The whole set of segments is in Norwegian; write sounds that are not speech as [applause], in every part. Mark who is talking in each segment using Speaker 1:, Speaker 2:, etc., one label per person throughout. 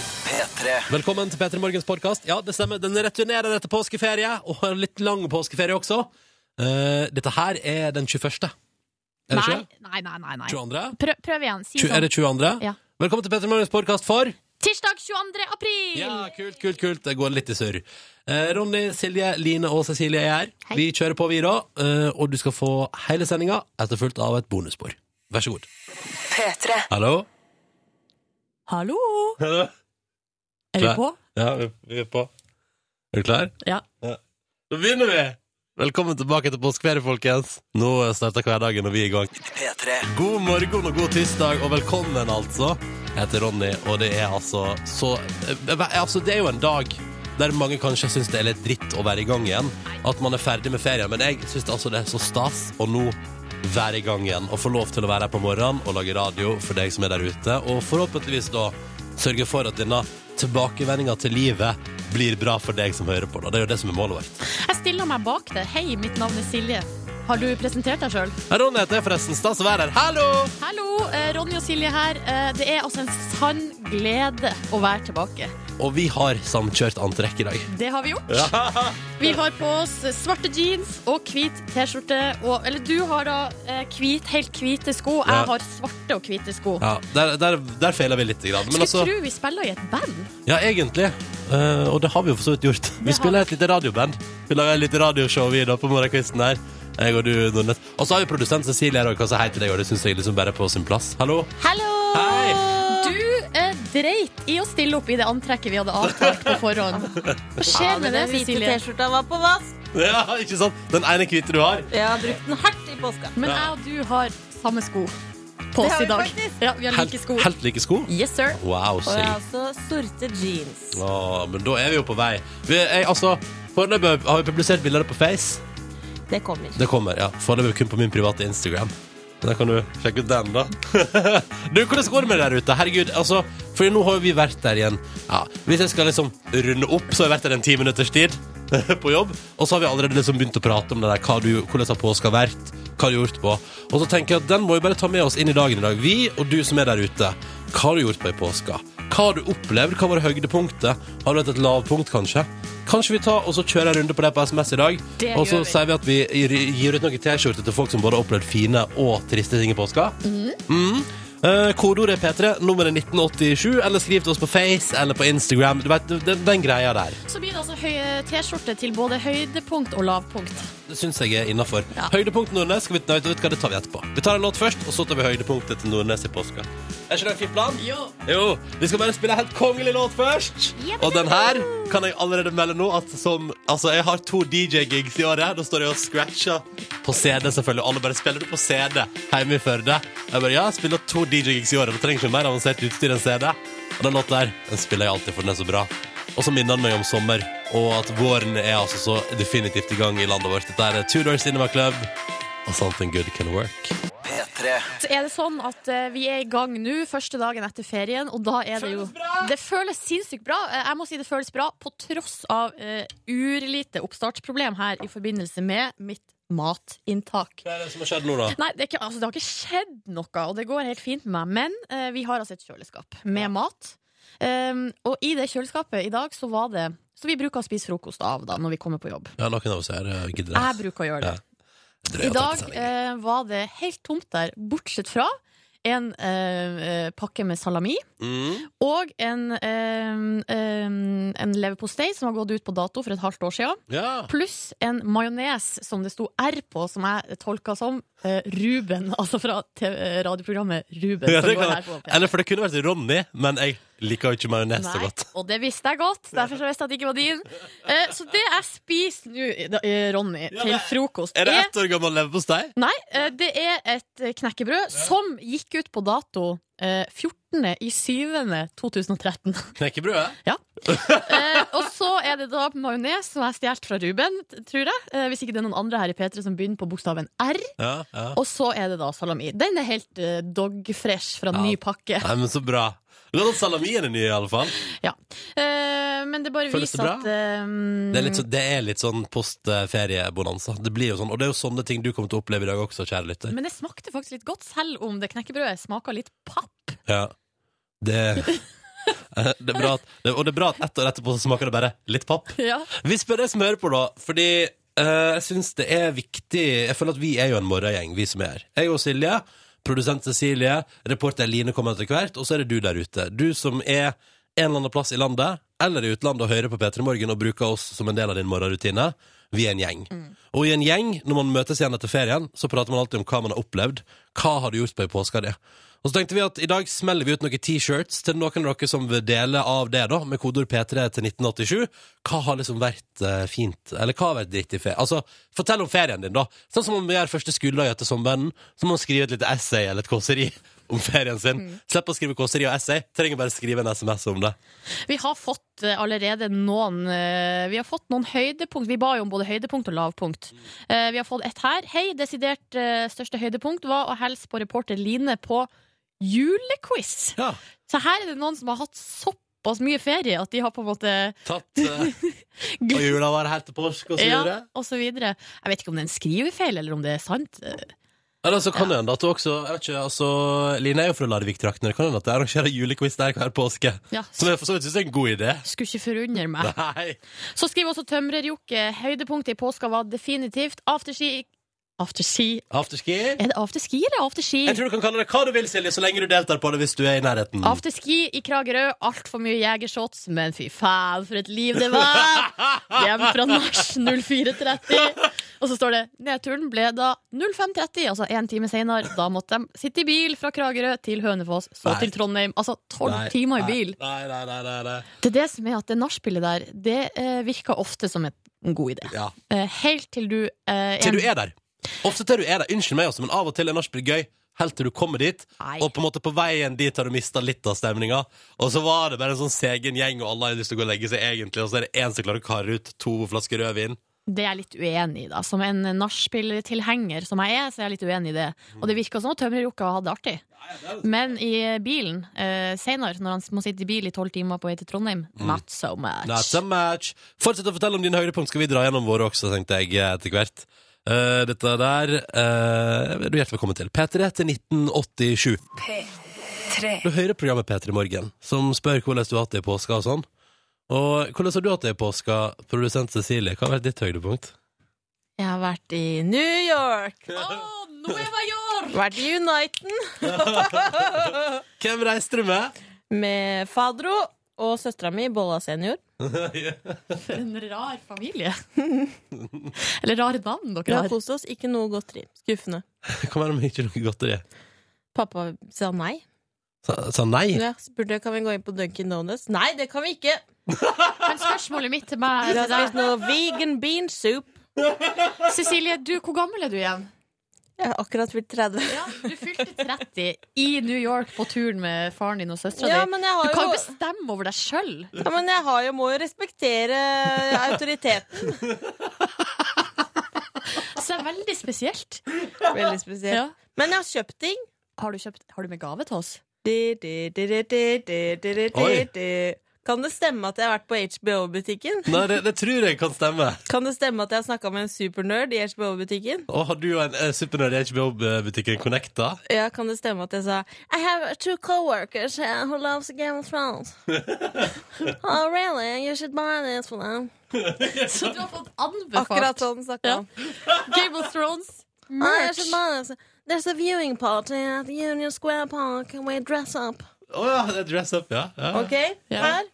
Speaker 1: P3.
Speaker 2: Velkommen til P3 Morgens podkast. Ja, det stemmer. Den returnerer etter påskeferie, og har en litt lang påskeferie også. Eh, dette her er den 21. Er det
Speaker 3: Nei,
Speaker 2: ikke?
Speaker 3: nei, nei. nei, nei.
Speaker 2: 22.?
Speaker 3: Prøv, prøv igjen. Si
Speaker 2: Tju- Er
Speaker 3: sånn.
Speaker 2: det 22.?
Speaker 3: Ja.
Speaker 2: Velkommen til P3 Morgens podkast for
Speaker 3: Tirsdag 22. april!
Speaker 2: Ja, kult, kult, kult. Det går litt i surr. Eh, Ronny, Silje, Line og Cecilie er her.
Speaker 3: Hei.
Speaker 2: Vi kjører på, vi, da. eh, og du skal få hele sendinga etterfulgt av et bonusspor. Vær så god.
Speaker 4: P3.
Speaker 2: Hallo?
Speaker 5: Hallo!
Speaker 2: Hallo?
Speaker 5: Er vi
Speaker 2: Hva?
Speaker 5: på?
Speaker 2: Ja, vi- vi er på. Er du klar?
Speaker 5: Ja.
Speaker 2: Da begynner vi! Velkommen tilbake til påskeferie, folkens. Nå starter hverdagen, og vi er i gang.
Speaker 1: P3.
Speaker 2: God morgen og god tirsdag, og velkommen, altså. Jeg heter Ronny, og det er altså så eh, Altså, det er jo en dag der mange kanskje syns det er litt dritt å være i gang igjen. At man er ferdig med ferien. Men jeg syns altså det er så stas å nå være i gang igjen og få lov til å være her på morgenen og lage radio for deg som er der ute, og forhåpentligvis da sørge for at denne tilbakevendinga til livet blir bra for deg som hører på. Da. Det er jo det som er målet vårt.
Speaker 3: Jeg stiller meg bak det. Hei, mitt navn er Silje. Har du presentert deg sjøl?
Speaker 2: Hei, Ronny heter jeg forresten. Stas å være her. Hallo!
Speaker 3: Hallo, eh, Ronny og Silje her. Eh, Det er altså en sann glede å være tilbake.
Speaker 2: Og vi har samkjørt antrekk i dag.
Speaker 3: Det har vi gjort. Vi har på oss svarte jeans og hvit T-skjorte. og- Eller du har da eh, hvit, helt hvite sko.
Speaker 2: Ja.
Speaker 3: Jeg har svarte og hvite sko.
Speaker 2: Ja, der, der, der feiler vi litt. Grann. Men
Speaker 3: Skulle
Speaker 2: altså,
Speaker 3: tro vi spiller i et band.
Speaker 2: ja, egentlig. Eh, og det har vi jo for så vidt gjort. Vi
Speaker 3: har
Speaker 2: spiller et lite radioband. Vi lager et lite radioshow vi da på morgenkvisten her. Jeg og du, Nordnes. Og så har vi produsent Cecilie her òg. Hva sier hei til deg? Og det syns jeg liksom bare er på sin plass. Hallo? [laughs]
Speaker 3: Hallo!
Speaker 2: Hei!
Speaker 3: Du eh, dreit i å stille opp i det antrekket vi hadde avtalt på forhånd. Hva
Speaker 5: Ja,
Speaker 3: skjer
Speaker 5: men
Speaker 3: med det,
Speaker 5: den hvite
Speaker 3: Cecilie?
Speaker 5: T-skjorta var på vask.
Speaker 2: Ja, ikke sant? Den ene hvite du har.
Speaker 5: Jeg har brukt den hardt i påska.
Speaker 3: Men jeg og du har samme sko på
Speaker 5: Det
Speaker 3: oss
Speaker 5: har
Speaker 3: i
Speaker 5: vi
Speaker 3: dag.
Speaker 5: faktisk.
Speaker 3: Ja, vi har
Speaker 2: Helt,
Speaker 3: like sko.
Speaker 2: helt like sko.
Speaker 3: Yes, sir.
Speaker 2: Wow,
Speaker 5: Og jeg
Speaker 2: sykt.
Speaker 5: har også sorte jeans.
Speaker 2: Å, men da er vi jo på vei. Vi, jeg, altså, Foreløpig har vi publisert bilder på Face.
Speaker 5: Det kommer.
Speaker 2: Det kommer, ja. Foreløpig kun på min private Instagram. Men Da kan du sjekke ut den, da. [laughs] du, Hvordan går det med det der ute? Herregud, altså, for nå har jo vi vært der igjen. Ja, hvis jeg skal liksom runde opp, så har jeg vært der en ti minutters tid [laughs] på jobb. Og så har vi allerede liksom begynt å prate om det der, hva du, hvordan har påska vært, hva har du gjort på. Og så tenker jeg at den må vi bare ta med oss inn i dagen i dag. Vi og du som er der ute, hva har du gjort på i påska? Hva har du opplevd? Hva var høydepunktet? Har du hatt et lavpunkt, kanskje? Kanskje vi tar og så kjører en runde på det på SMS i dag?
Speaker 3: Det
Speaker 2: og så
Speaker 3: gjør vi.
Speaker 2: sier vi at vi gir- gir ut noen T-skjorter til folk som både har opplevd fine og triste ting i påska.
Speaker 3: Mhm.
Speaker 2: Mm. Eh, kodeordet er P3, nummeret er 1987, eller skriv til oss på Face eller på Instagram. Du vet, den, den greia der.
Speaker 3: Så blir det altså høye T-skjorte til både høydepunkt og lavpunkt.
Speaker 2: Det syns jeg er innafor.
Speaker 3: Ja.
Speaker 2: Høydepunkt Nordnes skal vi, nei, vet du hva, det tar vi etterpå. Vi tar en låt først, og så tar vi høydepunktet til Nordnes i påska. Er ikke det en fin plan?
Speaker 3: Jo.
Speaker 2: Jo, vi skal bare spille en helt kongelig låt først. Og den her kan jeg allerede melde nå at som Altså, jeg har to DJ-gigs i året. Da står jeg og scratcher på CD, selvfølgelig. Alle bare spiller du på CD hjemme i Førde. Jeg bare ja, jeg spiller to DJ-gigs i året. Du trenger ikke mer avansert utstyr enn CD. Og den låten der den spiller jeg alltid, for den er så bra. Og så minner den meg om sommer, og at våren er altså så definitivt i gang i landet vårt. Dette er Two Doors Cinema Club og Something Good Can Work.
Speaker 1: P3.
Speaker 3: Så er det sånn at eh, vi er i gang nå, første dagen etter ferien, og da er det jo Det føles sinnssykt bra. Eh, Jeg må si det føles bra, på tross av uh, urlite oppstartsproblem her i forbindelse med mitt matinntak.
Speaker 2: Hva er det som har skjedd nå, da?
Speaker 3: Nei, det, er ikke, altså, det har ikke skjedd noe, og det går helt fint med meg. Men eh, vi har altså et kjøleskap med mat. Um, og i det kjøleskapet i dag så var det Så vi bruker å spise frokost av da når vi kommer på jobb.
Speaker 2: Ja, noen av oss her eh, gidder
Speaker 3: Jeg bruker å gjøre det.
Speaker 2: Drøy
Speaker 3: I
Speaker 2: å ta
Speaker 3: dag
Speaker 2: til sending.
Speaker 3: eh, var det helt tomt der, bortsett fra en eh, eh, pakke med salami
Speaker 2: Mm.
Speaker 3: og en, eh, eh, en leverpostei som har gått ut på dato for et halvt år siden.
Speaker 2: Ja.
Speaker 3: Pluss en majones som det sto R på, som jeg tolka som eh, Ruben. [laughs] Altså fra TV radioprogrammet Ruben.
Speaker 2: Ja,
Speaker 3: som
Speaker 2: det
Speaker 3: går
Speaker 2: kan,
Speaker 3: her på
Speaker 2: eller for det kunne vært Ronny, men jeg liker jo ikke majones så
Speaker 3: Nei,
Speaker 2: godt.
Speaker 3: og det visste jeg godt. Derfor så visste jeg at det ikke var din. Eh, så det jeg spiser nå, eh, Ronny,
Speaker 2: Ja,
Speaker 3: til
Speaker 2: men-
Speaker 3: frokost,
Speaker 2: Er det ett år gammel leverpostei?
Speaker 3: Nei, eh, det er et eh, knekkebrød som gikk ut på dato eh, 14. i 7.
Speaker 2: [laughs]
Speaker 3: 2013.
Speaker 2: Knekkebrødet?
Speaker 3: Eh, og så er det da majones som jeg stjal fra Ruben, t- tror jeg. Eh, hvis ikke det er noen andre her i P3 som begynner på bokstaven R.
Speaker 2: Ja, ja.
Speaker 3: [laughs] Og så er det da salami. Den er helt eh, dogfresh fra
Speaker 2: Ja.
Speaker 3: ny pakke.
Speaker 2: Nei, men så bra. Godt at salamien er ny, i alle fall.
Speaker 3: Eh, men det bare
Speaker 2: Føles det
Speaker 3: viser
Speaker 2: bra?
Speaker 3: at eh,
Speaker 2: Det er litt, så, det er litt sånn postferiebonanza. Det blir jo sånn, og det er jo sånne ting du kommer til å oppleve i dag også, kjære lytter.
Speaker 3: Men det
Speaker 2: [laughs]
Speaker 3: smakte [laughs] faktisk litt godt, selv om det knekkebrødet smaker litt papp.
Speaker 2: Ja. Det Det er [laughs] bra at, det- og det er bra at ett år etterpå så smaker det bare litt papp.
Speaker 3: Ja.
Speaker 2: Vi spør deg som hører på, da, fordi eh, jeg syns det er viktig Jeg føler at vi er jo en morgengjeng, vi som er her. Jeg og Silje, produsent Cecilie, reporter Line kommer etter hvert, og så er det du der ute. Du som er en eller annen plass i landet eller i utlandet og hører på P3 Morgen og bruker oss som en del av din morgenrutine. Vi er en gjeng. Og i en gjeng, når man møtes igjen etter ferien, så prater man alltid om hva man har opplevd. Hva har du gjort på i påska di? Og så tenkte vi at i dag smeller vi ut noen t-shirts til noen av dere som vil dele av det, da, med kodeord P3 til 1987. Hva har liksom vært eh, fint, eller hva har vært dritt i ferie? Altså, fortell om ferien din, da. Sånn som om vi gjør første skoledag etter sommeren, så må man skrive et lite essay eller et kåseri [laughs] om ferien sin. Slipp å skrive kåseri og essay, trenger bare skrive en SMS om det.
Speaker 3: Vi har fått eh, allerede noen eh, Vi har fått noen høydepunkt. Vi ba jo om både høydepunkt og lavpunkt. Eh, Vi har fått ett her. Hei, desidert eh, største høydepunkt var å hilse på reporter Line på julequiz.
Speaker 2: Ja,
Speaker 3: Så her er det noen som har hatt såpass mye ferie at de har på en måte
Speaker 2: tatt eh, Og jula var helt til påske, og så
Speaker 3: ja,
Speaker 2: videre.
Speaker 3: og så videre. Jeg vet ikke om det er en skrivefeil, eller om det er sant. Eh,
Speaker 2: Eller så kan det hende at du også jeg vet ikke, altså, Line er jo fra Larvik-traktene. Det kan hende at de arrangerer julequiz der hver påske.
Speaker 3: Ja,
Speaker 2: Som jeg for så vidt syns er en god idé.
Speaker 3: Skulle ikke forundre meg.
Speaker 2: Nei.
Speaker 3: Så skriver også Tømrerjokke høydepunktet i påska var definitivt afterski Afterski?
Speaker 2: Afterski?
Speaker 3: Er det afterski eller afterski?
Speaker 2: Jeg tror du kan kalle det hva du vil, Silje, så lenge du deltar på det hvis du er i nærheten.
Speaker 3: Afterski i Kragerø, altfor mye jegershots, men fy faen, for et liv det var! Hjem fra nach 04.30. Og så står det nedturen ble da 05.30, altså én time seinere. Da måtte de sitte i bil fra Kragerø til Hønefoss, så
Speaker 2: Nei.
Speaker 3: til Trondheim. Altså tolv
Speaker 2: Nei,
Speaker 3: timer i
Speaker 2: nei,
Speaker 3: bil.
Speaker 2: Nei, nei, nei, nei, nei.
Speaker 3: Det er det som er at det nachspielet der, det eh, virker ofte som et- en god idé.
Speaker 2: Ja.
Speaker 3: Eh, helt til du eh,
Speaker 2: Til du er der. Ofte til du er der. Unnskyld meg også, men av og til er nachspiel gøy. Helt til du kommer dit,
Speaker 3: Nei.
Speaker 2: og på en måte på veien dit har du mista litt av stemninga. Og så var det bare en sånn segen gjeng, og alle har lyst til å gå og legge seg, egentlig. Og så er det én som klarer å karre ut to flasker rødvin.
Speaker 3: Det er jeg litt uenig i, da. Som en nachspiel-tilhenger som jeg er, så er jeg litt uenig i det. Og det virka som at tømrerjokka hadde det artig. Men i bilen eh, senere, når han må sitte i bil i tolv timer på vei til Trondheim, not so much.
Speaker 2: Mm. Not so much. Fortsett å fortelle om dine høydepunkt, skal vi dra gjennom våre også, tenkte jeg etter hvert. Eh, dette der eh, er du hjertelig velkommen til. P3 til 1987.
Speaker 1: Tre.
Speaker 2: Du hører programmet P3 Morgen, som spør hvordan du har hatt det i påska og sånn. Og hvordan har du hatt det i påska, produsent Cecilie? Hva har vært ditt høydepunkt?
Speaker 5: Jeg har vært i New York.
Speaker 3: Nueva York!
Speaker 5: Vært i Uniten
Speaker 2: Hvem reiste du [laughs] med?
Speaker 5: med Fadro og søstera mi, Bolla senior.
Speaker 3: For [laughs] en rar
Speaker 2: [laughs]
Speaker 3: familie. Eller rare navn
Speaker 5: Vi
Speaker 3: dere
Speaker 5: har
Speaker 3: har.
Speaker 5: kost oss. Ikke noe godteri. Skuffende.
Speaker 2: Det kan være mye noe godteri.
Speaker 5: Pappa sa nei.
Speaker 2: Sa, sa nei?
Speaker 5: Ja, spurte kan vi gå inn på Dunkin' Donuts. Nei, det kan vi ikke!
Speaker 3: Men spørsmålet mitt til meg
Speaker 5: Vi
Speaker 3: er
Speaker 5: har
Speaker 3: til
Speaker 5: spist noe vegan bean soup.
Speaker 3: deg. Cecilie, du, hvor gammel er du igjen?
Speaker 5: Jeg har akkurat blitt 30.
Speaker 3: Ja, du fylte 30 i New York på turen med faren din og søstera
Speaker 5: Ja,
Speaker 3: di.
Speaker 5: men jeg
Speaker 3: Du
Speaker 5: har
Speaker 3: kan jo
Speaker 5: jo,
Speaker 3: bestemme over deg sjøl.
Speaker 5: ja, men jeg har jo må jo respektere autoriteten.
Speaker 3: Så det er veldig spesielt.
Speaker 5: [laughs] Veldig
Speaker 3: Ja.
Speaker 5: spesielt. Men jeg har kjøpt ting.
Speaker 3: Har du, kjøpt, har du med gave til oss?
Speaker 5: Du, du, du, du, du, du, du, du,
Speaker 2: Oi.
Speaker 5: du. Kan det stemme at jeg har vært på HBO-butikken?
Speaker 2: Nei, det, det tror jeg kan stemme.
Speaker 5: Kan det stemme at jeg har snakka med en supernerd i HBO-butikken?
Speaker 2: Og har du og en eh, supernerd i HBO-butikken connecta?
Speaker 5: Ja, kan det stemme at jeg sa I have two coworkers here who loves Game of Thrones. oh, really? You should buy this for them.
Speaker 3: Så du har fått anbefalt
Speaker 5: Akkurat sånn snakka han.
Speaker 3: Game of Thrones
Speaker 5: Oh, you should
Speaker 3: merch.
Speaker 5: buy this. There's a viewing party at Union Square Park. and We dress up.
Speaker 2: Å ja, det er dress up, ja. ja.
Speaker 5: Ok,
Speaker 3: Ja.
Speaker 5: her.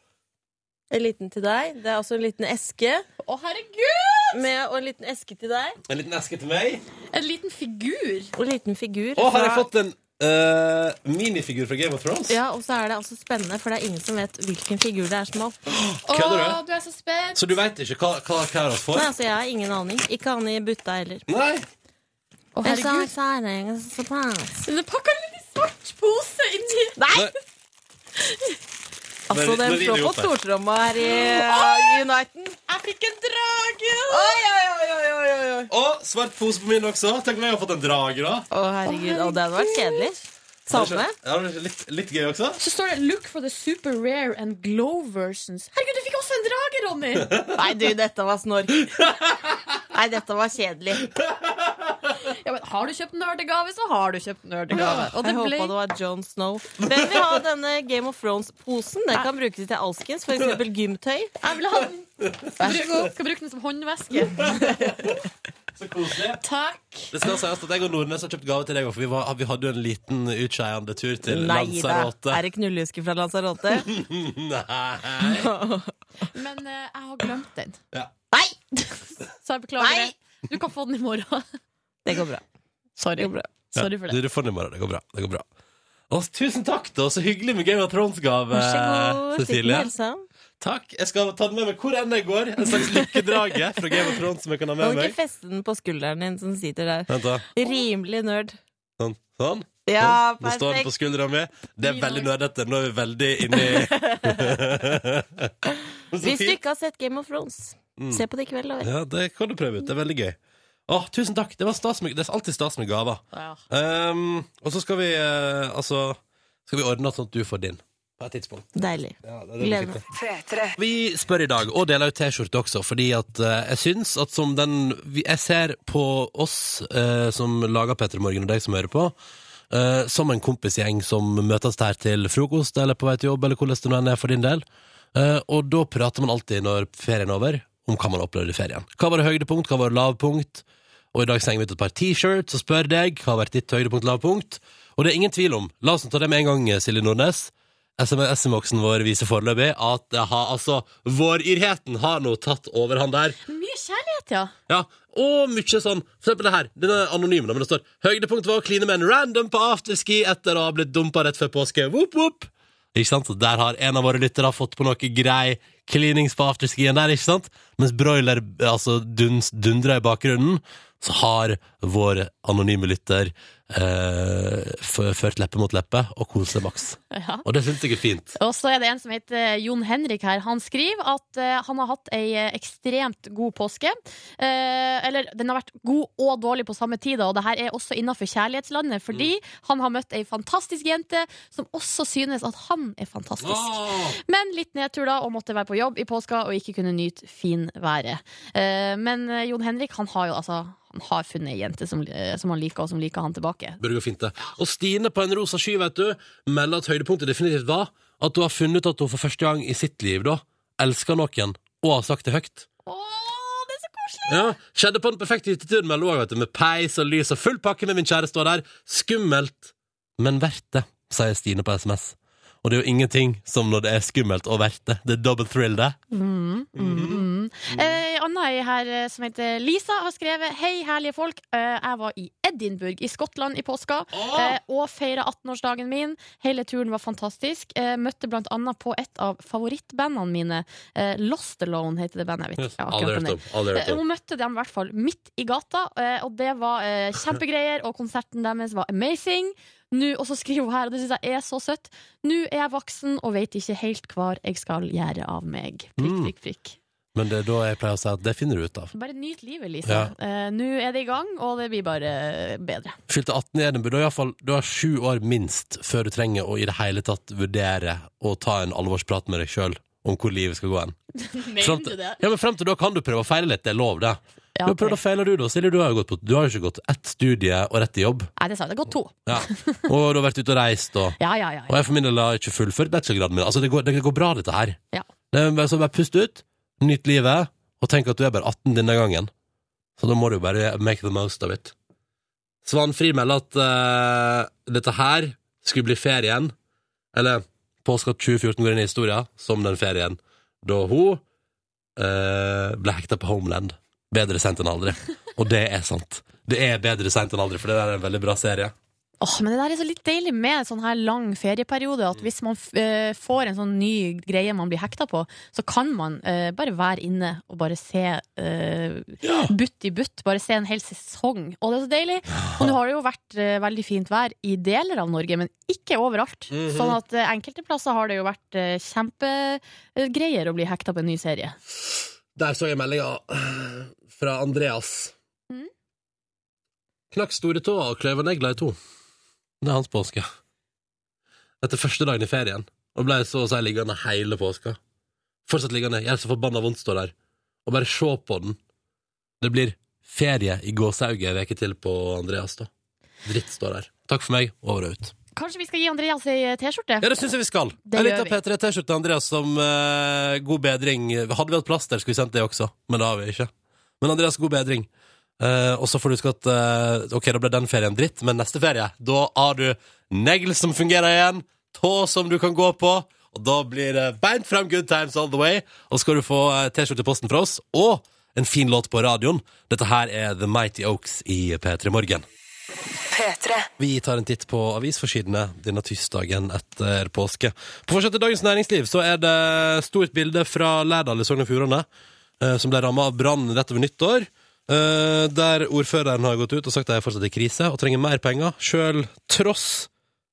Speaker 5: En liten til deg. Det er også en liten eske.
Speaker 3: Å, herregud!
Speaker 5: Med, og en liten eske til deg.
Speaker 2: En liten eske til meg.
Speaker 3: En liten figur.
Speaker 5: Og en liten figur.
Speaker 2: Og har jeg
Speaker 5: fra-
Speaker 2: fått en eh, minifigur fra Game of Thrones?
Speaker 5: Ja, og så er det altså spennende, for det er ingen som vet hvilken figur det er som er oppe.
Speaker 3: Å,
Speaker 2: Kødder du?
Speaker 3: du er så spent.
Speaker 2: Så du veit ikke hva, hva Karos får?
Speaker 5: Nei, altså, jeg har ingen aning. Ikke han i butta heller.
Speaker 2: Nei.
Speaker 3: Å,
Speaker 5: It's so
Speaker 3: herregud.
Speaker 5: exciting, it's a surprise.
Speaker 3: Den er pakka litt i svart pose inni
Speaker 5: Nei!
Speaker 2: Nei.
Speaker 5: Altså,
Speaker 2: Men-
Speaker 5: den
Speaker 2: men
Speaker 5: slår på
Speaker 2: idiot, nei.
Speaker 5: stortromma her i i Uniten.
Speaker 3: Jeg fikk en drage!
Speaker 5: Oi, oi, oi, oi, oi, oi, oi.
Speaker 2: Og svart pose på min også. Tenk om jeg har fått en drage, da.
Speaker 5: Å, herregud. Å, det hadde vært kjedelig. Samme.
Speaker 2: Ja, det er litt, litt gøy også.
Speaker 3: Så står det 'Look for the super rare and glow versions'. Herregud, du fikk også en drage, Ronny!
Speaker 2: [laughs]
Speaker 5: Nei, du, dette var snork. Nei, dette var kjedelig.
Speaker 3: Ja, men har du kjøpt nerdegave, så har du kjøpt nerdegave. Og det
Speaker 5: jeg
Speaker 3: ble
Speaker 5: håpa det var Jon Snow. Hvem vil ha denne Game of Thrones-posen? Den kan brukes til alskens, f.eks. gymtøy. Ah,
Speaker 3: Jeg vil ha den. Vær så god. Skal bruke den som håndveske.
Speaker 2: Så koselig.
Speaker 3: Takk.
Speaker 2: Det skal sies at jeg og Nordnes har kjøpt gave til deg òg, for vi, var, vi hadde jo en liten utskeiende tur til
Speaker 5: Nei da.
Speaker 2: Lanzarote.
Speaker 5: Er det knullehuske fra Lanzarote?
Speaker 2: Nei.
Speaker 3: Men eh, jeg har glemt den.
Speaker 2: Ja.
Speaker 5: Nei!
Speaker 3: Så jeg beklager
Speaker 5: Nei.
Speaker 3: det. Du kan få den i morgen. [laughs]
Speaker 5: Det går bra.
Speaker 3: Sorry.
Speaker 5: Det går bra.
Speaker 3: Sorry for
Speaker 2: Du,
Speaker 3: det.
Speaker 2: du får den i morgen. Det går bra. Det går bra. Og tusen takk, da. Så hyggelig med Game of Thrones-gave,
Speaker 5: Vær så god. Stikk med
Speaker 2: Cecilie.
Speaker 5: helsa.
Speaker 2: Takk. Jeg skal ta den med meg hvor enn jeg går. En slags lykkedrage fra Game of Thrones som jeg kan ha med
Speaker 5: Kan du ikke
Speaker 2: meg.
Speaker 5: feste den på skulderen din som sitter der?
Speaker 2: Vent da.
Speaker 5: Rimelig nerd.
Speaker 2: Sånn. sånn.
Speaker 5: Ja,
Speaker 2: Nå står den på
Speaker 5: perfekt.
Speaker 2: skuldra mi. Det er veldig nerdete. Nå er vi
Speaker 5: [laughs]
Speaker 2: veldig inni Så
Speaker 5: Hvis du
Speaker 2: fint.
Speaker 5: ikke har sett Game of Thrones, se på det i kveld. Over.
Speaker 2: Mm. Ja, det kan du prøve ut. Det er veldig gøy. Åh, tusen takk. Det, var stas med, det er alltid stas med gaver.
Speaker 3: Ja.
Speaker 2: Ehm, og så skal vi eh, altså Skal vi ordne sånn at du får din på et tidspunkt.
Speaker 5: Deilig.
Speaker 2: Ja, det er det vi
Speaker 5: Gleder
Speaker 2: fikk til.
Speaker 5: meg.
Speaker 2: Vi spør i dag, og deler ut T-skjorte også, fordi at eh, jeg syns at som den vi- Jeg ser på oss eh, som lager Petter Morgen, og deg som hører på, eh, som en kompisgjeng som møtes der til frokost eller på vei til jobb, eller hvordan det nå enn er for din del. Eh, og da prater man alltid, når ferien er over, om hva man opplevde i ferien. Hva var det høydepunkt, hva var det lavpunkt? Og i dag slenger vi ut et par T-shirts og spør deg hva har vært ditt høydepunkt, lavpunkt. Og det er ingen tvil om, la oss nå ta det med en gang, Silje Nordnes. SMS-boksen vår viser foreløpig at det har, altså, vårirheten har nå tatt overhånd der.
Speaker 3: Mye kjærlighet, ja.
Speaker 2: Ja, og mye sånn, for eksempel det her, den er anonym da, men det står Høydepunkt var å kline med en random på afterski etter å ha blitt dumpa rett før påske. Whoop, whoop. Ikke sant? Så der har en av våre lyttere fått på noe grei klinings på afterskien der, ikke sant? Mens broiler altså, duns, dundrer i bakgrunnen, så har vår anonyme lytter eh, f- ført leppe mot leppe og koser seg maks.
Speaker 3: ja.
Speaker 2: Og det syns jeg er fint.
Speaker 3: Og så er det en som heter eh, Jon Henrik her. Han skriver at eh, han har hatt ei eh, ekstremt god påske. Eh, eller den har vært god og dårlig på samme tid, da, og det her er også innafor kjærlighetslandet, fordi han har møtt ei fantastisk jente som også synes at han er fantastisk. Men litt nedtur da, og måtte være på jobb i påska og ikke kunne nyte finværet. Eh, men eh, Jon Henrik han har jo altså han har funnet ei jente som, eh, som han liker, og som liker han tilbake.
Speaker 2: Burde gå fint, det. Og Stine på en rosa sky, vet du, melder at høydepunktet definitivt var at hun har funnet ut at hun for første gang i sitt liv da elsker noen og har sagt det høyt.
Speaker 3: Å, det er så koselig!
Speaker 2: Ja, Skjedde på den perfekte hytteturen mellom òg, vet du, med peis og lys og full pakke med min kjære står der. Skummelt, men verdt det, sier Stine på SMS. Og det er jo ingenting som når det er skummelt og verdt det. Det er double thrill, det.
Speaker 3: Mm,
Speaker 2: Mhm.
Speaker 3: mm, mm. Eh, Anna er her eh, som heter Lisa har skrevet Hei herlige folk, eh, jeg var i Edinburgh i Skottland i påska eh, Og feiret 18-årsdagen min Hele turen var fantastisk eh, Møtte blant annet på et av favorittbandene mine eh, Lost Alone heter det bandet jeg vet ikke akkurat
Speaker 2: Aldri
Speaker 3: hvem det
Speaker 2: hørt
Speaker 3: er.
Speaker 2: om. Aldri hørt
Speaker 3: Eh,
Speaker 2: om.
Speaker 3: Hun møtte dem i hvert fall midt i gata, eh, og det var eh, kjempegreier. Og konserten deres var amazing. Nå, og så skriver hun her, og det syns jeg er så søtt. Nå er jeg voksen og veit ikke helt hva jeg skal gjøre av meg. Prikk,
Speaker 2: Mm.
Speaker 3: prikk, prikk.
Speaker 2: Men det er da jeg pleier å si at det finner du ut av.
Speaker 3: Bare nyt livet, Lisa. Eh, Nå er det i gang, og det blir bare bedre.
Speaker 2: Fylte 18 i Edinburgh, da i hvert fall, du har sju år minst før du trenger å i det hele tatt vurdere å ta en alvorsprat med deg sjøl om hvor livet skal gå hen. Frem til, ja, men frem til da kan du prøve å feile litt, det er lov, det.
Speaker 3: Ja,
Speaker 2: Du har prøvd å feile, du, da. Silje, du har jo gått på, du har jo ikke gått ett studie og rett til jobb.
Speaker 3: Nei, det sa jeg. Det har gått to.
Speaker 2: Ja. Og du har vært ute og reist, og
Speaker 3: Ja, ja, ja.
Speaker 2: Og
Speaker 3: ja.
Speaker 2: jeg for min del har ikke fullført bachelorgraden min. Altså, det går, det går bra, dette her.
Speaker 3: Ja.
Speaker 2: Det er bare, så bare pust ut, nyt livet, og tenk at du er bare 18 denne gangen. Så da må du jo bare make the most of it. Svanfrid melder at eh, dette her skulle bli ferien, eller påska 2014 går inn i historien, som den ferien da hun eh, ble hekta på Homeland. Bedre sent enn aldri. Og det er sant. Det er bedre sent enn aldri, for det der er en veldig bra serie.
Speaker 3: Åh, men det der er så litt deilig med en sånn her lang ferieperiode.
Speaker 2: Mm.
Speaker 3: At hvis man f eh, får en sånn ny greie man blir hekta på, så kan man eh, bare være inne og bare se eh, butt i butt. Bare se en hel sesong. Og det er så deilig. Og nå har det jo vært eh, veldig fint vær i deler av Norge, men ikke overalt.
Speaker 2: Mhm.
Speaker 3: Sånn at eh, enkelte plasser har det jo vært eh, kjempegreier å bli hekta på en ny serie.
Speaker 2: Der så jeg meldinga fra Andreas.
Speaker 3: Mhm.
Speaker 2: Knakk store tå og kløyv negla i to. Det er hans påske. Etter første dagen i ferien. Og ble så å si liggende hele påska. Fortsatt liggende. Jeg er så forbanna vondt står der. Og bare se på den. Det blir ferie i gåsauget en uke til på Andreas, da. Dritt står der. Takk for meg, over og ut.
Speaker 3: Kanskje vi skal gi Andreas ei eh, T-skjorte?
Speaker 2: Ja, det syns jeg vi skal.
Speaker 3: Det
Speaker 2: en
Speaker 3: gjør
Speaker 2: liten P3-T-skjorte til Andreas som eh, god bedring. Hadde vi hatt plass der, skulle vi sendt det også, men det har vi ikke. Men Andreas, god bedring. Eh, og så får du huske at eh, Ok, da ble den ferien dritt, men neste ferie, da har du negl som fungerer igjen, tå som du kan gå på, og da blir det beint frem good times all the way. Og så skal du få eh, T-skjorte i posten fra oss, og en fin låt på radioen. Dette her er The Mighty Oaks i P3 Morgen. Vi tar en titt på avisforsidene denne tirsdagen etter påske. På forsiden til Dagens Næringsliv så er det stort bilde fra Lærdal i Sogn og Fjordane, eh, som ble ramma av brann rett over nyttår. eh, Der ordføreren har gått ut og sagt at de er fortsatt i krise og trenger mer penger. Sjøl tross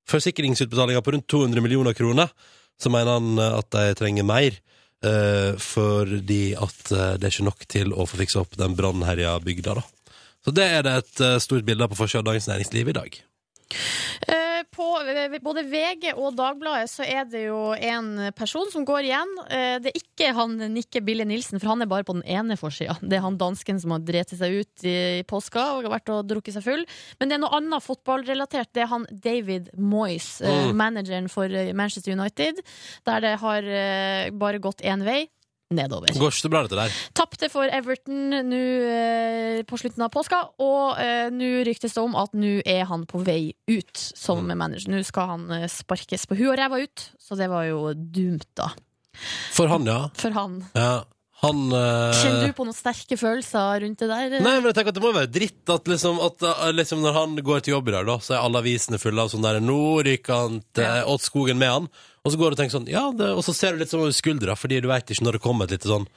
Speaker 2: forsikringsutbetalinger på rundt 200 millioner kroner, så mener han eh, at de trenger mer. eh, Fordi at eh, det er ikke nok til å få fiksa opp den brannherja bygda, da. Så det er det et eh, stort bilde av på forsiden av Dagens Næringsliv i dag.
Speaker 3: Eh, På eh, både VG og Dagbladet så er det jo en person som går igjen. Eh, Det er ikke han Nikke Bille Nilsen, for han er bare på den ene forsida. Det er han dansken som har drept seg ut i påska og har vært og drukket seg full. Men det er noe annet fotballrelatert. Det er han David Moyes, eh,
Speaker 2: Mm.
Speaker 3: manageren for eh, Manchester United, der det har eh, bare gått én vei. Nedover.
Speaker 2: Går ikke så bra, dette der.
Speaker 3: Tapte for Everton nå eh, på slutten av påska, og eh, nå ryktes det om at nå er han på vei ut som manager. Nå skal han eh, sparkes på huet og ræva ut, så det var jo dumt, da.
Speaker 2: For han, ja.
Speaker 3: For han.
Speaker 2: ja. Han eh,
Speaker 3: Kjenner du på noen sterke følelser rundt det der? eh?
Speaker 2: Nei, men jeg tenker at det må jo være dritt at, liksom, at eh, liksom når han går til jobb i dag, da, så er alle avisene fulle av sånn der Nå ryker han til, åt skogen med han. Og så går du og tenker sånn, ja, det, og så ser du litt sånn over skuldra, fordi du veit ikke når det kommer et lite sånn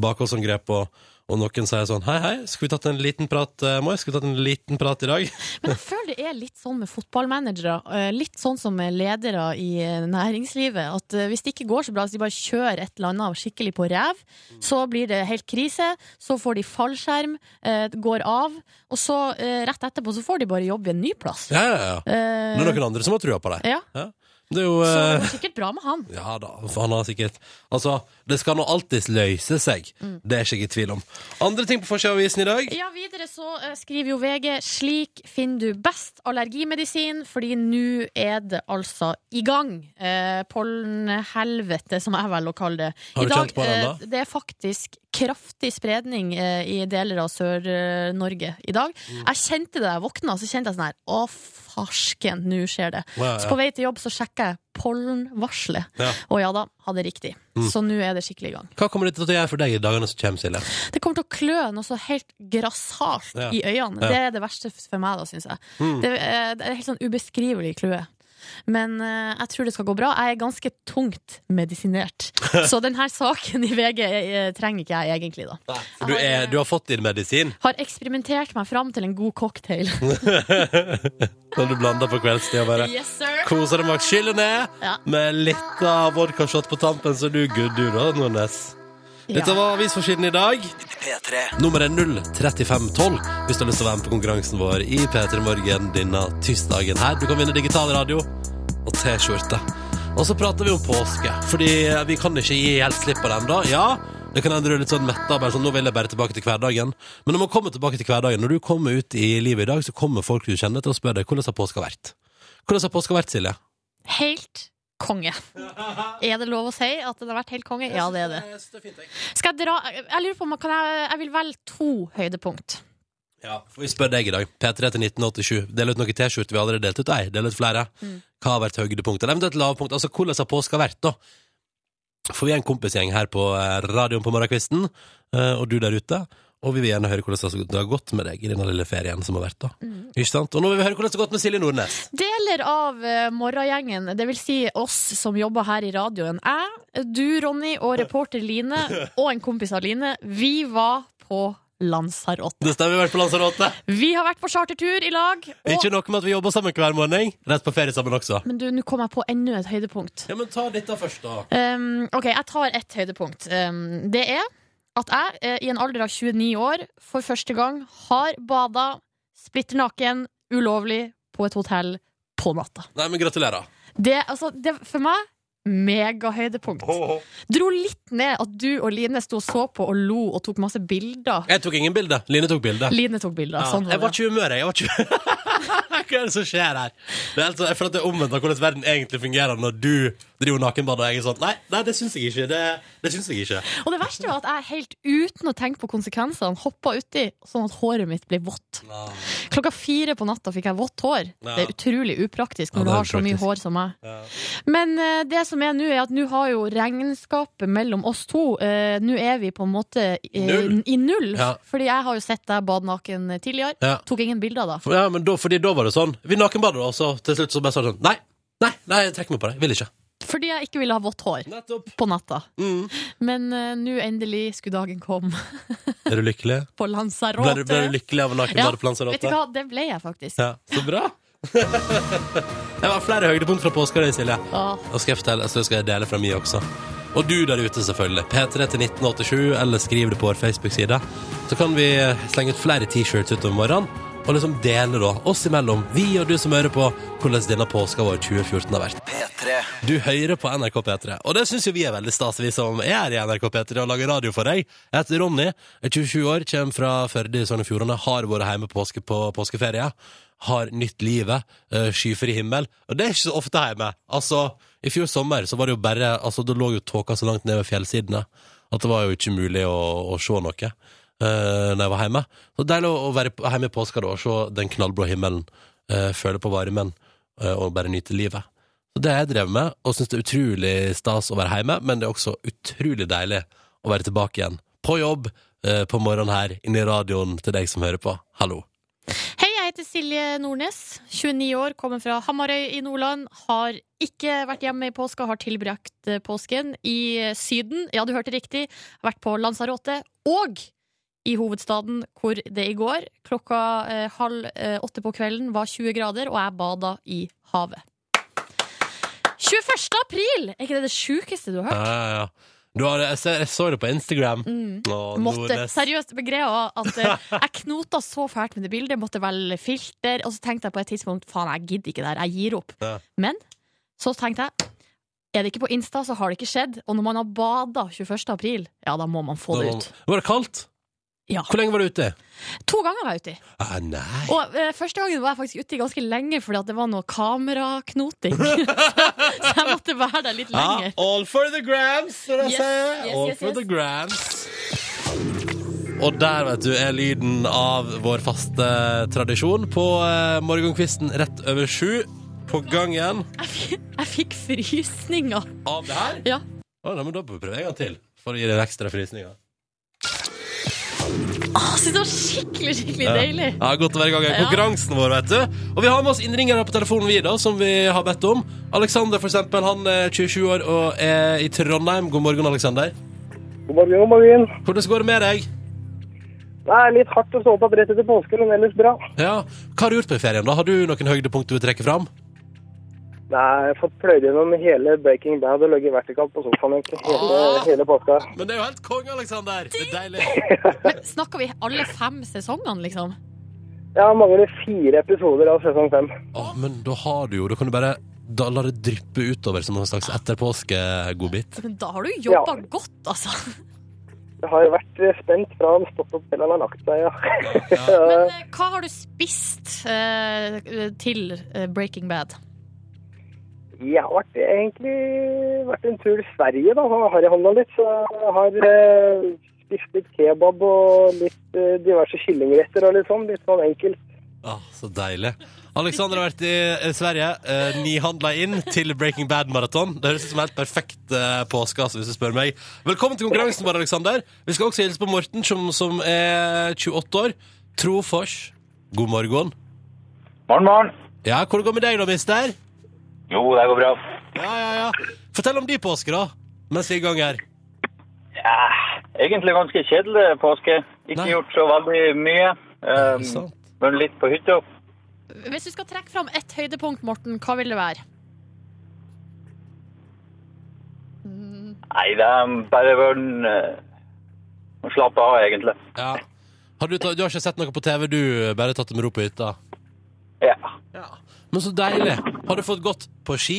Speaker 2: bakholdsangrep, og, og noen sier sånn Hei, hei, skulle vi tatt en liten prat, uh, Moi? Skulle vi tatt en liten prat i dag? [laughs]
Speaker 3: Men jeg føler det er litt sånn med fotballmanagere. eh, Litt sånn som med ledere i eh, næringslivet. At eh, hvis det ikke går så bra, hvis de bare kjører et eller annet skikkelig på ræv, så blir det helt krise. Så får de fallskjerm, eh, går av, og så eh, rett etterpå så får de bare jobb i en ny plass.
Speaker 2: Ja, ja, ja.
Speaker 3: Eh,
Speaker 2: Det er noen andre som har trua på deg.
Speaker 3: ja.
Speaker 2: Ja. Det er jo
Speaker 3: Så
Speaker 2: eh,
Speaker 3: det går sikkert bra med han.
Speaker 2: Ja da, for han har sikkert Altså, det skal nå alltid løse seg. Det er ikke jeg i tvil om. Andre ting på forsida av avisen i dag?
Speaker 3: Mm. Ja, videre så eh, skriver jo VG Slik finner du best allergimedisin Fordi nå er det altså i gang eh, Pollenhelvete, som jeg vel å kalle det
Speaker 2: Har
Speaker 3: I
Speaker 2: du
Speaker 3: dag,
Speaker 2: kjent på den da?
Speaker 3: eh, det er faktisk kraftig spredning eh, i deler av Sør-Norge i dag
Speaker 2: Mm.
Speaker 3: Jeg kjente det da jeg våkna, så kjente jeg sånn her Å farsken, nå skjer det
Speaker 2: Ja,
Speaker 3: Så
Speaker 2: ja.
Speaker 3: på vei til jobb så sjekker jeg pollenvarslet
Speaker 2: Ja. Mm.
Speaker 3: Og ja da, hadde riktig Så nå er det skikkelig i gang
Speaker 2: Hva kommer dette til å gjøre for deg i dagene som kommer, Silje?
Speaker 3: det kommer til å klø noe så helt grassat
Speaker 2: Ja.
Speaker 3: i øynene.
Speaker 2: Ja.
Speaker 3: Det er det verste for meg, da, syns jeg.
Speaker 2: Mm.
Speaker 3: Det, er, det er helt sånn ubeskrivelig kløe. Men eh, jeg tror det skal gå bra. Jeg er ganske tungt
Speaker 2: [laughs]
Speaker 3: medisinert. Så denne saken i VG eh, trenger ikke jeg egentlig, da.
Speaker 2: For du,
Speaker 3: eh,
Speaker 2: er, du har fått din medisin
Speaker 3: Har eksperimentert meg fram til en god
Speaker 2: [laughs]
Speaker 3: cocktail.
Speaker 2: som du blander på kveldstid og bare
Speaker 3: Yes, sir!
Speaker 2: koser deg med å skylle ned
Speaker 3: Ja.
Speaker 2: med litt av vodkashot på tampen, så du er good, du da, Nordnes. Dette
Speaker 3: Ja.
Speaker 2: var avisforsiden i dag. Nummeret er 03512 hvis du har lyst til å være med på konkurransen vår i P3 Morgen denne tirsdagen her. Du kan vinne digital radio og T-skjorte. Og så prater vi om påske, fordi vi kan ikke gi helt slipp på den da. Ja, det kan hende du er litt sånn metta, bare sånn, nå vil jeg bare tilbake til hverdagen. Men når man kommer tilbake til hverdagen, når du kommer ut i livet i dag, så kommer folk du kjenner til å spørre deg, hvordan har påska vært? Hvordan har påska vært, Silje?
Speaker 3: Helt konge. Er det lov å si at den har vært helt konge? Ja, det er det. Skal jeg dra Jeg lurer på om jeg kan jeg, jeg vil velge to høydepunkt.
Speaker 2: Ja, for vi spør deg i dag. P3 til 1987. Del ut noen T-skjorter vi har allerede delt ut. Nei, del ut flere. Hva har vært høydepunktet? Eller Eventuelt lavpunkt. Altså, hvordan har påska vært, da? For vi er en kompisgjeng her på eh, radioen på morgenkvisten, eh, og du der ute. Og vi vil gjerne høre hvordan det har gått med deg i denne lille ferien som har vært, da. Ikke sant? Og nå vil vi høre hvordan det har gått med Silje Nordnes.
Speaker 3: Deler av eh, morgengjengen, det vil si oss som jobber her i radioen, jeg, du Ronny og reporter Line og en kompis av Line, vi var på Lanzarote.
Speaker 2: Det stemmer, vi har vært på Lanzarote.
Speaker 3: Vi har vært på chartertur i lag. Og,
Speaker 2: Ikke noe med at vi jobber sammen hver morgen. Rett på ferie sammen også.
Speaker 3: men du, nå kom jeg på enda et høydepunkt.
Speaker 2: Ja, men ta dette først, da.
Speaker 3: Um, ok, jeg tar ett høydepunkt. Um, det er at jeg, eh, i en alder av 29 år, for første gang har bada splitter naken ulovlig på et hotell på natta.
Speaker 2: Nei, men gratulerer.
Speaker 3: Det, altså, det, for meg megahøydepunkt. Dro litt ned at du og Line sto og så på og lo og tok masse bilder.
Speaker 2: Jeg tok ingen bilder. Line tok bilder.
Speaker 3: Line tok bilder.
Speaker 2: Ja.
Speaker 3: Sånn
Speaker 2: jeg var
Speaker 3: var det.
Speaker 2: ikke i humøret. Jeg var ikke... [laughs] Hva er det som skjer her? Det er helt sånn- jeg føler at det er omvendt av hvordan verden egentlig fungerer når du driver nakenbad og jeg er sånn Nei, nei det syns jeg ikke. Det, det syns jeg ikke.
Speaker 3: Og det verste var at jeg helt uten å tenke på konsekvensene hoppa uti sånn at håret mitt ble vått. Klokka fire på natta fikk jeg vått hår.
Speaker 2: Ja.
Speaker 3: Det er utrolig upraktisk
Speaker 2: Ja, det
Speaker 3: når du
Speaker 2: er
Speaker 3: har så mye
Speaker 2: upraktisk.
Speaker 3: hår som meg.
Speaker 2: Ja.
Speaker 3: Men eh, det som er nå, er at nå har jo regnskapet mellom oss to eh, Nå er vi på en måte eh,
Speaker 2: Null.
Speaker 3: i null.
Speaker 2: Ja.
Speaker 3: Fordi jeg har jo sett deg badnaken tidligere.
Speaker 2: Ja.
Speaker 3: Tok ingen bilder da.
Speaker 2: For, ja, men da, fordi da var det sånn. Vi nakenbadet, og så til slutt så bare sa du sånn Nei, nei, nei, jeg trekker meg på det. Jeg vil ikke.
Speaker 3: Fordi jeg ikke ville ha vått hår
Speaker 2: Nettopp.
Speaker 3: på natta.
Speaker 2: Mm.
Speaker 3: Men eh, nå endelig skulle dagen komme [laughs]
Speaker 2: Er du lykkelig?
Speaker 3: på
Speaker 2: Ble du,
Speaker 3: Lanzarote.
Speaker 2: ble du lykkelig av å
Speaker 3: Ja,
Speaker 2: nakenbade på
Speaker 3: Vet du
Speaker 2: Lanzarote?
Speaker 3: hva, det ble jeg faktisk.
Speaker 2: Ja, så bra. det var flere høydepunkt fra påska di, Silje.
Speaker 3: Åh.
Speaker 2: Og skal jeg fortelle, så skal jeg dele fra mi også. Og du der ute, selvfølgelig. P3 til 1987, eller skriv det på vår Facebook-side. Så kan vi eh, slenge ut flere T-shirts utover morgenen, og liksom dele, da, oss imellom, vi og du som hører på, hvordan denne påska vår 2014 har vært.
Speaker 1: P3
Speaker 2: Du hører på NRK P3, og det syns jo vi er veldig stas, vi som er her i NRK P3 og lager radio for deg. Jeg heter Ronny, er 27 år, kommer fra Førde i Sogn og Fjordane, har vært hjemme påske på påskeferie. Har nytt livet, eh, skyfri himmel. Og det er ikke så ofte hjemme. Altså, i fjor sommer så var det jo bare Altså, da lå jo tåka så langt ned ved fjellsidene at det var jo ikke mulig å, å se noe. Uh, når jeg var hjemme. Så deilig å å være på- hjemme i påska da, og se den knallblå himmelen, eh, føle på varmen eh, og bare nyte livet. Så det har jeg drevet med, og syns det er utrolig stas å være hjemme, men det er også utrolig deilig å være tilbake igjen. På jobb, eh, på morgenen her, inne i radioen til deg som hører på. Hallo.
Speaker 3: Hei, jeg heter Silje Nordnes. 29 år, kommer fra Hamarøy i Nordland. Har ikke vært hjemme i påska, har tilbrakt eh, påsken i eh, Syden. Ja, du hørte riktig. Har vært på Lanzarote og i hovedstaden, hvor det i går klokka eh, halv eh, åtte på kvelden var 20 grader, og jeg bada i havet. 21. april! Er ikke det det sjukeste du har
Speaker 2: Ja,
Speaker 3: hørt?
Speaker 2: ja, ja. Du har, jeg, ser, jeg så det på Instagram.
Speaker 3: Mm.
Speaker 2: Å,
Speaker 3: Måtte,
Speaker 2: Nordnes.
Speaker 3: seriøst, greia var at eh, jeg knota så fælt med det bildet, måtte velge filter, og så tenkte jeg på et tidspunkt faen, jeg gidder ikke det her, jeg gir opp.
Speaker 2: Ja.
Speaker 3: Men så tenkte jeg er det ikke på Insta, så har det ikke skjedd. Og når man har bada 21. april, ja, da må man få det ut.
Speaker 2: Var det kaldt?
Speaker 3: Ja.
Speaker 2: Hvor lenge var du ute?
Speaker 3: To ganger var jeg uti.
Speaker 2: Ah, nei.
Speaker 3: Og eh, første gangen var jeg faktisk uti ganske lenge fordi at det var noe kameraknoting. [laughs] så, så jeg måtte være der litt
Speaker 2: Ja,
Speaker 3: lenger.
Speaker 2: Ah, all for the grams, som de
Speaker 3: Yes,
Speaker 2: sier.
Speaker 3: yes,
Speaker 2: all
Speaker 3: yes,
Speaker 2: for
Speaker 3: yes.
Speaker 2: the grams. Og der, vet du, er lyden av vår faste tradisjon på eh, morgenkvisten rett over sju. På gangen
Speaker 3: Jeg fikk, jeg fikk frysninger.
Speaker 2: av det her.
Speaker 3: Ja.
Speaker 2: Å, nei, men da prøver jeg en gang til, for å gi deg ekstra frysninger.
Speaker 3: Jeg synes det var skikkelig, skikkelig deilig.
Speaker 2: Ja, godt å være i gang med
Speaker 3: Ja.
Speaker 2: konkurransen vår, vet du. Og vi har med oss innringere på telefonen vi da, som vi har bedt om. Alexander, for eksempel, han er 27 år og er i Trondheim. God morgen, Alexander.
Speaker 4: God morgen, god morgen.
Speaker 2: Hvordan går det med deg?
Speaker 4: Det er litt hardt å stå opp rett etter påske, men ellers bra.
Speaker 2: Ja, Hva har du gjort på ferien? da? Har du noen høydepunkt du vil trekke fram?
Speaker 4: Nei, jeg har fått pløyd gjennom hele Breaking Bad og ligget vertikalt på sofaen egentlig hele, hele påska.
Speaker 2: Men det er jo helt konge, Alexander! Det er deilig.
Speaker 3: Men snakker vi alle fem sesongene, liksom?
Speaker 4: Jeg mangler fire episoder av sesong fem.
Speaker 2: men da har du jo Da kan du bare da la det dryppe utover som en slags etterpåske-godbit.
Speaker 3: Men da har du jobba godt, altså.
Speaker 4: Eh. Jeg har vært eh, spent fra han stått opp til han har lagt seg, ja. [laughs]
Speaker 3: Men eh, hva har du spist eh, til eh, Breaking Bad?
Speaker 4: Jeg har vært, egentlig vært en tur til Sverige, da. Jeg har handla litt, så jeg har eh, spist litt kebab og litt eh, diverse kyllingretter og litt sånn. Litt sånn enkelt.
Speaker 2: Ah, så deilig. Alexander har vært i eh, Sverige. Eh, Nihandla inn til Breaking Bad-maraton. Det høres ut som helt perfekt eh, påske, altså, hvis du spør meg. Velkommen til konkurransen vår, Alexander. Vi skal også hilse på Morten, som, som er 28 år. Trofors. God morgen.
Speaker 6: Morgen, morgen.
Speaker 2: Ja, hvordan går det med deg da, mister?
Speaker 6: Jo, det går bra.
Speaker 2: Ja, ja, ja. Fortell om de påsker, da. Mens vi er i gang her.
Speaker 6: Ja, egentlig ganske kjedelig påske. Ikke
Speaker 2: Nei.
Speaker 6: gjort så veldig mye.
Speaker 2: Er det
Speaker 6: Um,
Speaker 2: sant?
Speaker 6: Vært litt på hytta.
Speaker 3: Hvis du skal trekke fram ett høydepunkt, Morten, hva vil det være?
Speaker 6: Nei, det er bare vært uh, å slappe av, egentlig.
Speaker 2: Ja. Har du, ta, du har ikke sett noe på TV, du? eh, Bare tatt det med ro på hytta?
Speaker 6: Ja.
Speaker 2: Men så deilig! Har du fått gått på ski?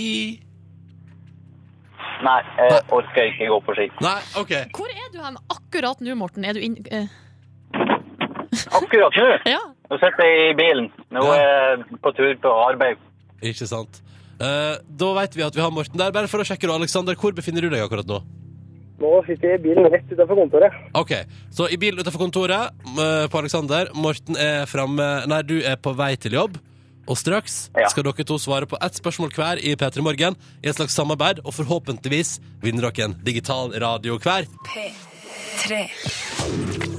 Speaker 6: Nei, jeg orker ikke gå på ski.
Speaker 2: Nei, OK.
Speaker 3: Hvor er du hen akkurat nå, Morten? Er du inn... eh,
Speaker 6: Akkurat nå
Speaker 3: ja.
Speaker 6: nå sitter jeg i bilen. Nå
Speaker 2: Ja.
Speaker 6: er jeg på tur på arbeid.
Speaker 2: Ikke sant. Eh, da vet vi at vi har Morten der. Bare for å sjekke, da, Aleksander, hvor befinner du deg akkurat nå?
Speaker 4: Nå sitter jeg i bilen rett utenfor kontoret.
Speaker 2: OK, så i bilen utenfor kontoret eh, på Aleksander. Morten er framme Nei, du er på vei til jobb. Og straks
Speaker 6: Ja.
Speaker 2: skal dere to svare på ett spørsmål hver i P3 Morgen i et slags samarbeid, og forhåpentligvis vinner dere en digital radio hver.
Speaker 1: Tre.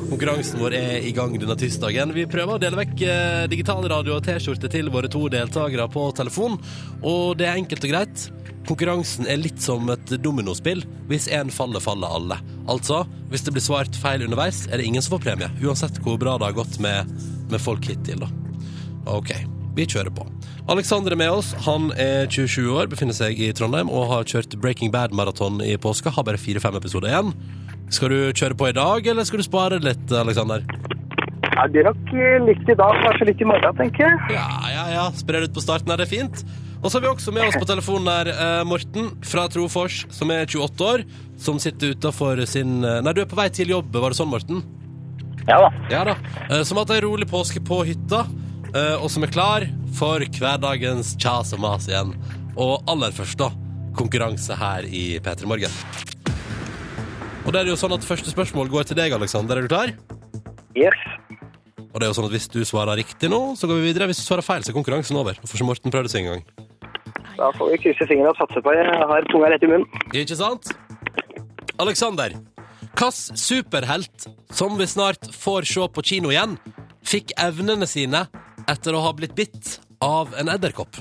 Speaker 2: Konkurransen vår er i gang denne tirsdagen. Vi prøver å dele vekk eh, digital radio og T-skjorte til våre to deltakere på telefon. Og det er enkelt og greit. Konkurransen er litt som et dominospill. Hvis én faller, faller alle. Altså, hvis det blir svart feil underveis, er det ingen som får premie. Uansett hvor bra det har gått med, med folk hittil, da. Ok, vi kjører på. Alexander er med oss. Han er 27 år, befinner seg i Trondheim og har kjørt Breaking Bad-maraton i påska. Har bare fire-fem episoder igjen. Skal du kjøre på i dag, eller skal du spare litt, Alexander?
Speaker 4: Ja, det blir nok eh, litt i dag, kanskje litt i morgen, tenker jeg.
Speaker 2: Ja, ja, ja. Spre det ut på starten her, det er fint. Og så har vi også med oss på telefonen her eh, Morten fra Trofors, som er 28 år. Som sitter utafor sin eh, Nei, du er på vei til jobb, var det sånn, Morten?
Speaker 6: Ja da.
Speaker 2: Ja da. Eh, Som hatt ei rolig påske på hytta, eh, og som er klar for hverdagens kjas og mas igjen. Og aller først, da, konkurranse her i P3 Morgen. Og det er det jo sånn at Første spørsmål går til deg, Aleksander. Er du klar?
Speaker 4: Yes.
Speaker 2: Og det er jo sånn at Hvis du svarer riktig nå, så går vi videre. Hvis du svarer feil, så er konkurransen over. Får ikke Morten prøvd seg engang.
Speaker 4: Da får vi krysse fingrene og satse på det. Jeg har tunga rett i munnen.
Speaker 2: Ikke sant? Aleksander, hvilken superhelt som vi snart får se på kino igjen, fikk evnene sine etter å ha blitt bitt av en edderkopp?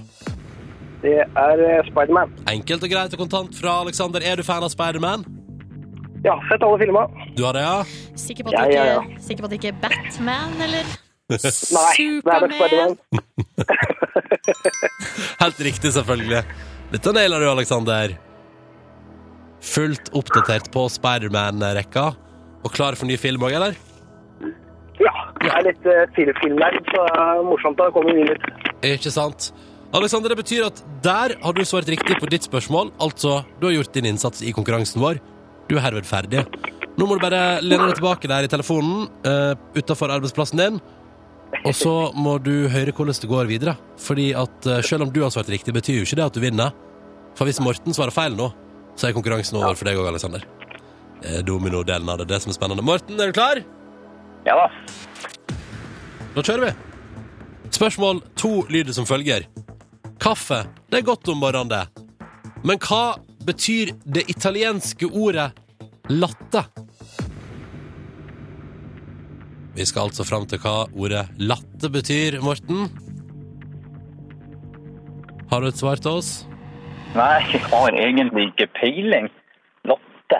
Speaker 4: Det er eh, Spiderman.
Speaker 2: Enkelt og greit og kontant fra Alexander. Er du fan av Spiderman?
Speaker 4: Ja, sett alle filma.
Speaker 2: Du har det, ja?
Speaker 3: Sikker på at
Speaker 4: Ja,
Speaker 3: det
Speaker 4: ja,
Speaker 3: ikke, sikker på at det ikke er Batman, eller?
Speaker 4: Nei, det er nok Spiderman.
Speaker 2: Helt riktig, selvfølgelig. Dette nailer du, Alexander. Fullt oppdatert på Spiderman-rekka. Og klar for ny film òg, eller?
Speaker 4: Ja. Jeg er litt uh, filmfilm der, så det er morsomt å komme inn litt.
Speaker 2: Eh, Ikke sant? Alexander, det betyr at der har du svart riktig på ditt spørsmål. Altså, du har gjort din innsats i konkurransen vår. Du er herved ferdig. Nå må du bare lene deg tilbake der i telefonen uh, utafor arbeidsplassen din. Og så må du høre hvordan det går videre. Fordi at eh, selv om du har svart riktig, betyr jo ikke det at du vinner. For hvis Morten svarer feil nå, så er konkurransen over for deg òg, Alexander. Det er Domino-delen av det, det som er spennende. Morten, er du klar?
Speaker 6: Ja da.
Speaker 2: Da kjører vi. Spørsmål to lyder som følger. Kaffe, det er godt om morgenen, det. Men hva betyr det italienske ordet latte? Vi skal altså fram til hva ordet latte betyr, Morten. Har du et svar til oss?
Speaker 6: Nei, jeg har egentlig ikke peiling. Lotte.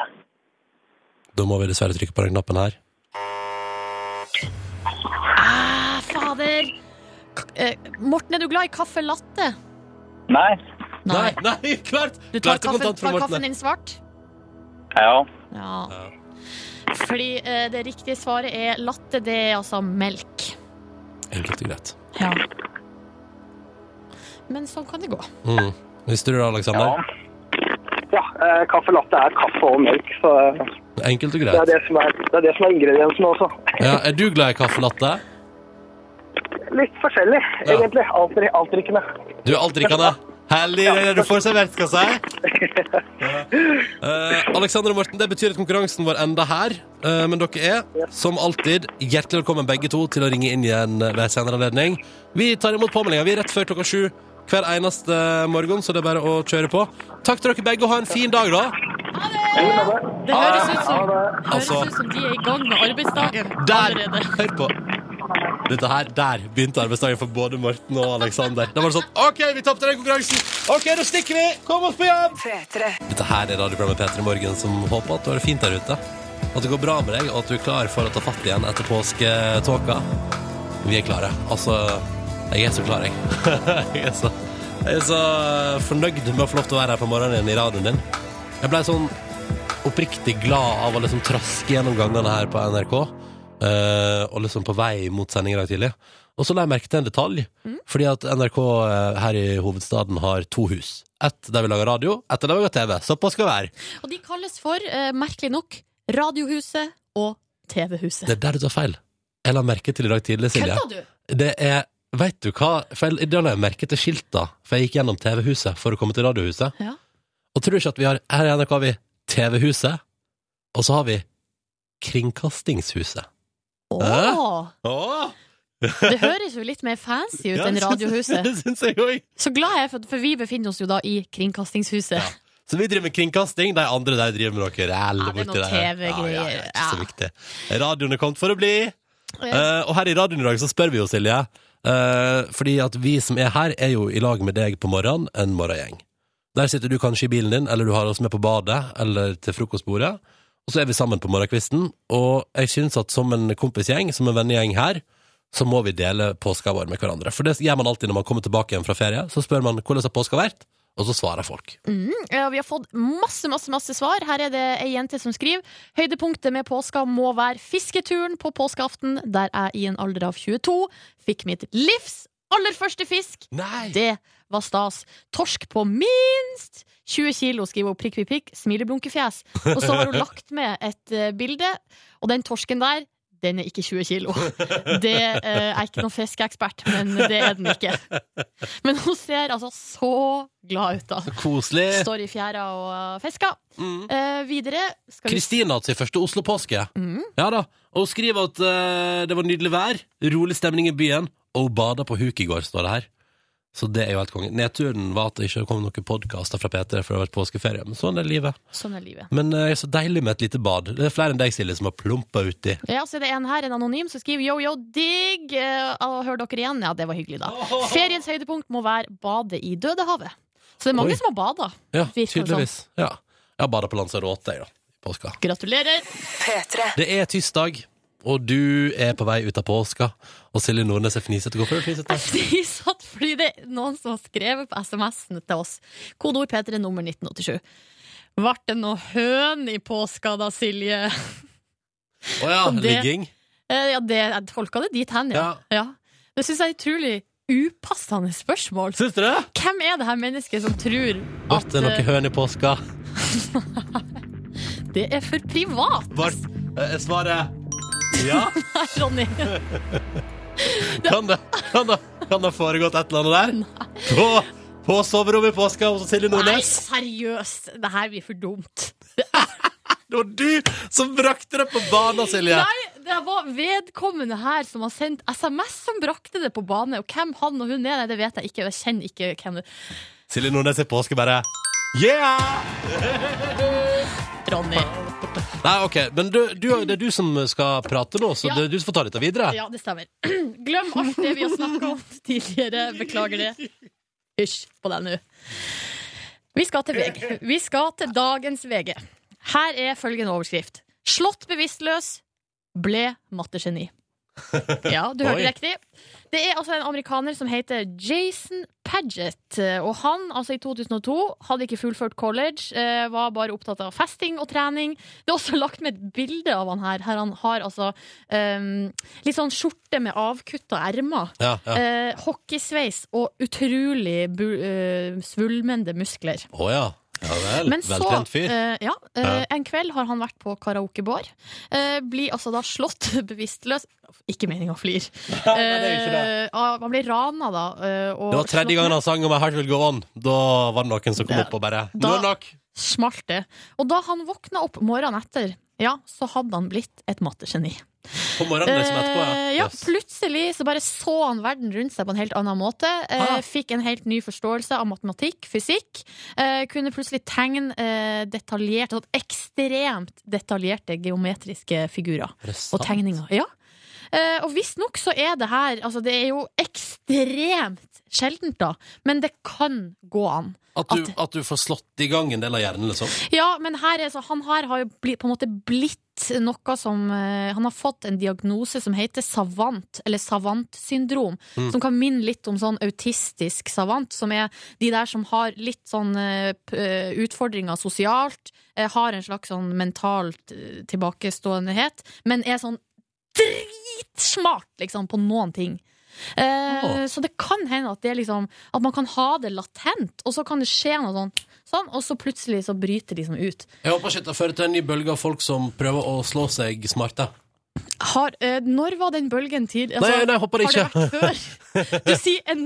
Speaker 2: Da må vi dessverre trykke på den knappen her.
Speaker 3: Ah, fader! K eh, Morten, er du glad i kaffe latte?
Speaker 6: Nei.
Speaker 2: Nei, nei, klart!
Speaker 3: Du tar,
Speaker 2: Klart det
Speaker 3: kaffen,
Speaker 2: kontant fra
Speaker 3: tar
Speaker 2: Morten.
Speaker 3: kaffen din svart?
Speaker 6: Ja.
Speaker 3: Ja.
Speaker 2: Ja.
Speaker 3: Fordi eh, det riktige svaret er latte, det er altså melk.
Speaker 2: Enkelt og greit.
Speaker 3: Ja. Men sånn kan det gå.
Speaker 2: Mm. Visste du det,
Speaker 6: ja.
Speaker 2: Aleksander?
Speaker 4: Ja, eh, kaffe latte er kaffe og melk, så
Speaker 2: Enkelt og
Speaker 4: det er
Speaker 2: greit.
Speaker 4: det som er, det er, det som er ingrediensene også.
Speaker 2: Ja, er du glad i kaffe latte?
Speaker 4: Litt forskjellig,
Speaker 2: Ja.
Speaker 4: egentlig. Alt, altrykkende.
Speaker 2: Du er altdrikkende. Herlig, det er det du får servert, skal jeg si. Eh, Alexander og Morten, det betyr at konkurransen vår enda her. Eh, men dere er, som alltid, hjertelig velkommen begge to til å ringe inn igjen ved en senere anledning. Vi tar imot påmeldinga. Vi er rett før klokka sju hver eneste morgen, så det er bare å kjøre på. Takk til dere begge, og ha en fin dag, da.
Speaker 3: Det høres ut som, høres
Speaker 2: Ah, Altså-
Speaker 3: ut som de er i gang med arbeidsdagen
Speaker 2: Der!
Speaker 3: allerede.
Speaker 2: Hør på. Dette her, Der begynte arbeidsdagen for både Morten og Alexander. Da var det sånn OK, vi tapte den konkurransen. OK, da stikker vi. Kom oss på jobb.
Speaker 1: P3.
Speaker 2: Dette her er radioprogrammet Peter i morgen, som håper at du har det fint der ute. At det går bra med deg, og at du er klar for å ta fatt igjen etter påsketåka. Vi er klare. Altså, jeg [laughs] er så klar, jeg. jeg, er så, jeg er så fornøyd med å få lov til å være her på morgenen igjen i radioen din. Jeg ble sånn oppriktig glad av å liksom traske gjennom gangene her på NRK. eh, og liksom på vei mot sending i dag tidlig. Og så la jeg merke til en detalj,
Speaker 3: Mm.
Speaker 2: fordi at NRK eh, her i hovedstaden har to hus. Ett der vi lager radio, ett der vi lager TV. Såpass skal det være.
Speaker 3: Og de kalles for, eh, merkelig nok, Radiohuset og TV-huset.
Speaker 2: Det er der du tar feil. Jeg la merke til i dag tidlig, Silje.
Speaker 3: Kødda du?
Speaker 2: Det er Vet du hva? For jeg, da la jeg merke til skilta, for jeg gikk gjennom TV-huset for å komme til Radiohuset.
Speaker 3: Ja.
Speaker 2: Og tror du ikke at vi har Her i NRK har vi TV-huset, og så har vi Kringkastingshuset.
Speaker 3: Åh,
Speaker 2: Åh,
Speaker 3: det høres jo litt mer fancy ut
Speaker 2: ja,
Speaker 3: enn
Speaker 2: det syns- [laughs]
Speaker 3: Radiohuset.
Speaker 2: Det syns jeg òg.
Speaker 3: Så glad jeg er for, for vi befinner oss jo da i Kringkastingshuset.
Speaker 2: Ja. Så vi driver med kringkasting, de andre der driver med noe ræl.
Speaker 3: Ja, det er
Speaker 2: borti
Speaker 3: noe
Speaker 2: der. Ja,
Speaker 3: TV-greier,
Speaker 2: ja, ja, ikke så
Speaker 3: ja.
Speaker 2: viktig. Radioen er kommet for å bli.
Speaker 3: Eh,
Speaker 2: Eh, og her i radioen i dag så spør vi jo, Silje, eh, fordi at vi som er her, er jo i lag med deg på morgenen, en morgengjeng. Der sitter du kanskje i bilen din, eller du har oss med på badet, eller til frokostbordet. Og så er vi sammen på morgenkvisten, og jeg synes at som en kompisgjeng, som en vennegjeng her, så må vi dele påska vår med hverandre. For det gjør man alltid når man kommer tilbake igjen fra ferie. Så spør man hvordan har påska vært, og så svarer folk.
Speaker 3: Mm, ja, vi har fått masse, masse, masse svar. Her er det ei jente som skriver Høydepunktet med påska må være fisketuren på påskeaften, der jeg i en alder av 22 fikk mitt livs aller første fisk.
Speaker 2: Nei!
Speaker 3: Det var stas. Torsk på minst 20 kilo, skriver hun. Prikk, prikk, prikk. Smileblunkefjes. Og så har hun lagt med et eh, bilde, og den torsken der den er ikke 20 kilo. Det eh, jeg er ikke noen fiskeekspert, men det er den ikke. Men hun ser altså så glad ut, da.
Speaker 2: Koselig.
Speaker 3: Står i fjæra og eh, fisker.
Speaker 2: Mm.
Speaker 3: Eh, videre skal vi
Speaker 2: Kristina hatt sin første Oslo-påske.
Speaker 3: Mm.
Speaker 2: Ja da, Og hun skriver at eh, det var nydelig vær, rolig stemning i byen, og hun bada på huk i går, står det her. Så det er jo helt konge. Nedturen var at det ikke kom noen podkaster fra P3, for det har vært påskeferie. Men sånn er livet.
Speaker 3: Sånn er livet.
Speaker 2: Men eh, så deilig med et lite bad. Det er flere enn deg, Silje, som har plumpa uti.
Speaker 3: Ja, så er det en her, en anonym, som skriver yo, yo, digg. Eh, og hører dere igjen? Ja, det var hyggelig, da. Feriens høydepunkt må være badet i Dødehavet. Så det er mange
Speaker 2: Oi.
Speaker 3: som har bada.
Speaker 2: Ja,
Speaker 3: Virker det
Speaker 2: tydeligvis. Ja. Jeg har bada på Lanzarote, jeg, da. i Påska.
Speaker 3: Gratulerer! [laughs]
Speaker 2: Det er tirsdag, og du er på vei ut av påska. Og Silje Nordnes er fnisete. Hvorfor er du fnisete?
Speaker 3: Jeg fniser at fordi det er noen som har skrevet på SMS-en til oss. Kodeord P3 nummer 1987. Ble det noe høn i påska da, Silje?
Speaker 2: Å ja,
Speaker 3: Og det-
Speaker 2: ligging.
Speaker 3: Eh, Ja, det, jeg tolka det dit hen, ja. ja. Det syns jeg er utrolig upassende spørsmål.
Speaker 2: Syns du det?
Speaker 3: Hvem er det her mennesket som tror
Speaker 2: Ble
Speaker 3: at
Speaker 2: det
Speaker 3: eh,
Speaker 2: noe høn i påska?
Speaker 3: det er for privat? [laughs]
Speaker 2: Ble eh, svaret ja?
Speaker 3: Nei, Ronny.
Speaker 2: Kan det, kan det, kan det ha foregått et eller annet der? På, på soverommet i påska hos Silje
Speaker 3: Nei,
Speaker 2: Nordnes?
Speaker 3: seriøst! Det her blir for dumt.
Speaker 2: Det var du som brakte det på banen, Silje!
Speaker 3: Nei, det var vedkommende her som har sendt SMS som brakte det på bane. Og hvem han og hun er, nei, det vet jeg ikke. og Jeg kjenner ikke hvem det
Speaker 2: Silje Nordnes i påske bare Yeah!
Speaker 3: Ronny.
Speaker 2: Nei, OK. Men du, du, det er du som skal prate nå, så
Speaker 3: Ja.
Speaker 2: det er du som får ta dette videre.
Speaker 3: Ja, det stemmer. [clears throat] Glem alt det vi har snakka om tidligere. Beklager det. Hysj på deg nå. Vi skal til VG. Vi skal til dagens VG. Her er følgende overskrift. Slått bevisstløs. Ble
Speaker 2: [laughs]
Speaker 3: mattegeni. Ja, du hørte
Speaker 2: Oi.
Speaker 3: riktig. Det er altså en amerikaner som heter Jason Paget. Og han, altså i 2002, hadde ikke fullført college, eh, var bare opptatt av festing og trening. Det er også [laughs] lagt med et bilde av han her. her han har altså eh, litt sånn skjorte med avkutta ermer.
Speaker 2: Ja, ja.
Speaker 3: eh, hockeysveis og utrolig bu eh, svulmende muskler.
Speaker 2: Å ja. Ja vel.
Speaker 3: Men så,
Speaker 2: Veltrent fyr.
Speaker 3: eh, ja, eh,
Speaker 2: Ja.
Speaker 3: En kveld har han vært på karaokebar. Eh, blir altså da slått [laughs] bevisstløs Ikke meninga flyr.
Speaker 2: det er ikke
Speaker 3: eh,
Speaker 2: det.
Speaker 3: av- ah, han blir rana, da. eh, og
Speaker 2: Det var
Speaker 3: slått ned.
Speaker 2: tredje gangen han sang om I Heart Will Go On. Da var det noen som kom
Speaker 3: Ja.
Speaker 2: opp og bare Nå
Speaker 3: Da-
Speaker 2: er det nok!
Speaker 3: Smalt det. Og da han våkna opp morgenen etter, ja, så hadde han blitt et mattegeni.
Speaker 2: På morgenen liksom etterpå, ja.
Speaker 3: Eh, ja,
Speaker 2: Yes.
Speaker 3: plutselig så bare så han verden rundt seg på en helt annen måte. Eh,
Speaker 2: Ah.
Speaker 3: Fikk en helt ny forståelse av matematikk, fysikk. Eh, kunne plutselig tegne eh, detaljerte, sånn ekstremt detaljerte geometriske figurer
Speaker 2: Er det
Speaker 3: og
Speaker 2: sant?
Speaker 3: tegninger. Ja. Eh, og visstnok så er det her Altså, det er jo ekstremt sjeldent, da, men det kan gå an.
Speaker 2: At du, at du får slått i gang en del av hjernen, liksom?
Speaker 3: Ja, men her er, så han her har jo bli, på en måte blitt noe som eh, Han har fått en diagnose som heter savant, eller savantsyndrom.
Speaker 2: Mm.
Speaker 3: Som kan minne litt om sånn autistisk savant, som er de der som har litt sånn eh, p- eh, utfordringer sosialt, eh, har en slags sånn mentalt eh, tilbakeståendehet, men er sånn dritsmart liksom, på noen ting. Eh,
Speaker 2: Åh.
Speaker 3: Så det kan hende at, det er liksom, at man kan ha det latent, og så kan det skje noe sånn, sånn og så plutselig så bryter de liksom ut.
Speaker 2: Jeg håper ikke det fører til en ny bølge av folk som prøver å slå seg smarte.
Speaker 3: Har, eh, når var den bølgen tid? Altså,
Speaker 2: Nei, nei, jeg håper det
Speaker 3: Har det vært før? Du sier en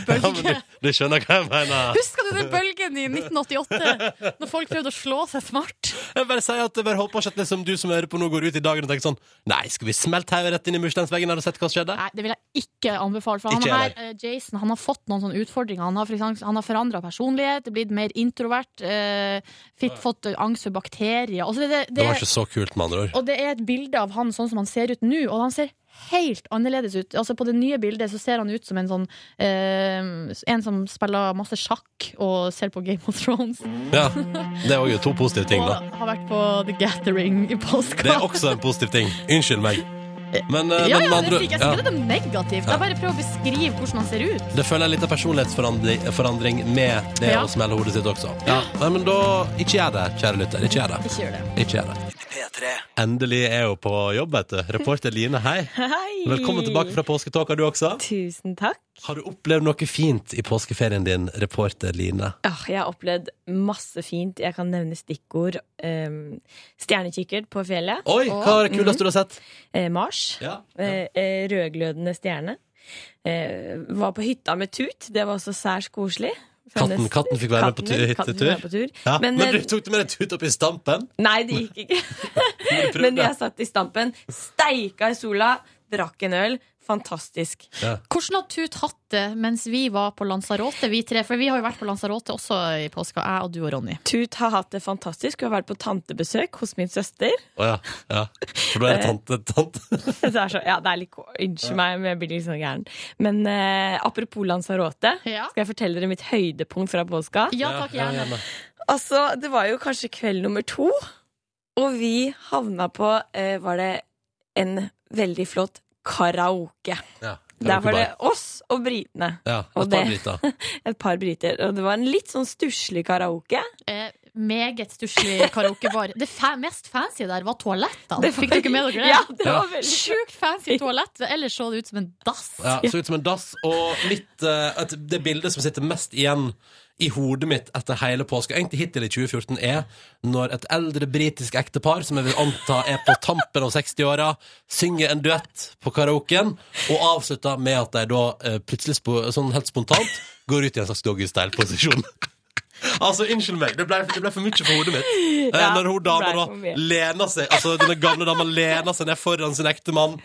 Speaker 2: [laughs] Ja, men
Speaker 3: bølge.
Speaker 2: du, du skjønner hva jeg mener.
Speaker 3: Husker du den bølgen i 1988, når folk prøvde å slå seg smart?
Speaker 2: Jeg bare sier at jeg bare håper ikke at liksom du som hører på nå, går ut i dagen og tenker sånn Nei, skal vi smelte hodet rett inn i mursteinsveggen her og sett hva som skjedde?
Speaker 3: Nei, det vil jeg ikke anbefale. For han
Speaker 2: Ikke
Speaker 3: her, eh, Jason han har fått noen sånne utfordringer. Han har, for eksempel- han har forandra personlighet, blitt mer introvert, eh, fitt, fått angst for bakterier. Altså, det, det,
Speaker 2: Det
Speaker 3: det,
Speaker 2: var ikke så kult, med andre ord.
Speaker 3: Og det er et bilde av han sånn som han ser ut nå, og han ser helt annerledes ut. Altså På det nye bildet så ser han ut som en sånn eh, En som spiller masse sjakk og ser på Game of Thrones.
Speaker 2: Ja, Det er òg to positive ting,
Speaker 3: og
Speaker 2: da.
Speaker 3: har vært på The Gathering i påska.
Speaker 2: Det er også en positiv ting. Unnskyld meg. Men, eh,
Speaker 3: [laughs] ja,
Speaker 2: men
Speaker 3: ja,
Speaker 2: med
Speaker 3: det
Speaker 2: andre
Speaker 3: fikk jeg
Speaker 2: ja.
Speaker 3: ikke det er negativt. Jeg bare prøver å beskrive hvordan han ser ut.
Speaker 2: Det føler jeg litt av personlighetsforandring forandring med det
Speaker 3: Ja.
Speaker 2: å smelle hodet sitt også. Ja. Nei, men da Ikke gjør det, kjære lytter. Ikke gjør det.
Speaker 3: Ikke gjør det.
Speaker 2: Ikke gjør det. Endelig er hun på jobb, vet du. Reporter Line, hei.
Speaker 5: Hei!
Speaker 2: Velkommen tilbake fra påsketåka, du også.
Speaker 5: Tusen takk.
Speaker 2: Har du opplevd noe fint i påskeferien din, reporter Line?
Speaker 5: Ah, jeg har opplevd masse fint. Jeg kan nevne stikkord. Um, Stjernekikkert på fjellet.
Speaker 2: Oi, hva er det kuleste du har sett?
Speaker 5: Eh, Mars.
Speaker 2: Ja.
Speaker 5: Eh, eh, rødglødende stjerne. Eh, var på hytta med Tut. Det var også særs koselig.
Speaker 2: Katten,
Speaker 5: Fremdeles-
Speaker 2: katten fikk være med på
Speaker 5: Katten
Speaker 2: tu-
Speaker 5: min- katten fikk være
Speaker 2: hyttetur.
Speaker 5: på tur.
Speaker 2: Ja.
Speaker 5: Men,
Speaker 2: Men,
Speaker 5: eh,
Speaker 2: du tok det med deg tut opp i stampen?
Speaker 5: Nei, det gikk
Speaker 2: [laughs]
Speaker 5: ikke.
Speaker 2: Men du
Speaker 5: Men
Speaker 2: prøvde.
Speaker 5: jeg satt i stampen, steika i sola, drakk en øl. Fantastisk.
Speaker 3: Hvordan hadde Tut hatt det mens vi var på Lanzarote, vi tre? For vi har jo vært på Lanzarote også i påska, jeg og du og Ronny.
Speaker 5: Tut har hatt det fantastisk. Hun har vært på tantebesøk hos min søster.
Speaker 2: Å ja. ja. For da er det tante. tante.
Speaker 5: [laughs] Så det er så, ja, det er litt ko- Unnskyld meg, men jeg blir litt sånn gæren. Men eh, apropos Lanzarote,
Speaker 3: Ja.
Speaker 5: skal jeg fortelle dere mitt høydepunkt fra påska?
Speaker 3: Ja takk,
Speaker 2: Ja,
Speaker 3: gjerne.
Speaker 5: Altså, det var jo kanskje kveld nummer to, og vi havna på eh, Var det en veldig flott karaoke.
Speaker 2: Ja.
Speaker 5: Der var det oss og britene.
Speaker 2: Ja,
Speaker 5: og
Speaker 2: et par
Speaker 5: det.
Speaker 2: driter.
Speaker 5: Et par briter. Og det var en litt sånn stusslig karaoke.
Speaker 3: Eh, meget stusslig karaokebar. Det fa mest fancy der var toalettene.
Speaker 5: Det
Speaker 3: fikk dere med dere det?
Speaker 5: [laughs] Ja, det
Speaker 2: Ja.
Speaker 5: var veldig
Speaker 3: Sjukt fancy toalett. Ellers så det ut som en dass.
Speaker 2: Ja, så ut som en dass. Og mitt, eh, et, det bildet som sitter mest igjen i hodet mitt etter hele påska, egentlig hittil i 2014, er når et eldre britisk ektepar, som jeg vil anta er på tampen av 60-åra, synger en duett på karaoken, og avslutter med at de da eh, plutselig spo, sånn helt spontant går ut i en slags doggystyle-posisjon. [laughs] Altså, Unnskyld meg, det ble, det ble for mye for hodet mitt. Eh,
Speaker 5: Ja,
Speaker 2: når hun dama
Speaker 5: det ble for
Speaker 2: da
Speaker 5: mye.
Speaker 2: lener seg Altså, denne gamle dama lener seg ned foran sin ekte mann,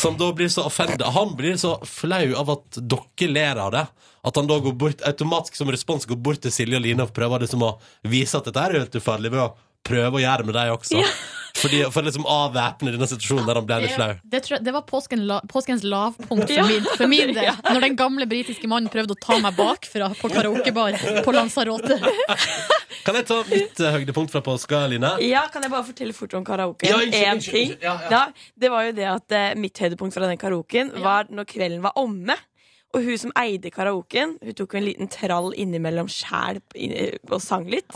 Speaker 2: som da blir så offended. Han blir så flau av at dere ler av det, at han da går bort automatisk som respons går bort til Silje og Line og prøver liksom å vise at dette er jo helt ufarlig, ved å prøve å gjøre det med deg også. Fordi, for liksom å avvæpne denne situasjonen der han ble litt flau.
Speaker 3: Det, det, tror jeg- det var påsken la, påskens lavpunkt for min, for [laughs] min del. Når den gamle britiske mannen prøvde å ta meg bakfra på karaokebar på Lanzarote.
Speaker 2: Kan jeg ta mitt eh, høydepunkt fra påska, Line?
Speaker 5: Ja, kan jeg bare fortelle fort om karaoke?
Speaker 2: Ja, unnskyld,
Speaker 5: En
Speaker 2: unnskyld,
Speaker 5: ting.
Speaker 2: unnskyld. Ja, ja.
Speaker 5: Da, det var jo det at eh, mitt høydepunkt fra den karaoken var når kvelden var omme. Og hun som eide karaoken, hun tok jo en liten trall innimellom sjæl inn- og sang litt.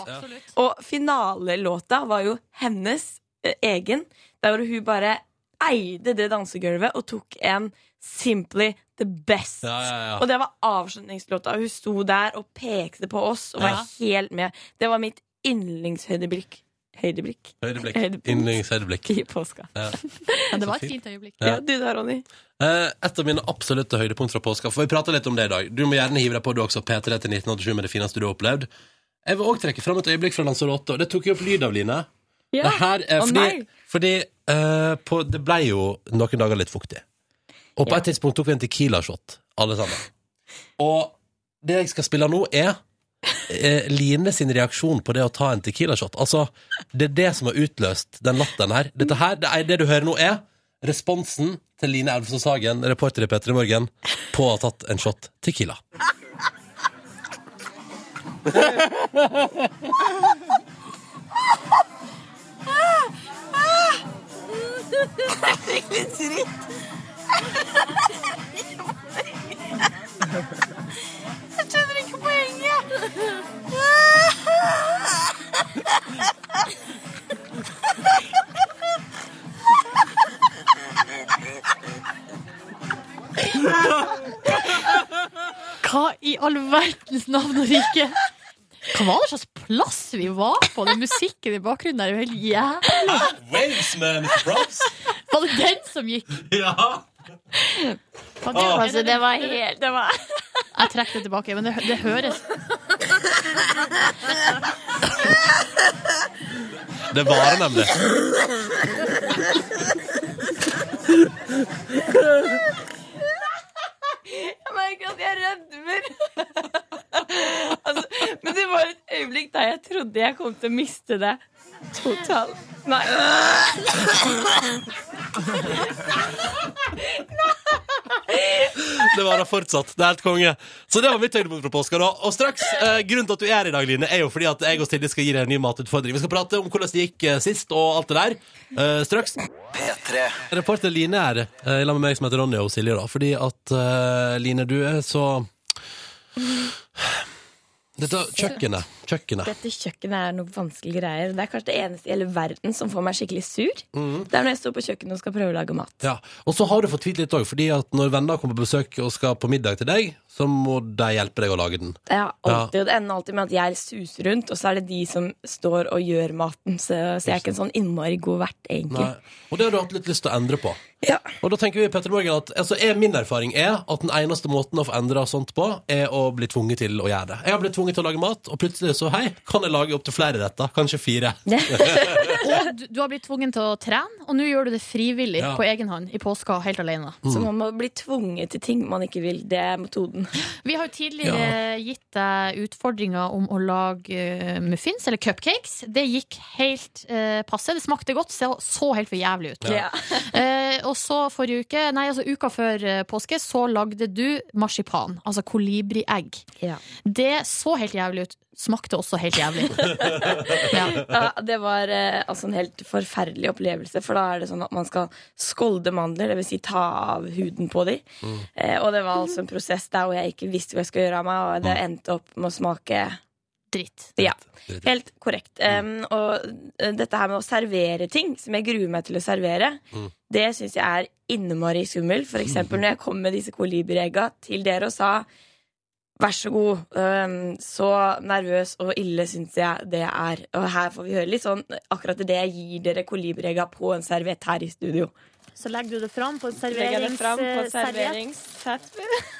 Speaker 5: Og finalelåta var jo hennes eh, egen, der hvor hun bare eide det dansegulvet og tok en Simply the best.
Speaker 2: Ja, ja, ja.
Speaker 5: Og det var avslutningslåta. Hun sto der og pekte på oss og var
Speaker 2: Ja.
Speaker 5: helt med. Det var mitt yndlingshøydeblikk. Høydeblikk
Speaker 2: Høydeblikk.
Speaker 5: Høydepunkt.
Speaker 2: Yndlingshøydeblikk.
Speaker 5: i påska. [laughs]
Speaker 2: Ja.
Speaker 3: Ja, det var et fint øyeblikk.
Speaker 2: Ja.
Speaker 5: Ja, du da, Ronny.
Speaker 2: Eh, Et av mine absolutte høydepunkt fra påska. For vi prater litt om det i dag. Du må gjerne hive deg på du også, P3 til 1987 med det fineste du har opplevd. Jeg vil òg trekke fram et øyeblikk fra Lanzarote, og det tok jo opp lyd av, Line.
Speaker 5: Ja.
Speaker 2: Det her er
Speaker 5: Å,
Speaker 2: fordi,
Speaker 5: nei.
Speaker 2: fordi eh, på, det ble jo noen dager litt fuktig. Og på
Speaker 5: Ja.
Speaker 2: et tidspunkt tok vi en Tequila-shot, alle sammen. Og det jeg skal spille nå, er eh, Line sin reaksjon på det å ta en Tequila-shot. Altså, det er det som har utløst den latteren her. Dette her, det, er, det du hører nå, er responsen til Line Elvsås Hagen, reporter i P3 Morgen, på å ha tatt en shot Tequila.
Speaker 5: [laughs]
Speaker 3: all verdens navn og rike? Hva var det slags plass vi var på? Den musikken i bakgrunnen der er jo helt jævlig.
Speaker 2: Waves med Mr. Props.
Speaker 3: Var det den som gikk?
Speaker 2: [laughs] Ja.
Speaker 3: Faen, det-
Speaker 2: Ah.
Speaker 5: Altså, det var helt det var... [laughs]
Speaker 3: Jeg trekker det tilbake, men det, det høres
Speaker 2: Det varer nemlig.
Speaker 5: Jeg merker at jeg rødmer. [laughs] altså, men det var et øyeblikk der jeg trodde jeg kom til å miste det totalt. Nei.
Speaker 2: Det varer fortsatt. Det er helt konge. Så det var mitt høydepunkt fra påska. da Og straks, eh, Grunnen til at du er her i dag, Line, er jo fordi at jeg og Silje skal gi deg en ny matutfordring. Vi skal prate om hvordan det gikk eh, sist, og alt det der. eh, straks.
Speaker 6: P3.
Speaker 2: Reporter Line er uh, sammen med meg som heter Ronny og Silje, da. Fordi at eh, Line, du er så Dette kjøkkenet. Kjøkkenet.
Speaker 5: Dette kjøkkenet er noe vanskelige greier. Det er kanskje det eneste i hele verden som får meg skikkelig sur. Det er når jeg står på kjøkkenet og skal prøve å lage mat.
Speaker 2: Ja, Og så har du fått tvilt litt òg, fordi at når venner kommer på besøk og skal på middag til deg, så må de hjelpe deg å lage den.
Speaker 5: Ja, alltid, og Det ender alltid med at jeg suser rundt, og så er det de som står og gjør maten. Så, så jeg er ikke en sånn innmari god vert, egentlig.
Speaker 2: Nei. Og det har du hatt litt lyst til å endre på.
Speaker 5: Ja. [laughs]
Speaker 2: Og da tenker vi Petter Morgan at altså, er Min erfaring er at den eneste måten å få endra sånt på, er å bli tvunget til å gjøre det. Jeg har blitt tvunget til å lage mat, og plutselig så hei, kan jeg lage opptil flere retter. Kanskje fire.
Speaker 3: Og du, du har blitt tvungen til å trene, og nå gjør du det frivillig
Speaker 2: Ja.
Speaker 3: på egen hånd i påska, helt alene.
Speaker 5: Så man må bli tvunget til ting man ikke vil. Det er metoden.
Speaker 3: Vi har jo tidligere gitt deg utfordringer om å lage eh, muffins, eller cupcakes. Det gikk helt eh, passe. Det smakte godt, så, så helt for jævlig ut.
Speaker 5: Ja.
Speaker 3: Eh, og så forrige uke, nei altså uka før eh, påske, så lagde du marsipan. Altså kolibriegg.
Speaker 5: Ja.
Speaker 3: Det så helt jævlig ut. Smakte også helt jævlig. ja.
Speaker 5: Ja, det var eh, altså en helt forferdelig opplevelse, for da er det sånn at man skal skolde mandler, dvs. Si ta av huden på dem. Eh, og det var altså en prosess der hvor jeg ikke visste hva jeg skulle gjøre av meg, og det endte opp med å smake
Speaker 3: Dritt.
Speaker 5: ja, helt korrekt. Um, og eh, dette her med å servere ting, som jeg gruer meg til å servere, det syns jeg er innmari skummelt. For eksempel når jeg kom med disse kolibriegga til dere og sa Vær så god. øhm, så nervøs og ille syns jeg det er. Og her får vi høre litt sånn akkurat det jeg gir dere kolibriegga på en serviett her i studio.
Speaker 3: Så legger du det fram på en
Speaker 5: Legger det fram på
Speaker 3: serveringsserviett.
Speaker 5: serveringsserviett.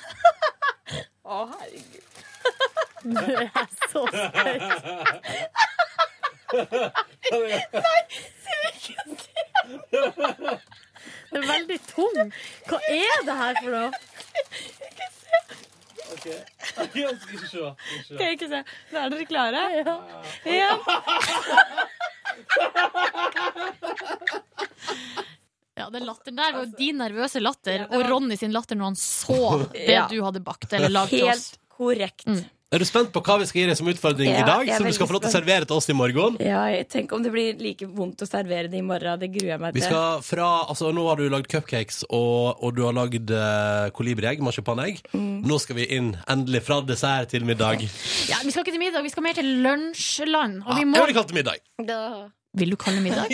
Speaker 5: [laughs] Å, herregud.
Speaker 3: [laughs]
Speaker 5: [laughs]
Speaker 3: Det er veldig tung. Hva er det her for noe?
Speaker 5: Skal jeg ikke se. Nå er dere klare? Ja. ja.
Speaker 3: Ja, Den latteren der
Speaker 5: Altså-
Speaker 3: var jo din nervøse latter, og Ronny sin latter når han så det
Speaker 5: Ja. Mm.
Speaker 3: du hadde bakt. Eller lagd til oss.
Speaker 5: Helt korrekt.
Speaker 2: Er du spent på hva vi skal gi deg som utfordring
Speaker 5: Ja,
Speaker 2: i dag?
Speaker 5: jeg er
Speaker 2: Som du skal
Speaker 5: veldig
Speaker 2: få lov til å
Speaker 5: spent.
Speaker 2: servere til oss i morgen?
Speaker 5: Ja, jeg- Tenk om det blir like vondt å servere det i morgen. Det gruer jeg meg
Speaker 2: Vi
Speaker 5: til.
Speaker 2: skal fra, altså Nå har du lagd cupcakes, og, og du har lagd eh, kolibriegg, marsipanegg.
Speaker 5: Mm.
Speaker 2: Nå skal vi inn endelig fra dessert til middag.
Speaker 3: Ja, vi skal ikke til middag, vi skal mer til lunsjland. Og
Speaker 2: Ja,
Speaker 3: vi
Speaker 2: jeg
Speaker 3: må
Speaker 2: vil kalle det middag. [laughs]
Speaker 3: Vil du kalle det middag?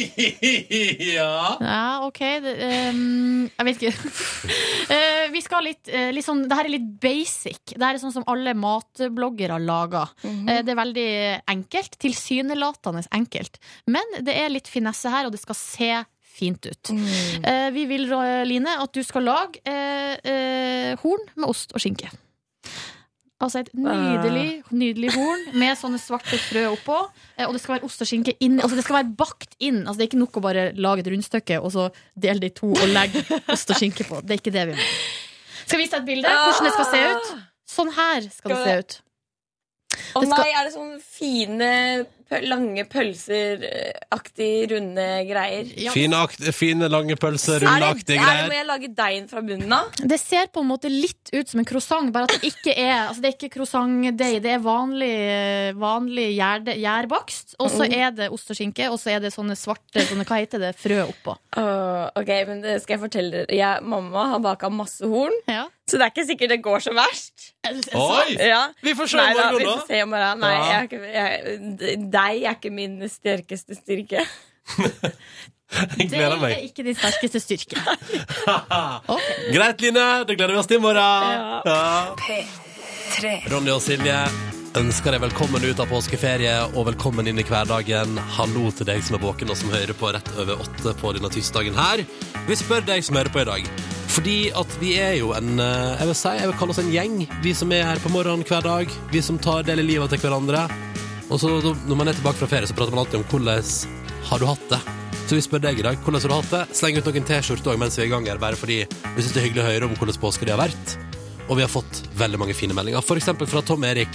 Speaker 2: ja.
Speaker 3: Ja, OK. Det, ehm, jeg vet ikke. [laughs] Eh, vi skal litt, eh, litt sånn Det her er litt basic. Det her er sånn som alle matbloggere lager. Eh, det er veldig enkelt. Tilsynelatende enkelt. Men det er litt finesse her, og det skal se fint ut.
Speaker 5: Mm.
Speaker 3: Eh, vi vil, Ra- Line, at du skal lage eh, eh, horn med ost og skinke. Altså et nydelig, nydelig horn med sånne svarte frø oppå. Eh, Og det skal være ost og skinke inn. Altså det skal være bakt inn. Altså det er ikke nok å bare lage et rundstykke og så dele det i to og legge ost og skinke på. Det er ikke det vi må. Skal vi vise deg et bilde hvordan det skal se ut? Sånn her skal det se ut.
Speaker 5: Å
Speaker 3: Det skal-
Speaker 5: nei, er det sånne fine, pøl- lange pølser-aktig runde greier?
Speaker 3: Ja.
Speaker 2: Fine, akt, fine lange pølser,
Speaker 5: er det,
Speaker 2: rulleaktige
Speaker 5: er det, må
Speaker 2: greier.
Speaker 5: jeg lage deigen fra bunnen av?
Speaker 3: Det ser på en måte litt ut som en croissant, bare at det ikke er altså det er ikke croissantdeig. Det er vanlig, eh, vanlig gjærde- gjærbakst, og så er det ost og skinke, og så er det sånne svarte sånne, hva heter det, frø oppå.
Speaker 5: Åh, ok, men det skal jeg fortelle dere. Jeg, mamma har baka masse horn,
Speaker 3: Ja.
Speaker 5: så det er ikke sikkert det går så verst.
Speaker 2: Oi!
Speaker 5: Ja.
Speaker 2: Vi får se i
Speaker 5: Nei, da,
Speaker 2: morgen,
Speaker 5: vi får
Speaker 2: da.
Speaker 5: se i morgen. Nei,
Speaker 2: Ja.
Speaker 5: jeg, er ikke- jeg, deg er ikke min sterkeste styrke.
Speaker 2: Jeg [laughs]
Speaker 3: Det
Speaker 2: gleder
Speaker 3: er
Speaker 2: meg.
Speaker 3: ikke din sterkeste styrke.
Speaker 2: Greit, Line. Da gleder vi oss til i morgen.
Speaker 5: Ja.
Speaker 2: Ja. Ronny og Silje ønsker deg velkommen ut av påskeferie og velkommen inn i hverdagen. Hallo til deg som er våken og som hører på rett over åtte på denne tirsdagen her. Vi spør deg som hører på i dag. Fordi at vi er jo en eh, Jeg vil si, jeg vil kalle oss en gjeng. Vi som er her på morgenen hver dag. Vi som tar del i livet til hverandre. Og så da- når man er tilbake fra ferie, så prater man alltid om hvordan har du hatt det? Så vi spør deg i dag, hvordan har du hatt det? Sleng ut noen T-skjorter også mens vi er i gang her, bare fordi vi synes det er hyggelig å høre om hvordan påske det har vært. Og vi har fått veldig mange fine meldinger. For eksempel fra Tom Erik,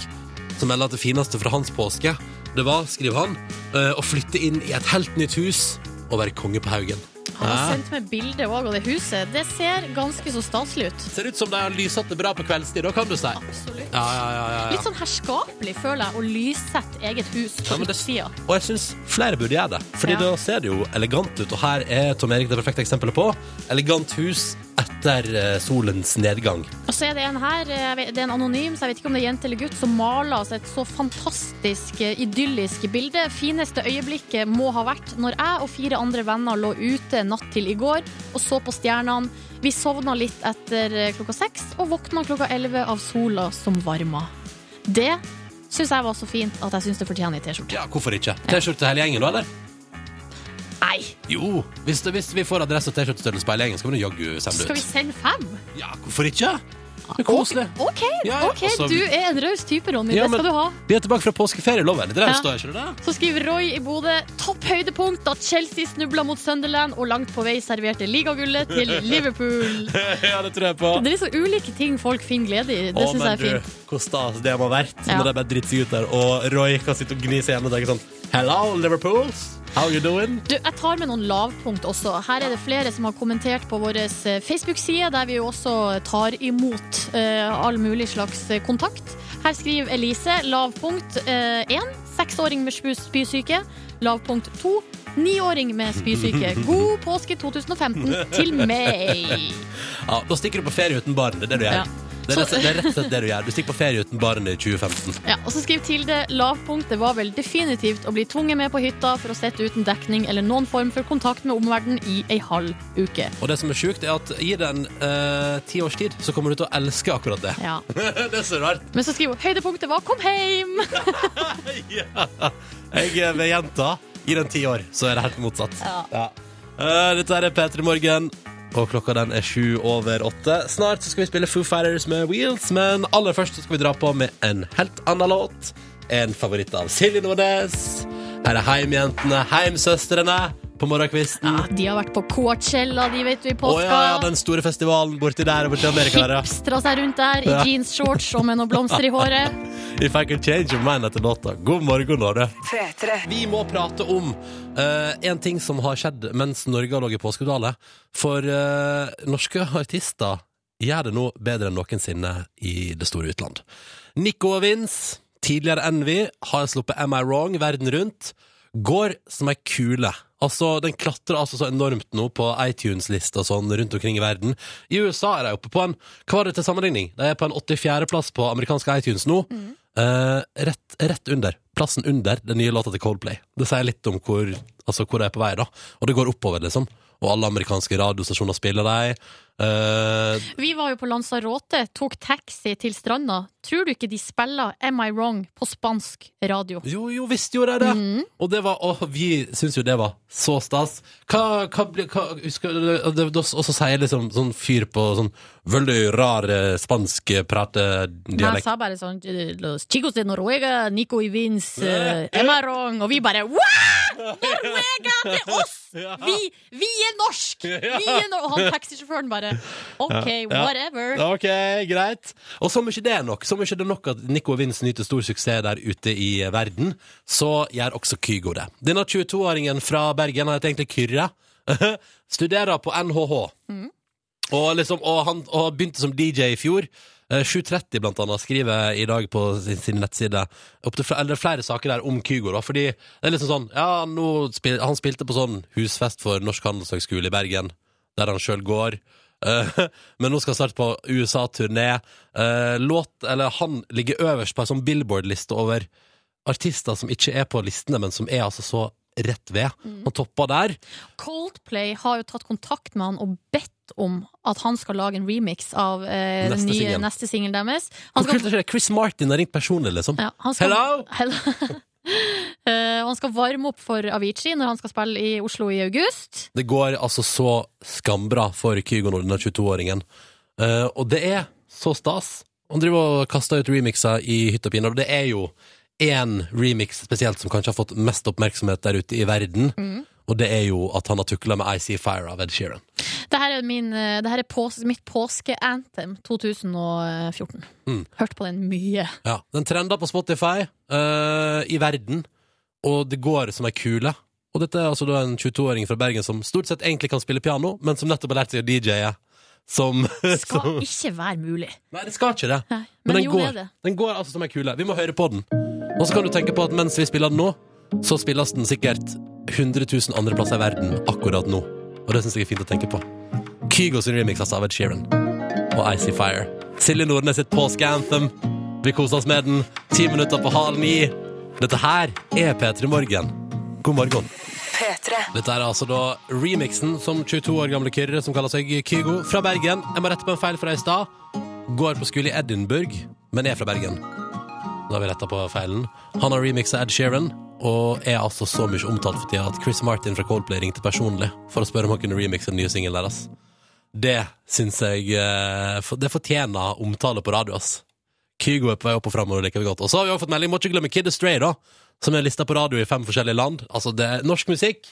Speaker 2: som melder at det fineste fra hans påske, det var, skriver han, eh, å flytte inn i et helt nytt hus og være konge på haugen.
Speaker 3: Han har
Speaker 2: Hæ?
Speaker 3: sendt meg bilde òg, og det huset. Det ser ganske så staselig ut.
Speaker 2: Ser ut som de har lyset det bra på kveldstid, da kan du si. Ja,
Speaker 3: Absolutt.
Speaker 2: ja, ja, ja, ja.
Speaker 3: Litt sånn herskapelig, føler jeg, å lyssette eget hus
Speaker 2: Ja,
Speaker 3: på
Speaker 2: men det-
Speaker 3: utsida.
Speaker 2: Og jeg syns flere burde gjøre det. Fordi
Speaker 3: Ja.
Speaker 2: da ser det jo elegant ut. Og her er Tom Erik det perfekte eksempelet på. Elegant hus etter eh, solens nedgang.
Speaker 3: Og så er det en her, eh, jeg vet- det er en anonym, så jeg vet ikke om det er jente eller gutt, som maler altså et så fantastisk eh, idyllisk bilde. Fineste øyeblikket må ha vært når jeg og fire andre venner lå ute natt til i går og så på stjernene. Vi sovna litt etter eh, klokka seks og våkna klokka elleve av sola som varma. Det syns jeg var så fint at jeg syns det fortjener ei T-skjorte.
Speaker 2: Ja, hvorfor ikke? T-skjorte hele gjengen, da, eller?
Speaker 3: Nei!
Speaker 2: Jo, hvis, det, hvis vi får adresse og T-skjortestørrelse på hele gjengen, skal vi nå jaggu sende
Speaker 3: Skal vi
Speaker 2: det ut.
Speaker 3: sende fem?
Speaker 2: Ja, hvorfor ikke? Det er koselig.
Speaker 3: OK,
Speaker 2: Ja, ja,
Speaker 3: ok,
Speaker 2: altså-
Speaker 3: du er en raus type, Ronny.
Speaker 2: Ja,
Speaker 3: det skal
Speaker 2: men-
Speaker 3: du ha.
Speaker 2: Vi er tilbake fra påskeferie, lov eller? Det
Speaker 3: Ja.
Speaker 2: er står ikke det? der?
Speaker 3: Så skriver Roy i Bodø topp høydepunkt at Chelsea snubla mot Sunderland og langt på vei serverte ligagullet til
Speaker 2: [laughs]
Speaker 3: Liverpool.
Speaker 2: ja, det [laughs] tror jeg på.
Speaker 3: Det er liksom ulike ting folk finner glede i. Det
Speaker 2: Å,
Speaker 3: syns
Speaker 2: men
Speaker 3: jeg er fint.
Speaker 2: du, Hvor stas det må ha vært
Speaker 3: Ja.
Speaker 2: når de bare driter seg ut der, og Roy kan sitte og gni seg igjen og tenke sånn Hello, Liverpools. How you doing?
Speaker 3: Du, jeg tar med noen lavpunkt også. Her er det flere som har kommentert på vår eh, Facebook-side, der vi jo også tar imot eh, all mulig slags eh, kontakt. Her skriver Elise lavpunkt én. seksåring med spu- spysyke. Lavpunkt to. Niåring med spysyke.
Speaker 2: [laughs]
Speaker 3: God påske 2015 til meg.
Speaker 2: Ja, da stikker du på ferie uten barn. Det er det du gjør.
Speaker 3: Ja.
Speaker 2: Det, er
Speaker 3: Så-
Speaker 2: rett, og slett- det er rett og slett det du gjør. Du stikker på ferie uten barn i 2015.
Speaker 3: Ja, og så skriver Tilde lavpunkt det var vel definitivt å bli tvunget med på hytta for å sitte uten dekning eller noen form for kontakt med omverdenen i ei halv uke.
Speaker 2: Og det som er sjukt, er at gi det en eh, ti års tid, så kommer du til å elske akkurat det.
Speaker 3: Ja.
Speaker 2: [laughs] det er så rart.
Speaker 3: Men så skriver hun høydepunktet var 'kom heim'!
Speaker 2: Ja. Jeg eh, vil gjenta. Gi det en ti år, så er det helt motsatt.
Speaker 3: Ja.
Speaker 2: Eh, dette her er P3 Morgen, og klokka den er sju over åtte. Snart så skal vi spille Foo Fighters med Wheels, men aller først så skal vi dra på med en helt annen låt. En favoritt av Silje Nordnes. Her er Heimjentene, Heimsøstrene på morgenkvisten.
Speaker 3: Ja, de har vært på Coachella, de vet du, i
Speaker 2: Å
Speaker 3: påska.
Speaker 2: ja, ja, den store festivalen borti der og borti Amerika. der, Ja.
Speaker 3: Hipstra seg rundt der i
Speaker 2: Ja.
Speaker 3: jeansshorts og med noen
Speaker 2: [laughs]
Speaker 3: blomster i håret.
Speaker 2: If I could change your mind etter låta. God morgen, Norge. Vi må prate om eh, en ting som har skjedd mens Norge har ligget på skuddale. For eh, norske artister gjør det nå bedre enn noensinne i det store utland. Nico og Vince, tidligere Envy, har sluppet Am I Wrong verden rundt. Går som ei kule. Altså, Den klatrer altså så enormt nå på iTunes-lista sånn rundt omkring i verden. I USA er de oppe på en Hva var det til sammenligning? De er på en 84.-plass på amerikanske iTunes nå. Eh, rett, rett under. Plassen under den nye låta til Coldplay. Det sier litt om hvor, altså, hvor de er på vei, da. Og det går oppover, liksom. Og alle amerikanske radiostasjoner spiller de. Eh,
Speaker 3: Vi var jo på Lanzarote, tok taxi til stranda. Tror du ikke de spiller Am I Wrong på spansk radio?
Speaker 2: jo, jo, visst gjorde de det!
Speaker 3: Mhm.
Speaker 2: Og det var, åh, vi syns jo det var så stas. Hva, hva, blir- hva husker, du- det, det, Og så sier liksom sånn fyr på sånn veldig rar eh, spansk
Speaker 3: Men jeg
Speaker 2: pratedialekt
Speaker 3: sa bare sånn Los chicos de Noruega, Nico y Vince, eh, Emma Rong Og vi bare «Wow!
Speaker 2: [laughs]
Speaker 3: Noruega, det er oss! Vi, vi er norsk! Vi er nor og han taxisjåføren bare OK,
Speaker 2: Ja.
Speaker 3: whatever.
Speaker 2: Ok, greit. Og som ikke det er nok, som ikke det er nok at Nico og Vince nyter stor suksess der ute i eh, verden, så gjør også Kygo det. Denne 22-åringen fra Bergen, han heter egentlig Kyrre, [laughs] studerer på NHH. Og, liksom, og han og han begynte som DJ i fjor. Eh, 7.30 blant annet skriver i dag på sin, sin nettside opp til, fl- eller flere saker der om Kygo. Da, fordi det er liksom sånn Ja, nå spil, han spilte på sånn husfest for Norsk handelshøgskole i Bergen, der han sjøl går. Eh, [laughs] men nå skal han snart på USA-turné. Eh, låt Eller han ligger øverst på en sånn Billboard-liste over artister som ikke er på listene, men som er altså så rett ved.
Speaker 3: Mm.
Speaker 2: Han toppa der.
Speaker 3: Coldplay har jo tatt kontakt med han og bedt om at han skal lage en remix av eh, den
Speaker 2: Neste
Speaker 3: nye
Speaker 2: singelen.
Speaker 3: neste singelen deres.
Speaker 2: Hvor
Speaker 3: Han
Speaker 2: [laughs]
Speaker 3: skal
Speaker 2: kult er det? Chris Martin har ringt personlig, liksom.
Speaker 3: Ja, han skal,
Speaker 2: Hello!
Speaker 3: [laughs] Hello. Eh, og han skal varme opp for Avicii når han skal spille i Oslo i august.
Speaker 2: Det går altså så skambra for Kygo nå, denne 22-åringen. Eh, og det er så stas. Han driver og kaster ut remixer i hytt og pine, og det er jo én remix spesielt som kanskje har fått mest oppmerksomhet der ute i verden, og det er jo at han har tukla med IC Fire av Ed Sheeran.
Speaker 3: Dette er, min, eh, det her er pås mitt påskeanthem 2014.
Speaker 2: Mm.
Speaker 3: Hørt på den mye.
Speaker 2: Ja, Den trenda på Spotify eh, i verden, og det går som ei kule. Og dette er altså da en 22-åring fra Bergen som stort sett egentlig kan spille piano, men som nettopp har lært seg å DJ-e. Som,
Speaker 3: Skal
Speaker 2: [laughs] som
Speaker 3: ikke være mulig.
Speaker 2: Nei, det skal ikke det.
Speaker 3: Nei,
Speaker 2: Men,
Speaker 3: men
Speaker 2: den,
Speaker 3: jo, det
Speaker 2: går,
Speaker 3: er det.
Speaker 2: den går altså som ei kule. Vi må høre på den. Og så kan du tenke på at mens vi spiller den nå, så spilles den sikkert 100 000 andre plasser i verden akkurat nå. Og det syns jeg er fint å tenke på. Kygos remix altså, av Ed Sheeran og Icy Fire. Silje Nordnes sitt påskeanthem. Vi koser oss med den. Ti minutter på halv ni. Dette her er P3 Morgen. God morgen. Dette er altså da remixen som 22 år gamle Kyrre, som kaller seg Kygo, fra Bergen. Jeg må rette på en feil fra i stad. Går på skole i Edinburgh, men er fra Bergen. Da har vi retta på feilen. Han har remixa Ed Sheeran, og er altså så mye omtalt for tida at Chris Martin fra Coldplay ringte personlig for å spørre om han kunne remixe den nye singelen deres. Det syns jeg eh, for- Det fortjener omtale på radio, ass. Kygo er på vei opp og framover, liker vi godt. Og så har vi også fått melding, må ikke glemme Kid Astray, da. Som er lista på radio i fem forskjellige land. Altså, det er norsk musikk.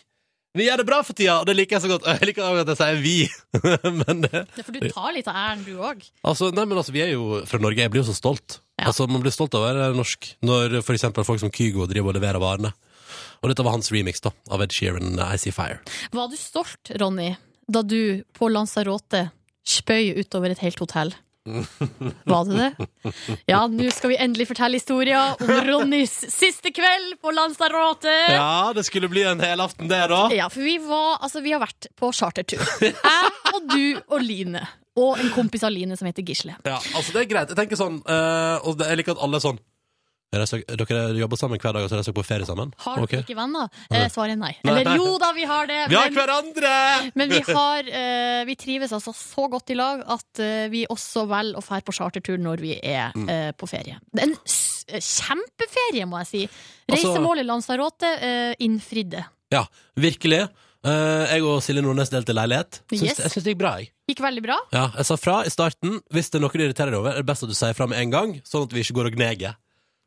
Speaker 2: Vi gjør det bra for tida, og det liker jeg så godt. [laughs] Jeg liker også at jeg sier vi. [laughs] men det,
Speaker 3: Det er for du tar litt av æren, du òg.
Speaker 2: altså, nei, men altså, vi er jo fra Norge. Jeg blir jo så stolt.
Speaker 3: Ja.
Speaker 2: Altså, man blir stolt av å være norsk når for eksempel folk som Kygo driver og leverer varene. Og dette var hans remix da, av Ed Sheeran, I See Fire.
Speaker 3: Var du stolt, Ronny, da du på Lanzarote spøy utover et helt hotell? Var det det? Ja, nå skal vi endelig fortelle historien om Ronnys siste kveld på Lanzarote. Ja.
Speaker 2: Ja, det skulle bli en helaften det, da.
Speaker 3: for vi var Altså, vi har vært på chartertur. Jeg og du og Line. Og en kompis av Line som heter Gisle.
Speaker 2: Ja, altså det er greit. Jeg tenker sånn, eh, og det- jeg liker at alle er sånn Er det søk- Dere jobber sammen hver dag, og så er dere på ferie sammen?
Speaker 3: Har dere
Speaker 2: Ok.
Speaker 3: ikke venner? Eh, svaret er nei.
Speaker 2: Nei.
Speaker 3: Eller jo da, vi har det.
Speaker 2: Vi har
Speaker 3: men-
Speaker 2: hverandre!
Speaker 3: Men vi, har, eh, vi trives altså så godt i lag at eh, vi også velger å fære på chartertur når vi er
Speaker 2: Mm.
Speaker 3: eh, på ferie. Det er en s eh, kjempeferie, må jeg si.
Speaker 2: Altså-
Speaker 3: Reisemålet Lanzarote eh, innfridde.
Speaker 2: Ja, virkelig. Eh, jeg og Silje Nordnes delte leilighet. Syns,
Speaker 3: Yes.
Speaker 2: Jeg syns det gikk bra, jeg.
Speaker 3: Gikk veldig bra.
Speaker 2: Ja, jeg sa fra i starten. Hvis det er noe du irriterer deg over, er det best at du sier fra med en gang. Sånn at vi ikke går og gneger.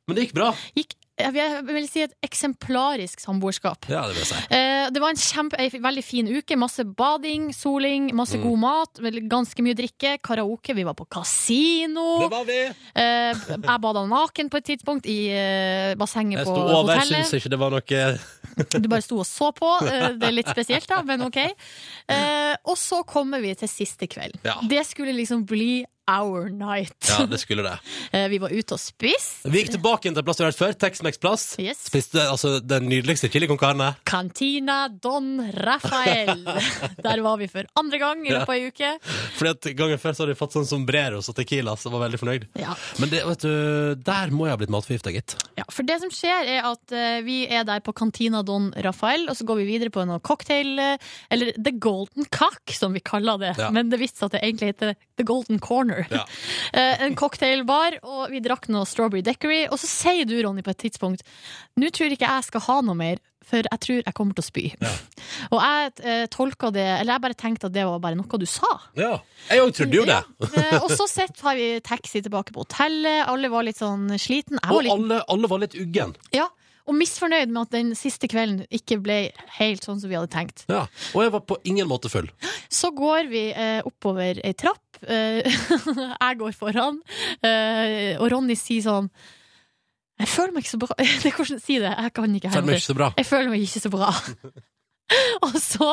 Speaker 2: Men det gikk bra.
Speaker 3: Gikk, jeg vil- jeg vil si, et eksemplarisk samboerskap.
Speaker 2: Ja, det vil jeg si.
Speaker 3: Eh, Det var en kjempe, ei veldig fin uke. Masse bading, soling,
Speaker 2: Mm.
Speaker 3: masse god mat, vel- ganske mye drikke, karaoke. Vi var på kasino.
Speaker 2: Det var vi.
Speaker 3: Eh, Jeg bada naken på et tidspunkt i eh, bassenget
Speaker 2: Jeg
Speaker 3: på
Speaker 2: sto over,
Speaker 3: hotellet.
Speaker 2: syns ikke det var noe
Speaker 3: Du bare sto og så på. eh, Det er litt spesielt, da, men OK. Eh, Og så kommer vi til siste kvelden.
Speaker 2: Ja.
Speaker 3: Det skulle liksom bli our night.
Speaker 2: Ja, det skulle det.
Speaker 3: Eh, Vi var ute og spiste.
Speaker 2: Vi gikk tilbake igjen til en plass vi har vært før. Tex-Mex-plass.
Speaker 3: Yes.
Speaker 2: Spiste altså den nydeligste chili con carne.
Speaker 3: Cantina Don
Speaker 2: [laughs]
Speaker 3: Rafael. Der var vi for andre gang i løpet av ei uke.
Speaker 2: Fordi at gangen før så hadde vi fått sånn sombreros og tequila, så jeg var veldig fornøyd.
Speaker 3: Ja.
Speaker 2: Men det, vet du, der må jeg ha blitt matforgifta, gitt.
Speaker 3: Ja, for det som skjer er at eh, vi er der på Cantina Don Rafael, og så går vi videre på noe cocktail, eh, eller The Golden Cock, som vi kaller det.
Speaker 2: Ja.
Speaker 3: Men det vits at det egentlig heter The Golden Corner.
Speaker 2: Ja.
Speaker 3: [laughs] Eh, en cocktailbar, og vi drakk noe Strawberry Decory, og så sier du, Ronny, på et tidspunkt, nå tror ikke jeg skal ha noe mer, for jeg tror jeg kommer til å spy. [laughs] Og jeg eh, tolka det, eller jeg bare tenkte at det var bare noe du sa.
Speaker 2: Ja. Jeg òg trodde jo det.
Speaker 3: Eh, og så sett har vi taxi tilbake på hotellet, alle var litt sånn sliten. Jeg
Speaker 2: [laughs] Og
Speaker 3: var litt
Speaker 2: alle, alle var litt uggen.
Speaker 3: ja, og misfornøyd med at den siste kvelden ikke ble helt sånn som vi hadde tenkt.
Speaker 2: Ja. Og jeg var på ingen måte full.
Speaker 3: Så går vi eh, oppover ei trapp. Eh, [laughs] jeg går foran, eh, og Ronny sier sånn Jeg føler meg ikke så bra. [laughs] Det er hvordan si det. Jeg kan ikke
Speaker 2: Føler meg
Speaker 3: henge
Speaker 2: ikke så bra.
Speaker 3: Jeg føler meg ikke så bra. [laughs] og så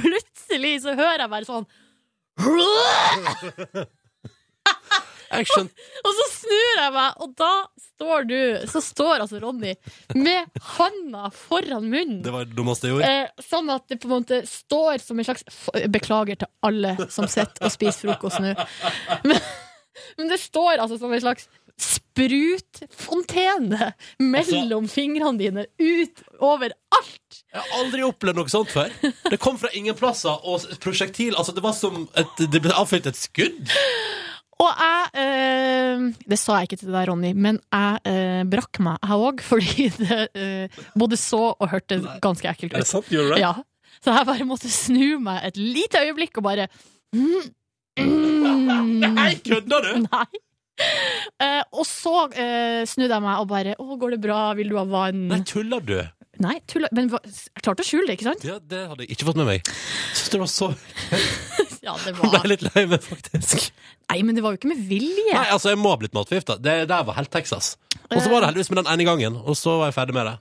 Speaker 3: plutselig så hører jeg bare sånn
Speaker 2: Jeg skjønte
Speaker 3: Og så snur jeg meg, og da står du Så står altså Ronny med handa foran munnen.
Speaker 2: Det var det dummeste jeg gjorde.
Speaker 3: Eh, sånn at det på en måte står som en slags f- Beklager til alle som sitter og spiser frokost nå. [laughs] Men, men det står altså som en slags sprutfontene mellom fingrene dine ut over alt!
Speaker 2: Jeg har aldri opplevd noe sånt før. Det kom fra ingen plasser, og s- prosjektil Altså, det var som et, Det ble avfyrt et skudd.
Speaker 3: Og jeg eh, Det sa jeg ikke til deg, Ronny, men jeg eh, brakk meg, jeg òg, fordi det eh, både så og hørtes ganske ekkelt
Speaker 2: Er det
Speaker 3: ut.
Speaker 2: sant? Gjorde du det?
Speaker 3: Ja. Så jeg bare måtte snu meg et lite øyeblikk og bare mm, mm,
Speaker 2: Nei, kødder du?!
Speaker 3: [laughs] Nei. Eh, og så eh, snudde jeg meg og bare Å, går det bra? Vil du ha vann?
Speaker 2: Nei, tuller du?
Speaker 3: Nei, tulla. Men hva- jeg klarte å skjule det, ikke sant?
Speaker 2: Ja, det hadde jeg ikke fått med meg. Syns det var så
Speaker 3: [laughs] Ja, [laughs] det
Speaker 2: Ble
Speaker 3: var
Speaker 2: litt lei meg, faktisk.
Speaker 3: Nei, men det var jo ikke med vilje.
Speaker 2: Nei, altså, jeg må ha blitt matforgifta. Det der var helt Texas. Og så var det heldigvis med den ene gangen, og så var jeg ferdig med det.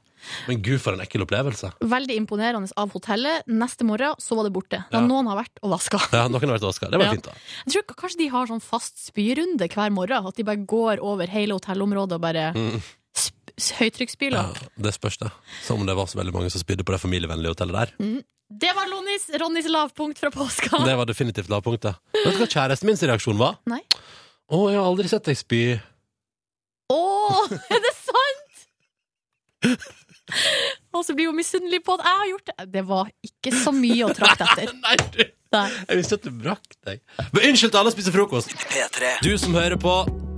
Speaker 2: Men gud, for en ekkel opplevelse.
Speaker 3: Veldig imponerende av hotellet. Neste morgen så var det borte. Da
Speaker 2: Ja.
Speaker 3: noen har vært og vaska.
Speaker 2: Ja, noen har vært vaska. Det var
Speaker 3: Ja.
Speaker 2: fint, da.
Speaker 3: [laughs] Jeg tror k- kanskje de har sånn fast spyrunde hver morgen. At de bare går over hele hotellområdet og bare
Speaker 2: Mm.
Speaker 3: sp- s- Høytrykksspyler.
Speaker 2: Ja, det spørs, det. Som om det var så veldig mange som spydde på det familievennlige hotellet der.
Speaker 3: Det var Lonnys, Ronnys lavpunkt fra påska!
Speaker 2: Det var definitivt lavpunktet. Vet du hva kjæresten min sin reaksjon var?
Speaker 3: Nei.
Speaker 2: Å, jeg har aldri sett deg spy.
Speaker 3: Å, er det sant?! Og så blir hun misunnelig på at jeg har gjort det. Det var ikke så mye å trakte etter.
Speaker 2: Nei, du!
Speaker 3: Nei.
Speaker 2: Jeg visste at du brakk deg. Men unnskyld til alle som spiser frokost. Du som hører på,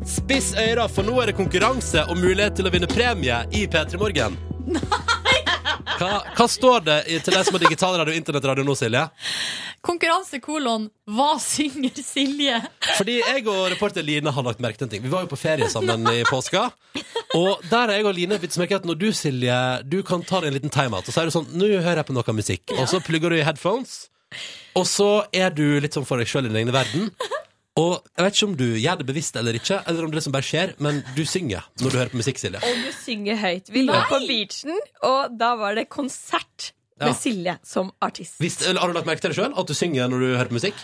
Speaker 2: spiss øra, for nå er det konkurranse og mulighet til å vinne premie i P3 Morgen. Hva, hva står det i- til deg som har digitalradio og internettradio nå, Silje?
Speaker 3: Konkurransekolon Hva synger Silje?
Speaker 2: Fordi jeg og reporter Line har lagt merke til en ting. Vi var jo på ferie sammen i påska. Og der har jeg og Line bitt merke at når du, Silje, du kan ta deg en liten timeout, og så er du sånn Nå hører jeg på noe musikk. Og så plugger du i headphones, og så er du litt sånn for deg sjøl i din egen verden. Og jeg vet ikke om du gjør det bevisst eller ikke, eller om det som bare skjer, men du synger når du hører på musikk, Silje.
Speaker 5: Og du synger høyt. Vi lå på beachen, og da var det konsert
Speaker 2: Ja.
Speaker 5: med Silje som artist.
Speaker 2: Visst- eller, har du lagt merke til det sjøl? At du synger når du hører på musikk?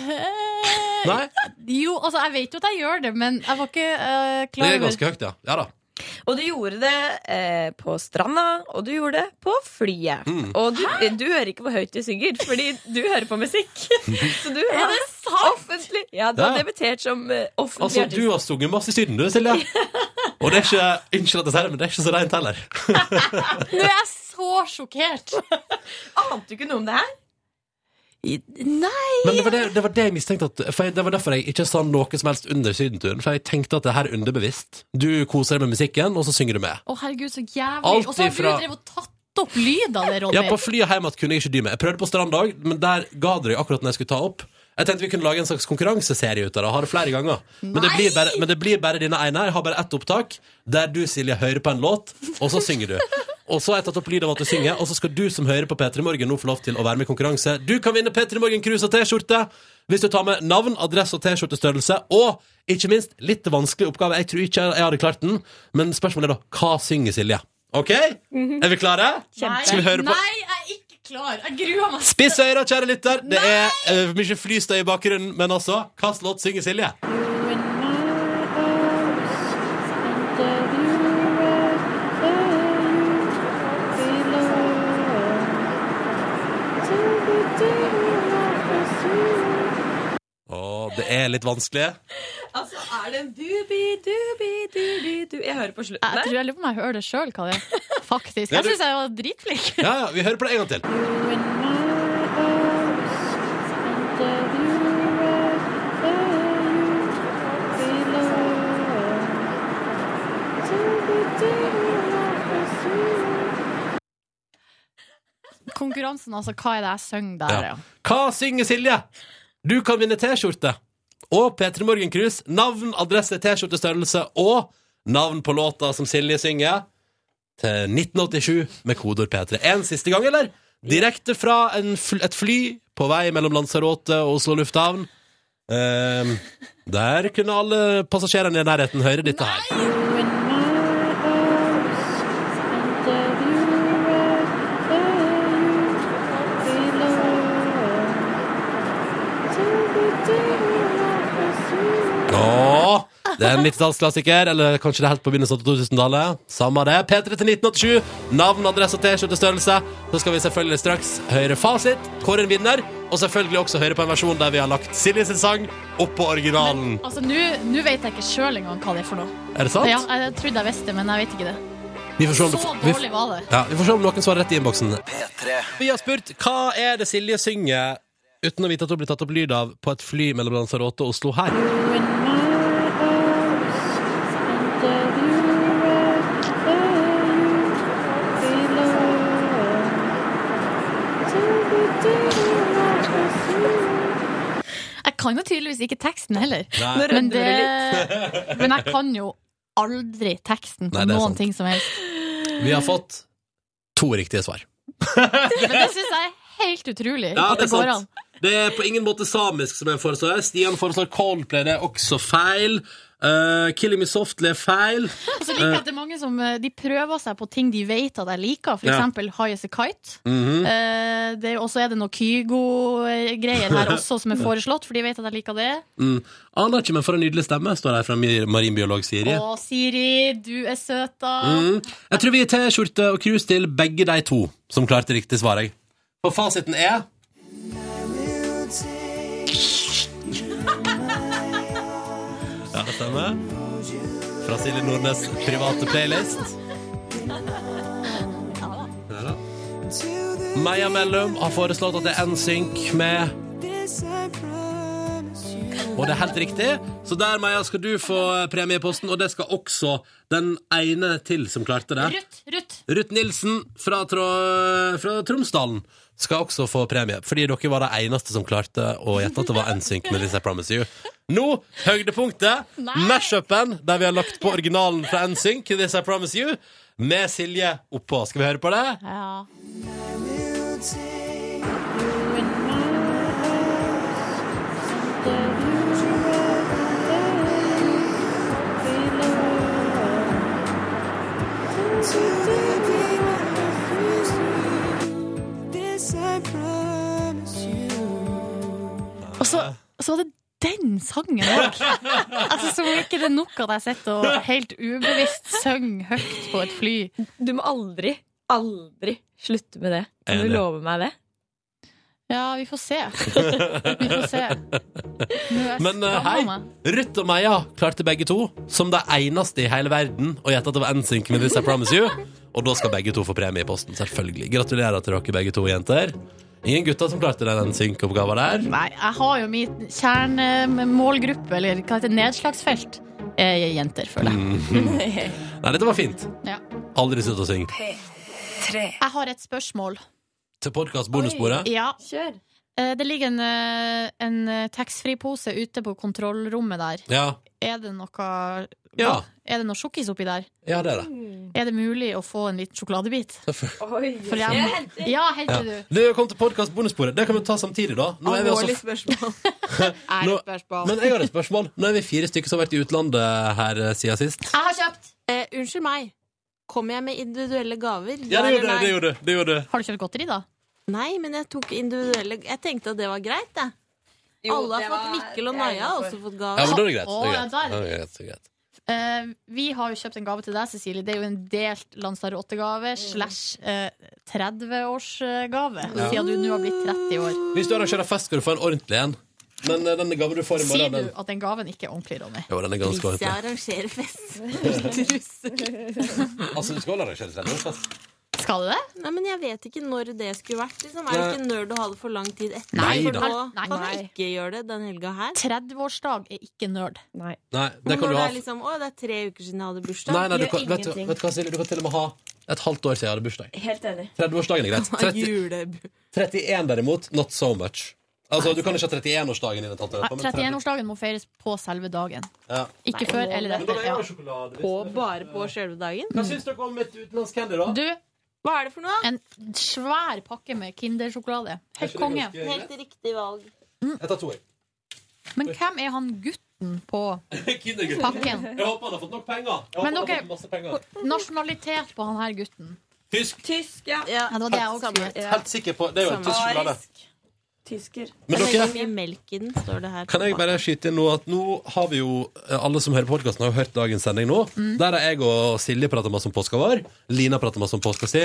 Speaker 3: Eh,
Speaker 2: Nei?
Speaker 3: Jo, altså, jeg vet jo at jeg gjør det, men jeg var ikke eh,
Speaker 2: Det
Speaker 3: klar
Speaker 2: er ganske høyt, ja. Ja da.
Speaker 5: Og du gjorde det eh, på stranda, og du gjorde det på flyet.
Speaker 2: Mm.
Speaker 5: Og du, du hører ikke hvor høyt du synger, fordi du hører på
Speaker 2: [laughs]
Speaker 5: musikk. Så du er det offentlig Ja, du
Speaker 2: Ja.
Speaker 5: har debutert som eh, offentlig
Speaker 2: Altså,
Speaker 5: artist.
Speaker 2: du har sunget masse i Syden, du, Silje. Og det er ikke Unnskyld at jeg sier det, men det er ikke så reint heller.
Speaker 3: Nå er jeg så sjokkert!
Speaker 5: Ante du ikke noe om det her?
Speaker 3: Nei!
Speaker 2: Men det var det, det, var det jeg mistenkte at, for jeg, Det var derfor jeg ikke sa noe som helst under sydenturen For jeg tenkte at det her er underbevisst Du koser deg med musikken, og så synger du med
Speaker 3: Å, herregud, så jævlig.
Speaker 2: Alt
Speaker 3: Og så har
Speaker 2: ifra-
Speaker 3: du drevet og tatt opp lyd av det, Ronny.
Speaker 2: Ja, på flyet hjemme kunne jeg ikke dy meg Jeg prøvde på stranddag, men der ga det jeg akkurat når jeg skulle ta opp Jeg tenkte vi kunne lage en slags konkurranseserie ut av det Ha det flere ganger men det, blir bare, men det blir bare dine ene Jeg har bare ett opptak Der du, Silje, hører på en låt Og så synger du og så har jeg tatt opp lyd av at du synger Og så skal du som hører på P3 Morgen Nå få lov til å være med i konkurranse Du kan vinne P3 Morgen krus og t-skjorte Hvis du tar med navn, adresse og t-skjortestørrelse Og ikke minst, litt vanskelig oppgave Jeg tror ikke jeg hadde klart den Men spørsmålet er da, hva synger Silje? Ok? Er vi klare?
Speaker 3: Nei,
Speaker 2: Skal vi høre på?
Speaker 3: Nei, jeg er ikke klar. Jeg gruer meg.
Speaker 2: Spiss øyra, kjære lytter. Det er eh, mye flystøy i bakgrunnen, men altså, hvilken låt synger Silje? Å, det er litt vanskelig.
Speaker 5: Altså, er det en dubi, dubi, dubi, du Jeg hører på slutten
Speaker 3: Jeg
Speaker 5: der.
Speaker 3: tror jeg lurer på om jeg hører det sjøl, hva det er. Faktisk.
Speaker 2: Ja,
Speaker 3: Jeg
Speaker 2: du-
Speaker 3: syns jeg var dritflink.
Speaker 2: Ja, ja, Vi hører på det en gang til.
Speaker 3: Konkurransen, altså. Hva er det jeg synger der?
Speaker 2: Ja.
Speaker 3: Ja.
Speaker 2: Hva synger Silje? Du kan vinne T-skjorte og P3 Morgen-krus. Navn, adresse, T-skjortestørrelse og navn på låta som Silje synger. Til 1987 med kodeord P3. En siste gang, eller? Direkte fra en fl et fly på vei mellom Lanzarote og Oslo lufthavn. Ehm, der kunne alle passasjerene i nærheten høre dette her. Ja, det er en 90-tallsklassiker, eller kanskje det er helt på begynnelsen av 2000-tallet. Samme det. P3 til 1987. Navn, adresse og T-skjortestørrelse. Så skal vi selvfølgelig straks høre fasit, kåre en vinner, og selvfølgelig også høre på en versjon der vi har lagt Silje sin sang oppå originalen.
Speaker 3: Altså, Nå nå vet jeg ikke sjøl engang hva det er for noe.
Speaker 2: Er det sant?
Speaker 3: Ja, jeg trodde jeg visste det, men jeg vet ikke det.
Speaker 2: Vi får se om,
Speaker 3: Så
Speaker 2: vi,
Speaker 3: dårlig var det.
Speaker 2: ja, vi får se om noen svarer rett i innboksen. Vi har spurt hva er det Silje synger uten å vite at hun blir tatt opp lyd av på et fly mellom Lanzarote og Oslo her.
Speaker 3: Jeg kan jo tydeligvis ikke teksten heller.
Speaker 2: Nei.
Speaker 5: Nå
Speaker 3: Men,
Speaker 5: rødmer
Speaker 3: det,
Speaker 5: det litt.
Speaker 3: men jeg kan jo aldri teksten på
Speaker 2: Nei, det er
Speaker 3: noen
Speaker 2: sant.
Speaker 3: ting som helst.
Speaker 2: Vi har fått to riktige svar.
Speaker 3: Men det syns jeg er helt utrolig. at det går an.
Speaker 2: Det er på ingen måte samisk som jeg foreslår. Stian foreslår Coldplay, det er også feil. Eh, Killing Me Softly er feil.
Speaker 3: Og så liker jeg Altså, at det er mange som eh, de prøver seg på ting de vet at jeg liker, for
Speaker 2: Ja. Mhm.
Speaker 3: eksempel High as a Kite. Eh, det er- Og så er det noe Kygo-greier
Speaker 2: [laughs]
Speaker 3: her også som er foreslått, for de vet at jeg liker det.
Speaker 2: mm. Aner ikke, men for en nydelig stemme, står det her fra mi- marinbiolog Siri.
Speaker 3: Å, Siri, du er søt, da.
Speaker 2: Mm. Jeg tror vi gir T-skjorte og krus til begge de to som klarte riktig svar. jeg. For fasiten er Ja, det stemmer. Fra Silje Nordnes' private playlist. Ja da. Meia Mellum har foreslått at det er NSYNC med og det er helt riktig. Så der, Meia, skal du få premie i posten, og det skal også den ene til som klarte det.
Speaker 3: Ruth, Ruth.
Speaker 2: Ruth Nilsen fra, Trå fra Tromsdalen skal også få premie, fordi dere var de eneste som klarte å gjette at det var NSYNC med This I Promise You. Nå, høydepunktet,
Speaker 3: Nei.
Speaker 2: mashupen der vi har lagt på originalen fra NSYNC, This I Promise You, med Silje oppå. Skal vi høre på det?
Speaker 3: Ja. Og så, så var det den sangen òg! altså, som om ikke det er nok at jeg sitter og helt ubevisst synger høyt på et fly.
Speaker 5: Du må aldri, aldri slutte med det. Kan du
Speaker 2: Enig.
Speaker 5: love meg det?
Speaker 3: Ja, vi får se. Vi får se. Nå er jeg
Speaker 2: Men eh,
Speaker 3: skamma
Speaker 2: hei,
Speaker 3: meg.
Speaker 2: Ruth og Meia klarte begge to, som de eneste i hele verden, å gjette at det var NSYNC med This I Promise You. Og da skal begge to få premie i posten, selvfølgelig. Gratulerer til dere begge to, jenter. Ingen gutter som klarte den NSYNC-oppgaven der.
Speaker 3: Nei, jeg har jo mitt kjernemålgruppe, eller hva heter det, nedslagsfelt. Eh, jenter, føler
Speaker 2: Mm.
Speaker 3: jeg.
Speaker 2: Nei, dette var fint.
Speaker 3: Ja.
Speaker 2: Aldri slutt å synge.
Speaker 3: Jeg har et spørsmål.
Speaker 2: Til podkast-bonusbordet.
Speaker 3: Ja.
Speaker 5: Kjør.
Speaker 3: Eh, Det ligger en, eh, en eh, taxfree-pose ute på kontrollrommet der.
Speaker 2: Ja.
Speaker 3: Er det noe
Speaker 2: Ja.
Speaker 3: Er det noe sjokkis oppi der?
Speaker 2: ja, det er det.
Speaker 3: Er det mulig å få en liten sjokoladebit?
Speaker 5: Oi.
Speaker 3: For
Speaker 2: sånn.
Speaker 3: jeg Ja, henter du.
Speaker 2: Du kom til podkast-bonusbordet. Det kan vi ta samtidig, da. Nå er vi altså
Speaker 5: Alvorlig spørsmål.
Speaker 3: Er
Speaker 2: Nå-
Speaker 3: et spørsmål.
Speaker 2: men jeg har et spørsmål. Nå er vi fire stykker som har vært i utlandet her eh, siden sist.
Speaker 3: Jeg har kjøpt!
Speaker 1: Eh, unnskyld meg. Kommer jeg med individuelle gaver?
Speaker 2: Ja, det
Speaker 1: eller
Speaker 2: gjorde du.
Speaker 1: nei?
Speaker 2: Det gjorde du. Det gjorde. du.
Speaker 3: Har du kjøpt godteri, da?
Speaker 1: Nei, men jeg tok individuelle Jeg tenkte at det var greit, jeg. Alle har fått Mikkel og Naja altså, har også fått
Speaker 2: Ja,
Speaker 1: gaver.
Speaker 2: men da er det greit.
Speaker 3: Å,
Speaker 2: Det er
Speaker 3: ja,
Speaker 2: greit.
Speaker 3: der.
Speaker 2: Ja, det er greit, det er greit.
Speaker 3: Eh, vi har jo kjøpt en gave til deg, Cecilie. Det er jo en delt Lanzarote-gave slash eh, 30-årsgave,
Speaker 2: Ja.
Speaker 3: siden du nå har blitt 30 år.
Speaker 2: Hvis du arrangerer fest, skal du få en ordentlig en. Men eh, denne gaven du får i
Speaker 3: Sier
Speaker 2: morgen
Speaker 3: du
Speaker 2: den...
Speaker 3: at den gaven ikke er ordentlig, Ronny?
Speaker 2: Jo, den er ganske
Speaker 1: Hvis jeg
Speaker 2: ordentlig.
Speaker 1: arrangerer fest.
Speaker 2: Altså, du skal arrangere selvmordsfest?
Speaker 3: Skal du det?
Speaker 1: Nei, men jeg vet ikke når det skulle vært. Liksom. Er det ikke nerd å ha det for lang tid etter?
Speaker 2: Nei
Speaker 1: for
Speaker 2: da.
Speaker 1: nå
Speaker 3: Nei,
Speaker 1: kan jeg
Speaker 3: nei.
Speaker 1: ikke gjøre det den helga her.
Speaker 3: 30-årsdag er ikke nerd.
Speaker 5: Nei.
Speaker 2: Nei, det
Speaker 1: Men
Speaker 2: kan
Speaker 1: når
Speaker 2: du
Speaker 1: det
Speaker 2: ha.
Speaker 1: er liksom Å, det er tre uker siden jeg hadde bursdag.
Speaker 2: Nei, nei, du
Speaker 5: gjør
Speaker 2: kan, vet, du,
Speaker 5: ingenting.
Speaker 2: vet du hva, Silje, du kan til og med ha et halvt år siden jeg hadde bursdag.
Speaker 5: Helt enig.
Speaker 2: 30-årsdagen er greit.
Speaker 1: Ha
Speaker 2: 30,
Speaker 7: [laughs]
Speaker 1: julebu-
Speaker 2: 31 derimot, not so much. Altså, Du kan ikke ha 31-årsdagen din et halvt år
Speaker 3: Nei,
Speaker 2: etterpå, men
Speaker 3: 31-årsdagen må feires på selve dagen.
Speaker 2: Ja.
Speaker 3: Ikke før eller
Speaker 2: Men da
Speaker 3: etter.
Speaker 2: er jeg
Speaker 3: Ja.
Speaker 2: jo sjokolade.
Speaker 1: På bare på selve dagen.
Speaker 2: Hva syns dere om et utenlandsk candy, da?
Speaker 3: Du,
Speaker 1: Hva er det for noe?
Speaker 3: en svær pakke med Kindersjokolade.
Speaker 2: Er ikke
Speaker 3: Helt
Speaker 2: det
Speaker 3: konge.
Speaker 2: ganske greit?
Speaker 1: Helt riktig valg.
Speaker 2: Jeg tar to, jeg.
Speaker 3: Men hvem er han gutten på
Speaker 2: [laughs] Kindergutt.
Speaker 3: pakken?
Speaker 2: Jeg håper han har fått nok penger. Jeg håper
Speaker 3: Men
Speaker 2: han har
Speaker 3: dere-
Speaker 2: fått masse penger.
Speaker 3: Nasjonalitet på han her gutten.
Speaker 2: Tysk.
Speaker 5: Tysk, ja.
Speaker 1: Ja,
Speaker 3: Ja, det var det jeg også
Speaker 1: samme.
Speaker 3: skulle-
Speaker 2: Helt sikker på Det er jo en tysk sjokolade.
Speaker 5: Tysker.
Speaker 2: Men
Speaker 1: Det er
Speaker 2: dere
Speaker 1: ikke mye melk i den, står det her.
Speaker 2: Kan jeg bare skyte inn nå at nå har vi jo eh, Alle som hører podkasten, har jo hørt dagens sending nå. Der har jeg og Silje prata masse om påska vår. Lina prata masse om påska si.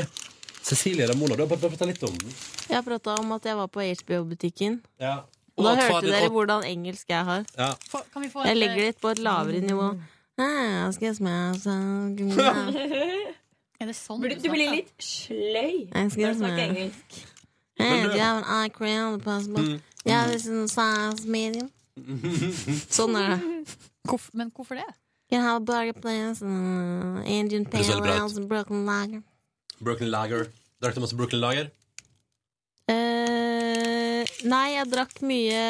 Speaker 2: Cecilie Ramona, du har bare prata litt om den.
Speaker 1: Jeg prata om at jeg var på HBO-butikken.
Speaker 2: Ja.
Speaker 1: Og da hørte dere hvordan engelsk jeg har.
Speaker 2: ja.
Speaker 3: Få- Kan vi få
Speaker 1: Jeg
Speaker 3: et
Speaker 1: legger
Speaker 2: [laughs]
Speaker 3: eh,
Speaker 1: det på et lavere nivå. Ah, skal jeg smake sånn?
Speaker 3: Er det sånn
Speaker 7: Du blir litt sløy
Speaker 1: Jeg
Speaker 7: når
Speaker 1: skal
Speaker 7: du snakker
Speaker 1: snakke.
Speaker 7: engelsk.
Speaker 1: Hey, do you have an eye cream possible?
Speaker 2: Mm.
Speaker 1: Yeah, this is a
Speaker 2: [laughs]
Speaker 1: size medium. Sånn er det.
Speaker 3: Hvorf, men hvorfor det?
Speaker 1: You have a burger place, uh, Indian
Speaker 2: Høres veldig
Speaker 1: pale
Speaker 2: bra ut.
Speaker 1: ales, and Brooklyn lager.
Speaker 2: Brooklyn Lager. Drakk du masse Brooklyn Lager?
Speaker 1: Eh, nei, jeg drakk mye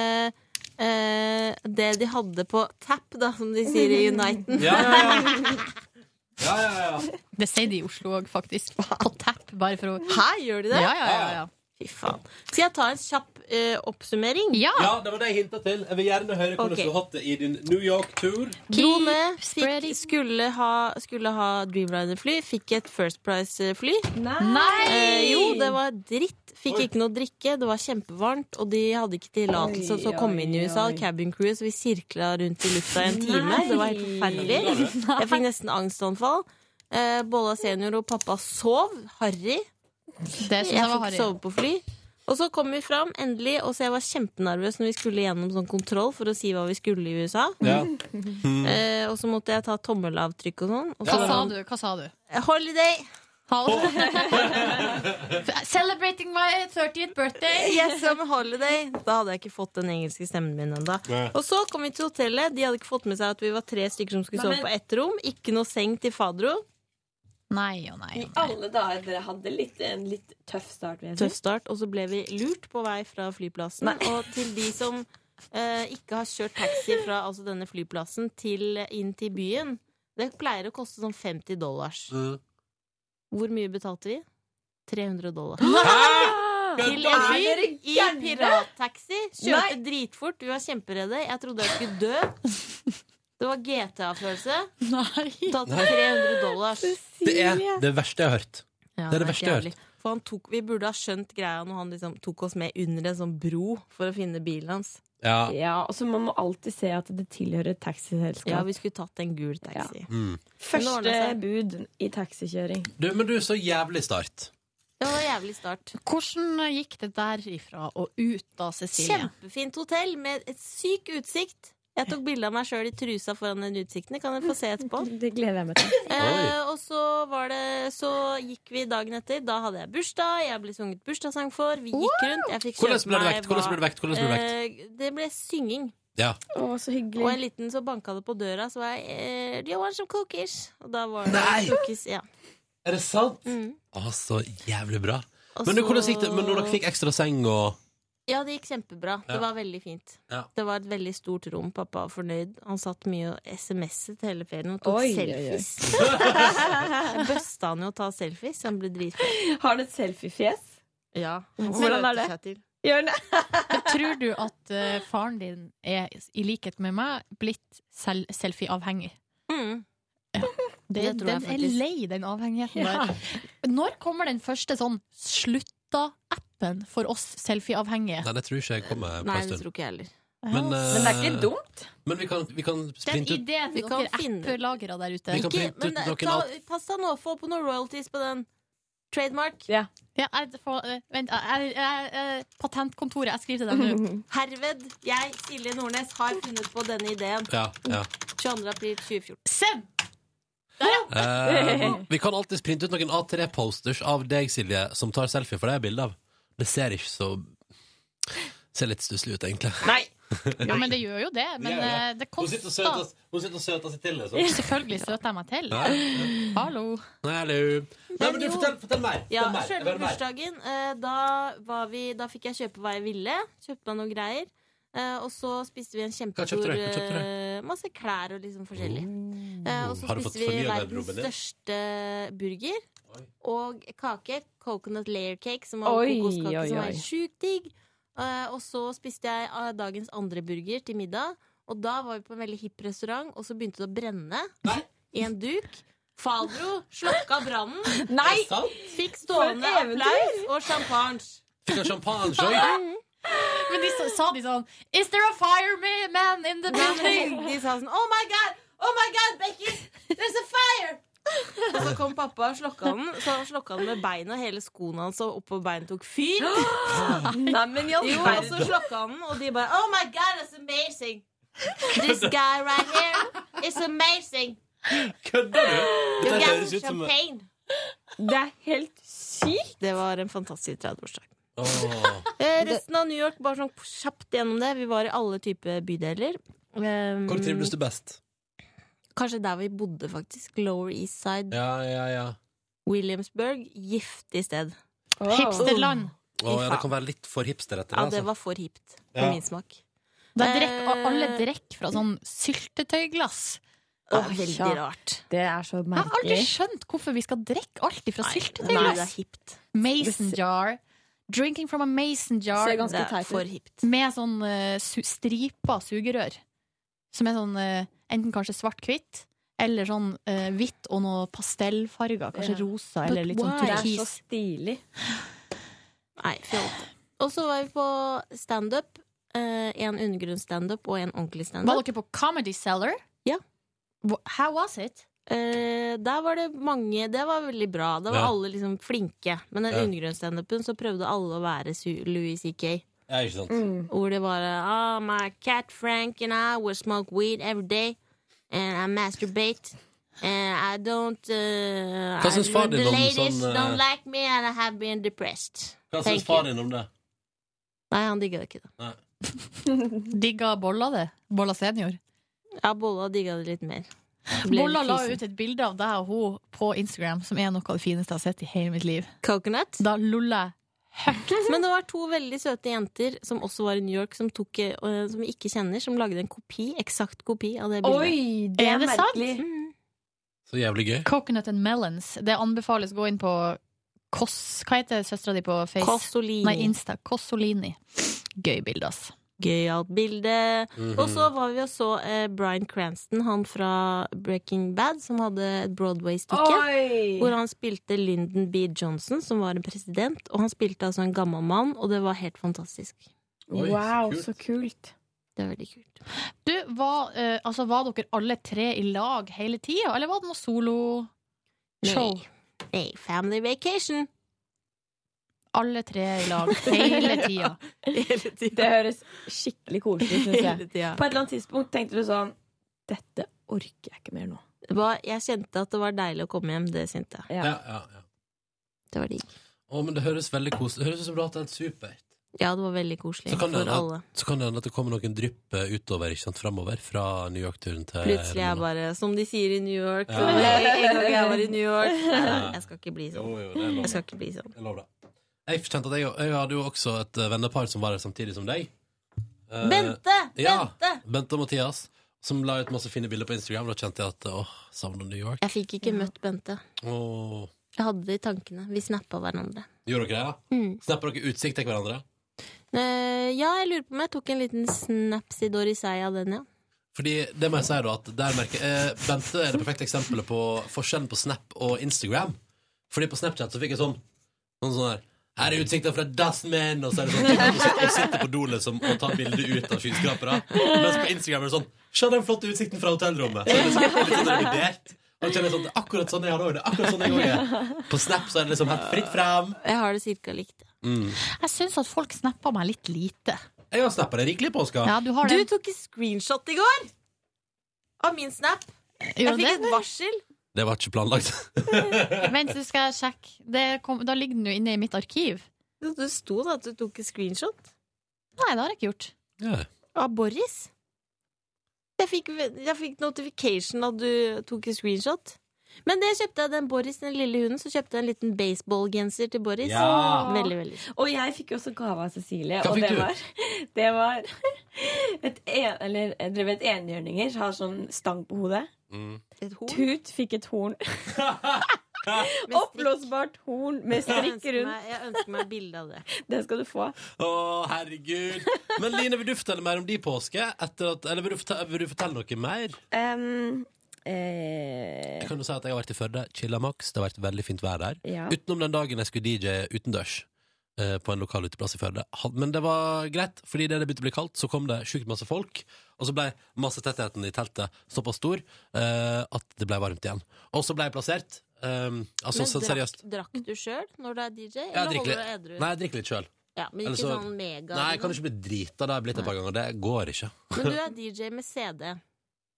Speaker 1: eh, det de hadde på tap, da, som de sier i Uniten.
Speaker 2: Ja, ja, ja. ja, ja, ja.
Speaker 3: Det sier de i Oslo òg, faktisk. På tap, bare for å
Speaker 1: Her gjør de det?
Speaker 3: Ja, ja, ja. ja.
Speaker 1: Fy faen. Skal jeg ta en kjapp eh, oppsummering?
Speaker 3: ja.
Speaker 2: ja, det var det jeg hinta til. Jeg vil gjerne høre hvordan
Speaker 1: Ok.
Speaker 2: du har hatt det i din New York-tur.
Speaker 1: Dro ned, fikk,
Speaker 3: spreading.
Speaker 1: skulle ha, skulle ha Dreamliner-fly, fikk et First Price-fly.
Speaker 3: Nei!
Speaker 1: Eh, jo, det var dritt. Fikk ikke noe drikke, det var kjempevarmt, og de hadde ikke tillatelse til å komme inn i USA. Cabin crew, så vi sirkla rundt i lufta i en time. Det var helt forferdelig. Jeg fikk nesten angstanfall. Eh, Bolla senior og pappa sov. Harry.
Speaker 3: Det syns jeg
Speaker 1: Jeg
Speaker 3: var
Speaker 1: fikk
Speaker 3: harry.
Speaker 1: sove på fly. Og så kom vi fram, endelig, og så jeg var kjempenervøs når vi skulle gjennom sånn kontroll for å si hva vi skulle i USA.
Speaker 2: Ja.
Speaker 1: [laughs] Eh, og så måtte jeg ta tommelavtrykk og sånn. Og så
Speaker 3: Hva sa
Speaker 1: var
Speaker 3: du? Hva sa du?
Speaker 1: det Holiday!
Speaker 3: [laughs] Celebrating my 30th birthday!
Speaker 1: Yes, I'm a holiday. Da hadde jeg ikke fått den engelske stemmen min ennå.
Speaker 2: Nei.
Speaker 1: Og så kom vi til hotellet. De hadde ikke fått med seg at vi var tre stykker som skulle
Speaker 7: Nei,
Speaker 1: sove på ett rom. Ikke noe seng til fadro.
Speaker 3: Nei og
Speaker 7: I
Speaker 3: nei.
Speaker 7: alle dager dere hadde litt, en litt tøff start. vil
Speaker 2: Mhm.
Speaker 7: jeg si.
Speaker 1: Tøff start. Og så ble vi lurt på vei fra flyplassen. Og til de som eh, ikke har kjørt taxi fra altså denne flyplassen til, inn til byen Det pleier å koste sånn 50 dollars.
Speaker 2: Mm.
Speaker 1: Hvor mye betalte vi? 300 dollar. Til en
Speaker 2: Kødder du?
Speaker 1: fyr i
Speaker 7: gærne?
Speaker 1: pirattaxi. Kjørte dritfort. Vi var kjemperedde. Jeg trodde jeg skulle
Speaker 2: [laughs]
Speaker 1: dø. Det var GTA-følelse.
Speaker 3: Nei.
Speaker 1: Betalte 300 dollars.
Speaker 2: Det er det verste jeg har hørt.
Speaker 1: Ja,
Speaker 2: det er det verste jeg har hørt.
Speaker 1: For han tok, vi burde ha skjønt greia når han liksom tok oss med under en sånn bro for å finne bilen hans.
Speaker 2: Ja.
Speaker 7: Ja, og så Man må alltid se at det tilhører et taxiselskap.
Speaker 1: Ja, vi skulle tatt en gul taxi.
Speaker 2: Mm.
Speaker 1: Men
Speaker 7: Første
Speaker 1: det ordnet seg.
Speaker 7: bud i taxikjøring.
Speaker 2: Du, men du, så jævlig start.
Speaker 1: Det var en jævlig start.
Speaker 3: Hvordan gikk det derifra og ut da, Cecilie?
Speaker 1: Kjempefint hotell med et syk utsikt. Jeg tok bilde av meg sjøl i trusa foran den utsikten. Det kan dere få se [laughs] etterpå.
Speaker 7: Det gleder jeg meg til.
Speaker 1: Eh, og så var det Så gikk vi dagen etter. Da hadde jeg bursdag. Jeg ble sunget bursdagssang for. Vi gikk rundt. Jeg fikk
Speaker 2: Hvordan
Speaker 1: kjøpt
Speaker 2: ble det
Speaker 1: meg
Speaker 2: vekt? Hvordan ble det vekt? Hvordan ble det vekt?
Speaker 1: Eh, det ble synging.
Speaker 2: Ja.
Speaker 7: Å, så
Speaker 1: Og
Speaker 7: hyggelig.
Speaker 1: en liten så banka det på døra, så var jeg eh, Do you want some cookies? Og da var det
Speaker 2: Nei!
Speaker 1: cookies. Ja.
Speaker 2: Er det sant?
Speaker 1: Mm.
Speaker 2: Å, så jævlig bra.
Speaker 1: Og
Speaker 2: Men du,
Speaker 1: så-
Speaker 2: hvordan gikk det? Men når dere fikk ekstra seng og
Speaker 1: Ja, det gikk kjempebra.
Speaker 2: Ja.
Speaker 1: Det var veldig fint.
Speaker 2: Ja.
Speaker 1: Det var et veldig stort rom. Pappa var fornøyd. Han satt mye og SMS-et hele ferien og tok
Speaker 7: Oi, oi, oi.
Speaker 1: selfies.
Speaker 7: [laughs]
Speaker 1: [laughs] Jeg Bøsta han jo å ta selfies. Han ble dritfet.
Speaker 7: Har du et selfiefjes?
Speaker 1: Ja.
Speaker 7: Hvordan er det? Gjør det?
Speaker 3: Tror du at eh, faren din er, i likhet med meg, blitt sel selfie-avhengig?
Speaker 1: Mm.
Speaker 3: Det,
Speaker 1: Det tror jeg
Speaker 3: den er
Speaker 1: faktisk.
Speaker 3: lei, den avhengigheten der. Når kommer den første sånn slutta-appen for oss selfie-avhengige?
Speaker 2: Nei, det tror ikke jeg kommer på
Speaker 1: Nei,
Speaker 2: en
Speaker 1: det
Speaker 2: stund.
Speaker 1: tror ikke jeg heller.
Speaker 2: Men,
Speaker 7: Men
Speaker 2: eh,
Speaker 7: det er ikke dumt.
Speaker 2: Men vi kan, vi kan
Speaker 3: Den
Speaker 2: sprinte ut
Speaker 3: ideen
Speaker 1: Vi
Speaker 3: til
Speaker 1: kan
Speaker 3: dere
Speaker 1: finne-
Speaker 3: app-lagere der ute.
Speaker 2: Vi kan-
Speaker 1: Ikke,
Speaker 2: printe
Speaker 1: men
Speaker 2: ut noen
Speaker 1: det- ta,
Speaker 2: alt.
Speaker 1: pass deg nå, få på noen royalties på den. Trademark.
Speaker 3: Ja, jeg, får- eh, vent, jeg, jeg, jeg, patentkontoret, jeg skriver til deg nå. [laughs]
Speaker 1: Herved, jeg, Silje Nordnes, har funnet på denne ideen.
Speaker 2: ja, ja.
Speaker 1: 22. april 2014.
Speaker 3: Send!
Speaker 1: [laughs]
Speaker 2: Eh, Vi kan alltid printe ut noen A3-posters av deg, Silje, som tar selfie, for det er jeg bilde av. Det ser ikke så Ser litt stusslig ut, egentlig.
Speaker 3: Ja, men det gjør jo det. Men eh, det koster.
Speaker 2: søter seg til, liksom.
Speaker 3: Selvfølgelig søter jeg meg til. Hallo.
Speaker 2: Hallo. Nei, men du, fortell, fortell mer.
Speaker 1: Ja,
Speaker 2: Fortell mer. Jeg
Speaker 1: Selve
Speaker 2: vil mer.
Speaker 1: bursdagen, eh, da, var vi, da fikk jeg kjøpe hva jeg ville. Kjøpte meg noen greier. Eh, og så spiste vi en
Speaker 2: Hva kjøpte
Speaker 1: kjempestor
Speaker 2: du? Hva kjøpte du? Oh.
Speaker 1: eh, Masse klær og liksom forskjellig. Eh, og så
Speaker 2: Har du
Speaker 1: spiste
Speaker 2: fått
Speaker 1: vi
Speaker 2: fornyet
Speaker 1: verdens
Speaker 2: garderoben din?
Speaker 1: største burger.
Speaker 2: Oi.
Speaker 1: Og kake. Coconut layer cake, som var
Speaker 7: Oi,
Speaker 1: kokoskake
Speaker 7: oi,
Speaker 1: som var
Speaker 7: oi.
Speaker 1: helt sjukt digg. Eh, og så spiste jeg eh, dagens andre burger til middag. Og da var vi på en veldig hipp restaurant, og så begynte det å brenne i en duk. Fadro slokka brannen,
Speaker 7: Nei!
Speaker 1: fikk stående
Speaker 7: For et eventyr!
Speaker 1: applaus og champagne.
Speaker 2: Fikk han champagne òg?
Speaker 3: Men de sa- sa de sånn Is there a fireman in the building?
Speaker 1: De sa sånn Oh my god! Oh my god, Becky! There's a fire! Og så kom pappa og slokka den. Så han slokka den med beina, hele skoen hans og oppå beinet tok fyr.
Speaker 7: Nei, men i all
Speaker 1: [gasps] Jo, altså, og så slokka han den, og de bare Oh my god, it's amazing! This guy right here is amazing!
Speaker 2: Kødder du?
Speaker 1: You
Speaker 2: Dette
Speaker 1: got
Speaker 2: høres
Speaker 1: some
Speaker 2: ut som
Speaker 1: champagne.
Speaker 7: Det er helt sykt!
Speaker 1: Det var en fantastisk 30-årsdag.
Speaker 2: Åh.
Speaker 1: Eh, resten av New York, bare sånn kjapt gjennom det. Vi var i alle typer bydeler. Eh,
Speaker 2: Hvor trives du best?
Speaker 1: Kanskje der vi bodde, faktisk. Lower East Side,
Speaker 2: Ja, ja, ja.
Speaker 1: Williamsburg. Giftig sted.
Speaker 3: Hipsterland.
Speaker 2: Å, ja det kan være litt for hipster etter
Speaker 1: Ja, det
Speaker 2: altså.
Speaker 1: var for hipt for
Speaker 2: Ja.
Speaker 1: min smak.
Speaker 3: Der
Speaker 1: Eh.
Speaker 3: drekk, alle drikker fra sånn syltetøyglass.
Speaker 1: Det
Speaker 7: Åh,
Speaker 1: er veldig
Speaker 7: ja.
Speaker 1: rart.
Speaker 7: Det er så
Speaker 3: Jeg har aldri
Speaker 7: merkelig.
Speaker 3: skjønt hvorfor vi skal drikke alt ifra
Speaker 1: Nei, det er
Speaker 3: syltetøyglass.
Speaker 1: hipt.
Speaker 3: Mason jar. Drinking from a mason jar
Speaker 7: Ser ganske
Speaker 1: Det er
Speaker 7: teit
Speaker 1: for
Speaker 7: ut.
Speaker 1: hipt.
Speaker 3: med sånn eh, su stripa sugerør. Som er sånn eh, enten kanskje svart-hvitt, eller sånn eh, hvitt og noe pastellfarger. Kanskje
Speaker 7: Ja.
Speaker 3: rosa eller litt sånn
Speaker 7: Det er så
Speaker 3: turkis.
Speaker 7: stilig.
Speaker 1: Nei, fjolte. Og så var vi på standup. Eh, en undergrunnsstandup og en ordentlig
Speaker 3: Var
Speaker 1: standup.
Speaker 3: dere på Comedy Cellar?
Speaker 1: Ja.
Speaker 3: Wha- How was it?
Speaker 1: Eh, der var det mange Det var veldig bra. Da var
Speaker 2: Ja.
Speaker 1: alle liksom flinke. Men den
Speaker 2: Ja.
Speaker 1: undergrunnsstandupen så prøvde alle å være Su- Louis C.K.
Speaker 2: Ja, ikke sant?
Speaker 1: Hvor det var Oh, my cat Frank and I will smoke weed every day. And I masturbate. And I don't uh,
Speaker 2: Hva syns
Speaker 1: I-
Speaker 2: far din
Speaker 1: The
Speaker 2: om
Speaker 1: ladies
Speaker 2: sånn, eh,
Speaker 1: don't like me and I have been depressed.
Speaker 2: Hva
Speaker 1: Thank
Speaker 2: syns far
Speaker 1: you.
Speaker 2: din om det?
Speaker 1: Nei, han digga det ikke. da
Speaker 2: Nei.
Speaker 3: Digga Bolla det? Bolla senior?
Speaker 1: Ja, Bolla digga det litt mer. Ble
Speaker 3: Bolla
Speaker 1: litt
Speaker 3: la
Speaker 1: fysen.
Speaker 3: ut et bilde av deg og hun på Instagram, som er noe av det fineste jeg har sett i hele mitt liv.
Speaker 1: Coconut.
Speaker 3: Da lulla jeg.
Speaker 1: [laughs] Men det var to veldig søte jenter som også var i New York, som, tok, eh, som vi ikke kjenner, som lagde en kopi, eksakt kopi av det bildet.
Speaker 7: Oi, det
Speaker 3: Er
Speaker 7: er
Speaker 3: det sant?
Speaker 7: merkelig.
Speaker 1: Mm.
Speaker 2: Så jævlig gøy.
Speaker 3: Coconut and melons. Det anbefales gå inn på Koss Hva heter søstera di på Face? Nei,
Speaker 1: Kosolini.
Speaker 3: Insta. Kossolini. Gøy bilde, ass.
Speaker 1: Gøyalt bilde.
Speaker 2: Mhm.
Speaker 1: Og så var vi og så eh, Bryan Cranston, han fra Breaking Bad, som hadde et Broadway-stykke.
Speaker 7: Oi!
Speaker 1: Hvor han spilte Lyndon B. Johnson, som var en president. Og han spilte altså en gammel mann, og det var helt fantastisk.
Speaker 2: Oi,
Speaker 7: Wow,
Speaker 2: kult.
Speaker 7: så kult.
Speaker 1: Det var veldig kult.
Speaker 3: Du, var, eh, altså, var dere alle tre i lag hele tida, eller var det noe solo? Show.
Speaker 1: Nei. Nei, family vacation!
Speaker 3: Alle tre i lag hele tida.
Speaker 1: [laughs] Hele
Speaker 7: Det
Speaker 1: tida.
Speaker 7: høres skikkelig koselig ut, syns jeg.
Speaker 1: Hele tida.
Speaker 7: [laughs] På et eller annet tidspunkt tenkte du sånn Dette orker jeg ikke mer nå.
Speaker 1: Det var- Jeg kjente at det var deilig å komme hjem. Det kjente jeg.
Speaker 2: Ja, ja, ja.
Speaker 1: Det var digg.
Speaker 2: Å, men det høres veldig koselig Det høres ut som du har hatt det helt supert.
Speaker 1: Ja, det var veldig koselig
Speaker 2: Så kan
Speaker 1: for
Speaker 2: det hende
Speaker 1: alle.
Speaker 2: at- så kan det hende at det kommer noen drypp eh, utover ikke sant, framover fra New York-turen til
Speaker 1: Plutselig er jeg bare som de sier i New York.
Speaker 2: Ja.
Speaker 1: [laughs] En gang jeg var i New York. Neida, Jeg skal ikke bli
Speaker 2: Jo,
Speaker 1: sånn.
Speaker 2: jo, det er lov.
Speaker 1: Jeg skal ikke bli sånn.
Speaker 2: Jeg lover det. Jeg kjente at jeg, jeg hadde jo også et eh, vennepar som var her samtidig som deg. Eh,
Speaker 1: Bente!
Speaker 2: ja.
Speaker 1: Bente!
Speaker 2: Bente og Mathias, som la ut masse fine bilder på Instagram. Da kjente jeg at åh, savner New York.
Speaker 1: Jeg fikk ikke møtt Bente.
Speaker 2: Åh.
Speaker 1: Jeg hadde det i tankene. Vi snappa hverandre.
Speaker 2: Gjorde dere det? Ja?
Speaker 1: Mm.
Speaker 2: Snapper dere utsikt til hverandre?
Speaker 1: Eh, ja, jeg lurer på om jeg tok en liten snaps i Dorisei av den, ja.
Speaker 2: Fordi det må jeg si da at der merker eh, Bente er det perfekte eksempelet på forskjellen på Snap og Instagram. Fordi på Snapchat så fikk jeg sånn Sånn sånn her her er utsikten fra dassen min! Og så er det sånn og så- og sitter på do liksom og tar bilde ut av skyskrapere. Mens på Instagram er det sånn Se den flotte utsikten fra hotellrommet! Så er det liksom, litt sånn revidert. Og jeg kjenner sånn, det er akkurat sånn jeg har òg. Det er akkurat sånn jeg også er. På Snap så er det liksom helt fritt frem. Mm.
Speaker 1: Jeg har det cirka likt.
Speaker 3: Jeg syns at folk snapper meg litt lite.
Speaker 2: Jeg har snappa det rikelig i påska.
Speaker 3: Ja, du har
Speaker 1: Du
Speaker 3: den.
Speaker 1: tok en screenshot i går! Av min snap. Jeg
Speaker 3: Gjorde
Speaker 1: fikk
Speaker 3: det?
Speaker 1: et varsel.
Speaker 2: Det var ikke planlagt. [laughs]
Speaker 3: Vent, du skal jeg sjekke. Det kom, da ligger den jo inne i mitt arkiv.
Speaker 1: Det sto da at du tok en screenshot.
Speaker 3: Nei, det har jeg ikke gjort.
Speaker 2: Ja.
Speaker 1: Av Boris? Jeg fikk, jeg fikk notification at du tok en screenshot. Men det kjøpte jeg den Boris, den lille hunden, så kjøpte jeg en liten baseballgenser til Boris.
Speaker 2: Ja.
Speaker 1: Veldig, veldig fint.
Speaker 7: Og jeg fikk jo også gave av Cecilie.
Speaker 2: Hva
Speaker 7: og
Speaker 2: fikk
Speaker 7: det
Speaker 2: du?
Speaker 7: Var, [laughs] det var et en, eller, Jeg drev et enhjørninger som har sånn stang på hodet.
Speaker 1: Et horn.
Speaker 7: Tut fikk et
Speaker 5: [laughs]
Speaker 7: horn. Oppblåsbart horn med
Speaker 1: Jeg
Speaker 7: strikk
Speaker 1: ønsker
Speaker 7: rundt.
Speaker 1: meg, jeg ønsker meg bilde av det.
Speaker 7: Det skal du få.
Speaker 2: Å, herregud. Men Line, vil du fortelle mer om de påske? Etter at, eller vil du, fortelle, vil du fortelle noe mer?
Speaker 7: Um, eh,
Speaker 2: Jeg kan jo si at jeg har vært i Førde. Chilla maks. Det har vært veldig fint vær der.
Speaker 7: ja.
Speaker 2: Utenom den dagen jeg skulle DJ utendørs. eh, På en lokal uteplass i Førde. Han- Men det var greit, fordi det det begynte å bli kaldt, så kom det sjukt masse folk. Og så ble massetettheten i teltet såpass stor eh, at det ble varmt igjen. Og så ble jeg plassert. Um, altså, så, seriøst.
Speaker 1: drakk, drakk du sjøl når du er DJ,
Speaker 2: Jeg
Speaker 1: eller
Speaker 2: drikker
Speaker 1: holder du
Speaker 2: litt.
Speaker 1: edru?
Speaker 2: Nei, jeg drikker litt sjøl.
Speaker 1: Ja, men
Speaker 2: Eller
Speaker 1: ikke
Speaker 2: så-
Speaker 1: sånn mega
Speaker 2: Nei, jeg kan ikke bli drita. Det har jeg blitt et par ganger. Det går ikke.
Speaker 1: Men du er DJ med CD.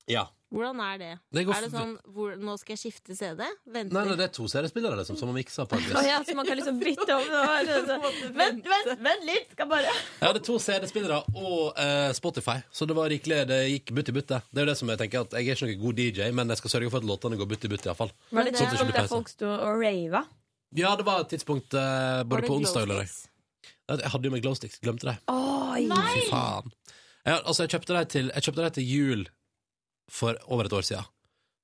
Speaker 2: Ja.
Speaker 1: Hvordan er det?
Speaker 2: Det går
Speaker 1: er det
Speaker 2: for-
Speaker 1: sånn hvor, 'nå skal jeg skifte CD'? Venter.
Speaker 2: Nei, nei, det er to seriespillere liksom, som har miksa på et vis.
Speaker 5: Å ja, så
Speaker 7: [laughs]
Speaker 5: man kan liksom bytte om. det
Speaker 1: [laughs]
Speaker 5: var sånn- Vent, vent, vent litt! Skal bare
Speaker 2: Jeg hadde to CD-spillere og eh, Spotify, så det var rikelig, det gikk butt i butt. det. Det er jo det som jeg tenker at jeg er ikke noen god DJ, men jeg skal sørge for at låtene går butt i butt, iallfall.
Speaker 5: Var det et
Speaker 1: Sånn at det
Speaker 2: ikke blir
Speaker 5: tidspunkt der
Speaker 2: pause.
Speaker 5: folk sto og rava?
Speaker 2: Ja, det var et tidspunkt eh,
Speaker 1: Var
Speaker 2: både
Speaker 1: det
Speaker 2: på onsdag og lørdag.
Speaker 1: glowsticks?
Speaker 2: Nei, Jeg hadde jo med glowsticks, glemte det. Fy faen. Jeg, altså, jeg kjøpte dem til, jeg kjøpte de til jul for over et år siden.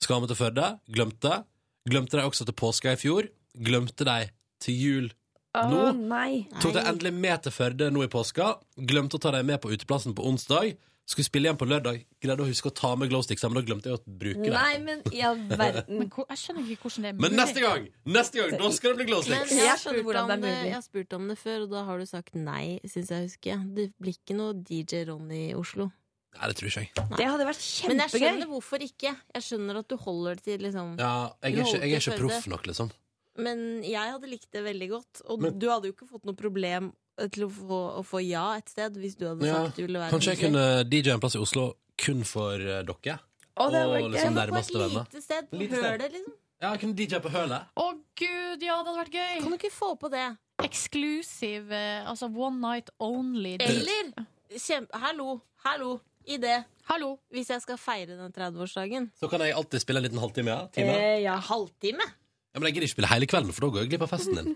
Speaker 2: Skal med til Førde, glemte. Glemte dem også til påska i fjor. Glemte dem til jul
Speaker 5: Å
Speaker 2: nå.
Speaker 5: nei.
Speaker 2: Tok dem endelig med til Førde nå i påska. Glemte å ta dem med på uteplassen på onsdag. Skulle spille igjen på lørdag. Greide å huske å ta med glowsticks, men da glemte jeg å bruke dem.
Speaker 5: Nei, men i all verden.
Speaker 3: Men hvor, jeg skjønner ikke hvordan det er
Speaker 2: Men neste gang, neste gang, da skal det bli
Speaker 1: Men
Speaker 2: glowsticks!
Speaker 1: jeg har,
Speaker 5: Jeg skjønner
Speaker 1: spurt
Speaker 5: hvordan
Speaker 1: om
Speaker 5: det er
Speaker 1: det,
Speaker 5: mulig.
Speaker 1: jeg har spurt om det før, og da har du sagt nei, syns jeg husker. Det blir ikke noe DJ Ronny i Oslo.
Speaker 2: Nei, det tror ikke jeg.
Speaker 5: [laughs] Det hadde vært
Speaker 1: Men jeg
Speaker 5: kjempegøy.
Speaker 1: skjønner hvorfor ikke. Jeg skjønner at du holder det til liksom
Speaker 2: Ja, jeg er ikke, jeg er ikke
Speaker 1: Glowsticks,
Speaker 2: proff nok, liksom.
Speaker 1: Men jeg hadde likt det veldig godt. Og
Speaker 2: Men-
Speaker 1: du hadde jo ikke fått noe problem eh, til å få, å få ja et sted hvis du hadde
Speaker 2: Ja,
Speaker 1: sagt du ville være
Speaker 2: Kanskje jeg
Speaker 1: DJ.
Speaker 2: kunne DJ en plass i Oslo kun for eh, dere?
Speaker 5: Å, det
Speaker 2: Og
Speaker 5: hadde vært
Speaker 2: liksom
Speaker 5: gøy.
Speaker 1: Ja,
Speaker 2: nærmeste
Speaker 1: På et
Speaker 2: venner.
Speaker 1: lite sted.
Speaker 2: Lite sted.
Speaker 1: Hør det, liksom.
Speaker 2: Ja, jeg kunne DJ på hølet.
Speaker 3: Å gud, ja, det hadde vært gøy!
Speaker 1: Kan du ikke få på det?
Speaker 3: Exclusive, eh, altså one night only.
Speaker 2: Eh,
Speaker 1: Eller kjempe... Hallo, hallo, i det.
Speaker 3: Hallo.
Speaker 1: Hvis jeg skal feire den 30-årsdagen.
Speaker 2: Så kan jeg alltid spille en liten halvtime. Ja, time.
Speaker 5: Eh, ja.
Speaker 1: Halvtime?
Speaker 2: ja, men jeg gidder ikke spille hele kvelden, for da går jeg glipp av festen din.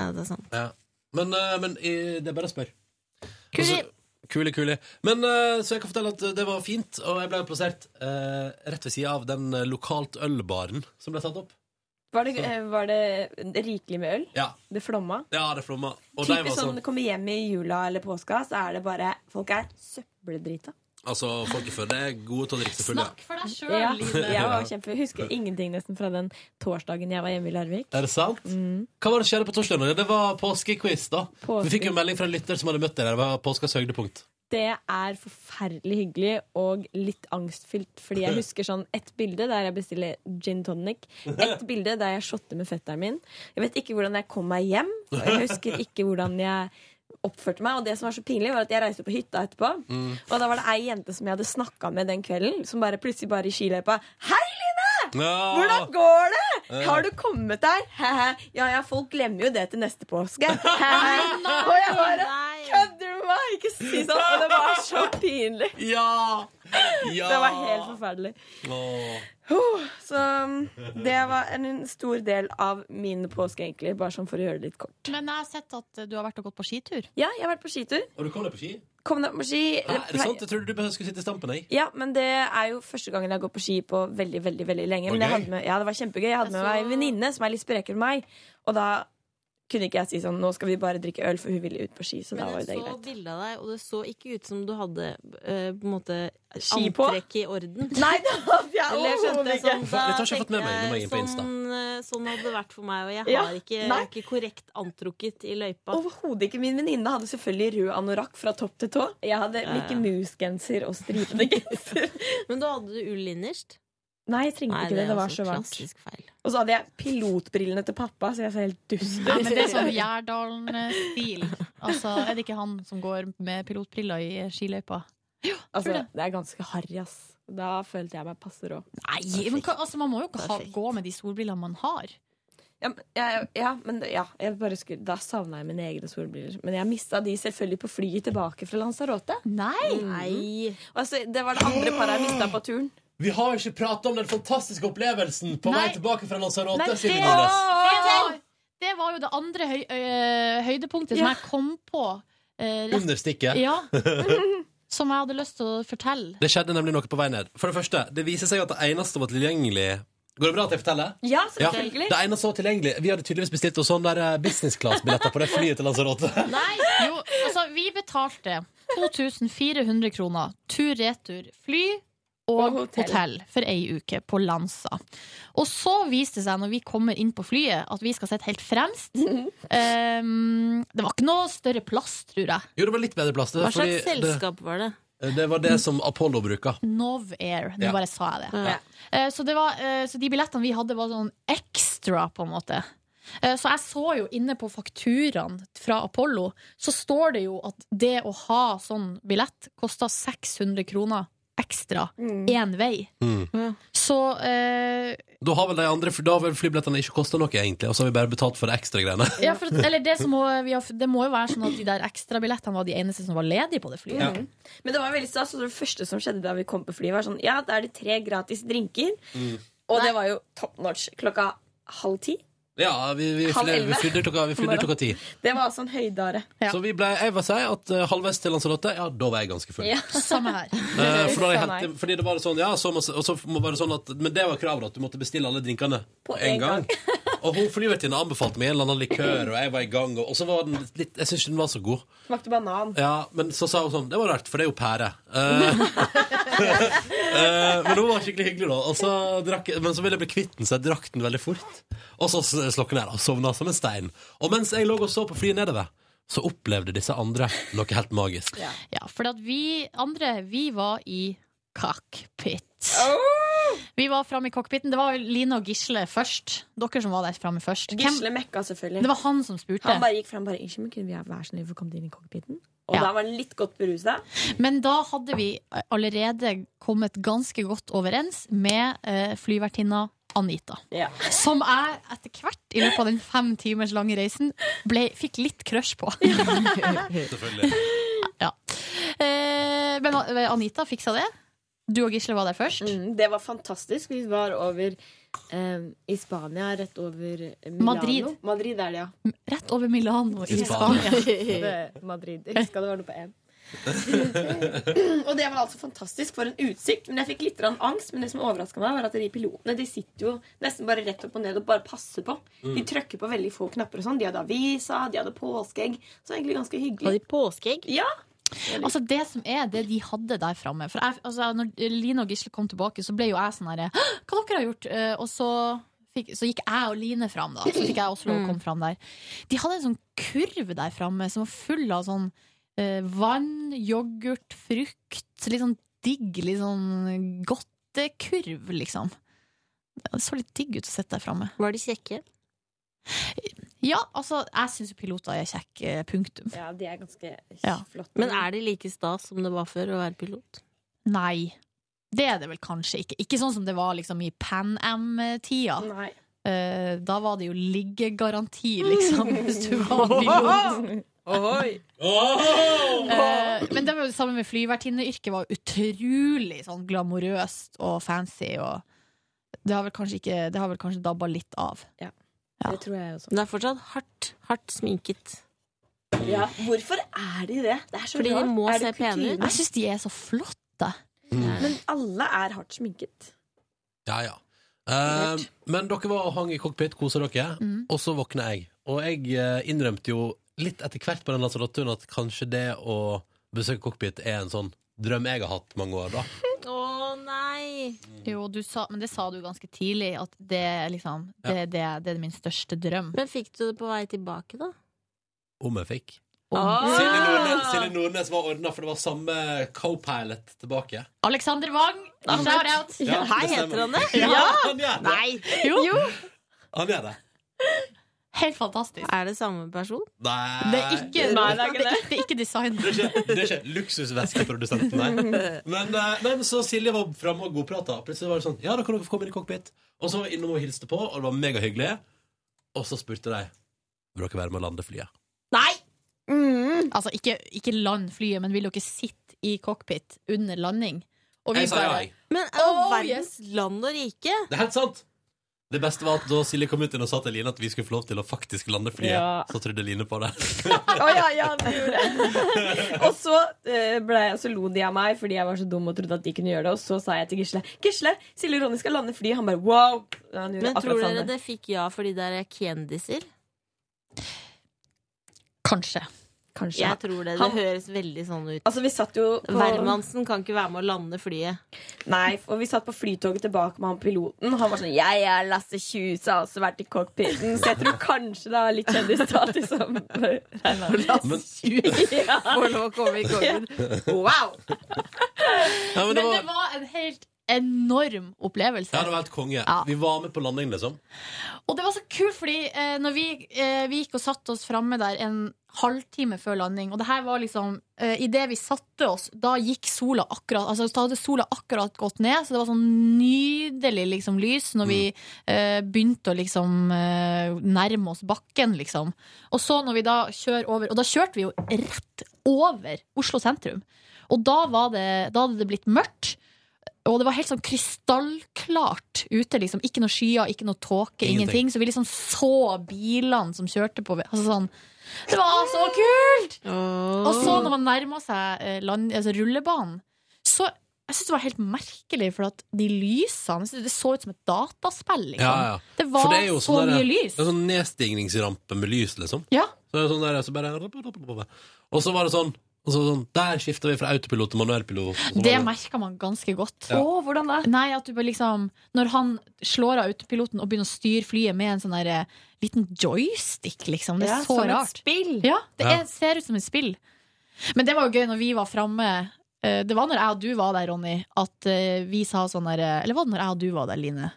Speaker 1: Ja, det er sant.
Speaker 2: Ja. Men, eh, men eh, det er bare å spørre.
Speaker 1: Kuli.
Speaker 2: Altså, Kuli, kuli. Men eh, så jeg kan fortelle at det var fint, og jeg ble plassert eh, rett ved sida av den eh, lokalt ølbaren som ble tatt opp.
Speaker 5: Var, det, eh, var det rikelig med øl?
Speaker 2: Ja,
Speaker 5: Det flomma?
Speaker 2: ja det flomma. Og de
Speaker 5: Typisk
Speaker 2: var
Speaker 5: sånn
Speaker 2: sånn
Speaker 5: kommer hjem i jula eller påska, så er det bare Folk er søppeldrita.
Speaker 2: Altså, folk i Førde er gode til å drikke seg fulle.
Speaker 3: Snakk for deg sjøl,
Speaker 5: [laughs] Ja,
Speaker 3: Line.
Speaker 5: jeg var kjempe, husker ingenting nesten fra den torsdagen jeg var hjemme i Larvik.
Speaker 2: Er det sant? Hva var det som skjedde på torsdag? Det var påskequiz, da.
Speaker 5: Mm. Påske-
Speaker 2: Vi fikk jo en melding fra en lytter som hadde møtt dere. Det var påskas høydepunkt.
Speaker 5: Det er forferdelig hyggelig og litt angstfylt, fordi jeg husker sånn ett bilde der jeg bestiller gin tonic, ett bilde der jeg shotter med fetteren min. Jeg vet ikke hvordan jeg kom meg hjem, og jeg husker ikke hvordan jeg oppførte meg, og det som var så pinlig var at Jeg reiste på hytta etterpå, og da var det ei jente som jeg hadde snakka med den kvelden, som bare plutselig bare i skiløypa Hei, Line!
Speaker 2: Ja.
Speaker 5: Hvordan går det?
Speaker 2: Eh.
Speaker 5: Har du kommet der? Hehe. Ja, ja, folk glemmer jo det til neste
Speaker 2: [laughs]
Speaker 5: påske. Hehe. Og jeg bare Kødder du med meg? Ikke si sånn. Og det var så pinlig.
Speaker 2: Ja! ja!
Speaker 5: Det var helt
Speaker 2: Ah.
Speaker 5: forferdelig.
Speaker 2: Åh.
Speaker 5: Huh, Så um, det var en en stor del av min påske, egentlig. Bare sånn for å gjøre det litt kort.
Speaker 3: Men jeg har sett at eh, du har vært og gått på skitur.
Speaker 5: Ja, jeg har vært på skitur.
Speaker 2: Og du kom deg på ski?
Speaker 5: Kom deg på ski.
Speaker 2: Hæ, er det sånn? sant? Jeg trodde du bare skulle sitte i stampen. Jeg.
Speaker 5: Ja, men det er jo første gangen jeg går på ski på veldig veldig, veldig lenge. Men
Speaker 2: Var
Speaker 5: jeg
Speaker 2: gøy?
Speaker 5: hadde med, ja, det var kjempegøy. Jeg hadde med meg en venninne som er litt sprekere enn meg. Og da kunne ikke jeg si sånn Nå skal vi bare drikke øl, for hun ville ut på ski. Så da
Speaker 1: Men
Speaker 5: var
Speaker 1: jeg
Speaker 5: jo det
Speaker 1: så
Speaker 5: greit.
Speaker 1: bildet av deg, og det så ikke ut som du hadde eh, på en måte
Speaker 5: Ski på?
Speaker 1: antrekk i orden.
Speaker 5: Nei, det hadde jeg
Speaker 1: Eller skjønte
Speaker 5: overhodet
Speaker 1: jeg
Speaker 5: ikke.
Speaker 1: sånn
Speaker 2: Dette har ikke jeg fått med meg
Speaker 1: tenkte
Speaker 2: når jeg er inne på
Speaker 1: jeg,
Speaker 2: Insta.
Speaker 1: Sånn, eh, sånn hadde det vært for meg, og jeg
Speaker 5: Ja,
Speaker 1: har ikke, jeg
Speaker 5: nei.
Speaker 1: er ikke korrekt antrukket i løypa.
Speaker 5: Overhodet ikke. Min venninne hadde selvfølgelig rød anorakk fra topp til tå. Jeg hadde Mickey Mouse-genser og stripete genser.
Speaker 1: Men da hadde du ull innerst.
Speaker 5: Nei, jeg trengte
Speaker 1: Nei,
Speaker 5: ikke det.
Speaker 1: er
Speaker 5: Det var
Speaker 1: også
Speaker 5: så Mm. varmt.
Speaker 1: klassisk feil.
Speaker 5: Og så hadde jeg pilotbrillene til pappa, så jeg så helt dust ut.
Speaker 3: Ja, men det er sånn Gjerdalen-stil. Altså, er det ikke han som går med pilotbriller i skiløypa?
Speaker 5: [laughs] altså,
Speaker 3: tror det.
Speaker 5: det er ganske harry, ass. Da følte jeg meg passe rå.
Speaker 3: Nei, men hva, altså, man må jo ikke ha, gå med de solbrillene man har.
Speaker 5: Ja, men- ja, ja, men det- ja, jeg bare skulle, da savna jeg mine egne solbriller. Men jeg mista de selvfølgelig på flyet tilbake fra Lanzarote.
Speaker 3: Nei!
Speaker 1: Nei.
Speaker 5: Og Altså, det var det andre paret jeg mista på turen.
Speaker 2: Vi har ikke prata om den fantastiske opplevelsen på
Speaker 3: Nei.
Speaker 2: vei tilbake fra Lanzarote.
Speaker 3: Nei, det-
Speaker 2: Silje Nordnes.
Speaker 3: Det var, det var jo det andre høy, ø, høydepunktet som
Speaker 5: Ja.
Speaker 3: jeg kom på. eh, rett,
Speaker 2: Under stikket.
Speaker 3: ja. Som jeg hadde lyst til å fortelle.
Speaker 2: Det skjedde nemlig noe på vei ned. For Det første, det viser seg at det eneste som var tilgjengelig Går det bra at jeg forteller?
Speaker 5: Ja,
Speaker 2: Ja,
Speaker 5: selvfølgelig.
Speaker 2: det eneste som var tilgjengelig Vi hadde tydeligvis bestilt oss sånn der eh, business class-billetter på det flyet til Lanzarote.
Speaker 3: [laughs] Nei, jo, altså, vi betalte 2400 kroner tur-retur fly og,
Speaker 5: Og hotell.
Speaker 3: hotell. for ei uke på Lanza. Og så viste det seg når vi kommer inn på flyet, at vi skal sitte helt fremst. Um, det var ikke noe større plass, tror jeg.
Speaker 2: Jo, det var litt bedre plass. Det,
Speaker 1: Hva
Speaker 2: fordi
Speaker 1: slags selskap var det?
Speaker 2: Det, det var det som Apollo bruker.
Speaker 3: Novair. Nå
Speaker 2: Ja.
Speaker 3: bare sa jeg det.
Speaker 1: Ja.
Speaker 3: Eh, Så, det var, eh, så de billettene vi hadde, var sånn ekstra, på en måte. Eh, Så jeg så jo inne på fakturaene fra Apollo, så står det jo at det å ha sånn billett kosta 600 kroner ekstra én vei.
Speaker 2: Mm.
Speaker 3: Så eh,
Speaker 2: Da har vel de andre, for da har vel flybillettene ikke kosta noe, egentlig. Og så har vi bare betalt for de ekstra
Speaker 3: [laughs]
Speaker 2: greiene.
Speaker 3: ja, for, at- eller det, som må, vi har, det må jo være sånn at de der ekstrabillettene var de eneste som var ledige på det flyet.
Speaker 5: Men det var veldig stas. og Det første som skjedde da vi kom på flyet, var sånn Ja, da er det tre gratis drinker. Og det var jo top notch. Klokka halv ti.
Speaker 2: Ja, vi, vi,
Speaker 5: Halv
Speaker 2: flydde- vi
Speaker 5: elleve.
Speaker 2: flydde klokka, vi flydde klokka ti.
Speaker 5: Det var altså en høydare.
Speaker 3: Ja.
Speaker 2: Så vi ble, jeg vil si at eh, halvveis til Lanzarote, ja, da var jeg ganske full.
Speaker 5: Ja.
Speaker 3: Samme her.
Speaker 2: [laughs] Eh, for da hadde jeg
Speaker 5: Uff a
Speaker 2: hentet, fordi det var sånn, ja, så må, og så må være sånn at Men det var kravet at du måtte bestille alle drinkene på en
Speaker 5: en
Speaker 2: gang. [laughs] og hun flyvertinna anbefalte meg en eller annen likør, og jeg var i gang. Og, og så var den litt Jeg syns ikke den var så god.
Speaker 5: Smakte banan.
Speaker 2: Ja, Men så sa hun sånn Det var rart, for det er jo pære. Eh, [laughs] eh, men hun var skikkelig hyggelig, da. Og så drakk, jeg- men så ville jeg bli kvitt den, så jeg drakk den veldig fort. Og så slokket jeg og sovna som en stein. Og mens jeg lå og så på flyet nedover, så opplevde disse andre noe helt magisk.
Speaker 3: Ja, for at vi andre, vi var i cockpit. Vi var framme i cockpiten. Det var jo Line og Gisle først. Dere som var der framme først. Hvem-
Speaker 5: Gisle mekka selvfølgelig.
Speaker 3: Det var han som spurte.
Speaker 5: Han bare gikk fram bare Unnskyld, men kunne vi være så snill få komme inn i cockpiten? Og
Speaker 3: Ja.
Speaker 5: da var han litt godt berusa.
Speaker 3: Men da hadde vi allerede kommet ganske godt overens med eh, flyvertinna Anita.
Speaker 5: Ja.
Speaker 3: Som jeg etter hvert i løpet av den fem timers lange reisen ble, fikk litt crush på.
Speaker 2: Selvfølgelig.
Speaker 3: Ja. Eh, men eh, Anita fiksa det. Du og Gisle var der først.
Speaker 5: Mm, det var fantastisk. Vi var over eh, i Spania, rett over Milano.
Speaker 3: Madrid.
Speaker 5: Madrid er det, ja.
Speaker 3: Rett over Milano i
Speaker 2: I Spania.
Speaker 3: Spania.
Speaker 5: Det- Madrid. Jeg huska det var noe på én. [laughs] og det var altså fantastisk. For en utsikt. Men jeg fikk litt grann angst. Men det som overraska meg, var at de pilotene de sitter jo nesten bare rett opp og ned og bare passer på. De trykker på veldig få knapper og sånn. De hadde avisa, de hadde påskeegg. Så det var egentlig ganske
Speaker 1: Hadde
Speaker 5: hyggelig.
Speaker 1: de påskeegg?
Speaker 5: Ja,
Speaker 3: Altså Det som er det de hadde der framme. For jeg, altså, når Line og Gisle kom tilbake, så ble jo jeg sånn herre Hva dere har gjort? Eh, Og så, fikk, så gikk jeg og Line fram, da. Så fikk jeg også lov å komme fram der. De hadde en sånn kurv der framme som var full av sånn eh, vann, yoghurt, frukt. Litt sånn digg, litt sånn godtekurv, liksom. Det så litt digg ut å sitte der framme.
Speaker 1: Var de kjekke?
Speaker 3: Ja, altså, jeg syns jo piloter er kjekke, eh, punktum.
Speaker 5: ja de er ganske
Speaker 3: Ja.
Speaker 5: flotte.
Speaker 1: Men er det like stas som det var før å være pilot?
Speaker 3: Nei. Det er det vel kanskje ikke. Ikke sånn som det var liksom i Pan Am-tida.
Speaker 5: Nei.
Speaker 3: Eh, da var det jo liggegaranti, [laughs] liksom, hvis du var pilot.
Speaker 5: [laughs]
Speaker 3: Eh, men det var jo det samme med flyvertinneyrket. var jo utrolig sånn glamorøst og fancy. Og det har vel kanskje, ikke, det har vel kanskje dabba litt av. Ja.
Speaker 5: Det tror jeg også.
Speaker 1: Men det er fortsatt hardt, hardt sminket.
Speaker 5: Ja, hvorfor er de det? Det er så
Speaker 1: Fordi de
Speaker 5: rart.
Speaker 1: må
Speaker 5: er
Speaker 1: se
Speaker 5: det kutyme?
Speaker 1: pene ut.
Speaker 3: Jeg syns de er så flotte.
Speaker 5: Men alle er hardt sminket.
Speaker 2: Ja, ja. Eh, men dere var og hang i cockpit, kosa dere,
Speaker 1: Mm.
Speaker 2: og så våkna jeg. Og jeg eh, innrømte jo litt etter hvert på den lasaretturen at kanskje det å besøke cockpit er en sånn drøm jeg har hatt mange år, da.
Speaker 1: Å nei!
Speaker 3: Jo, du sa, men det sa du ganske tidlig, at det, er liksom, det, det, det er min største drøm.
Speaker 1: Men fikk du det på vei tilbake, da?
Speaker 2: Om jeg fikk.
Speaker 1: Ah!
Speaker 2: Silje Nordnes, Silje Nordnes var ordna, for det var samme co-pilot tilbake.
Speaker 3: Alexander Wang, shout-out!
Speaker 2: Ja,
Speaker 1: Hei,
Speaker 2: det stemmer.
Speaker 1: heter han det?
Speaker 2: Ja, han gjør det!
Speaker 1: Nei!
Speaker 3: Jo,
Speaker 2: Han gjør det.
Speaker 3: helt fantastisk.
Speaker 1: Er det samme person?
Speaker 2: Nei.
Speaker 3: Det er ikke,
Speaker 5: Nei, det er
Speaker 3: det
Speaker 5: ikke
Speaker 3: er ikke, det er ikke design.
Speaker 2: Det er ikke, det er ikke luksusveskeprodusenten, nei. Men, eh, nei. men så Silje var framme og godprata. Plutselig var det sånn Ja, da kan dere få komme inn i cockpit. Og så var vi innom og hilste på, og det var megahyggelig. Og så spurte de Vil dere være med å lande flyet.
Speaker 3: Altså, ikke, ikke land flyet, men vil dere sitte i cockpit under landing? Og
Speaker 2: Jeg sa ja, jeg.
Speaker 1: Men all
Speaker 3: Oh,
Speaker 1: verdens land og rike!
Speaker 2: Det er helt sant. Det beste var at da Silje kom ut inn og sa til Line at vi skulle få lov til å faktisk lande flyet,
Speaker 5: Ja.
Speaker 2: så trodde Line på det.
Speaker 5: Å ja, ja, det gjorde jeg. [laughs] og så, eh, ble, jeg- så lo de av meg fordi jeg var så dum og trodde at de kunne gjøre det. Og så sa jeg til Gisle Gisle, Silje og Ronny skal lande flyet. Han bare wow! Han gjorde
Speaker 1: Men
Speaker 5: akkurat
Speaker 1: tror
Speaker 5: samme.
Speaker 1: dere det fikk ja fordi dere er kjendiser?
Speaker 3: Kanskje.
Speaker 5: Kanskje.
Speaker 1: Jeg tror det. Det
Speaker 5: Han-
Speaker 1: høres veldig sånn ut.
Speaker 5: Altså, vi satt jo på,
Speaker 1: Wermansen kan ikke være med å lande flyet.
Speaker 5: Nei, og vi satt på flytoget tilbake med han piloten. Han var sånn Jeg er Lasse Kjus, har også vært i cockpiten. Så jeg tror kanskje det er litt kjendisstatus
Speaker 7: [laughs]
Speaker 5: som
Speaker 2: Men-
Speaker 5: [laughs] ja. [laughs]
Speaker 1: Får lov å komme i kongen.
Speaker 5: Wow!
Speaker 2: [laughs] Ja, men
Speaker 3: Men
Speaker 2: det var
Speaker 3: det var en helt enorm opplevelse.
Speaker 2: Ja, det var helt konge.
Speaker 3: Ja.
Speaker 2: Vi var med på landingen, liksom.
Speaker 3: Og det var så kult, fordi eh, når vi, eh, vi gikk og satte oss framme der en halvtime før landing, og det her var liksom eh, Idet vi satte oss, da gikk sola akkurat Altså da hadde sola akkurat gått ned, så det var sånn nydelig liksom lys når vi eh, begynte å liksom eh, nærme oss bakken, liksom. Og så når vi da kjører over Og da kjørte vi jo rett over Oslo sentrum. Og da, var det, da hadde det blitt mørkt. Og det var helt sånn krystallklart ute. liksom Ikke noe skyer, ikke noe tåke,
Speaker 2: Ingenting.
Speaker 3: ingenting. Så vi liksom så bilene som kjørte på altså sånn, Det var så kult! Og så når man nærma seg eh, land, altså rullebanen, så jeg synes det var helt merkelig, for at de lysene jeg synes Det så ut som et dataspill. liksom
Speaker 2: Ja, ja.
Speaker 3: Det var
Speaker 2: For det er jo
Speaker 3: så
Speaker 2: sånn der-
Speaker 3: mye lys.
Speaker 2: Det er sånn nedstigningsrampe med lys, liksom.
Speaker 3: Ja.
Speaker 2: Så det er sånn der, så bare Og så var det sånn. Og så sånn der skifta vi fra autopilot til manuellpilot. og så var
Speaker 3: Det merka man ganske godt.
Speaker 2: Ja.
Speaker 5: Å, hvordan da?
Speaker 3: Nei, at du bare liksom Når han slår av autopiloten og begynner å styre flyet med en sånn der eh, liten joystick, liksom. Det er
Speaker 5: Ja,
Speaker 3: så
Speaker 5: som
Speaker 3: rart.
Speaker 5: et spill.
Speaker 3: Ja, det
Speaker 2: Ja.
Speaker 3: er, ser ut som et spill. Men det var jo gøy når vi var framme. eh, Det var når jeg og du var der, Ronny, at eh, vi sa sånn der eh, Eller var det når jeg og du var der, Line?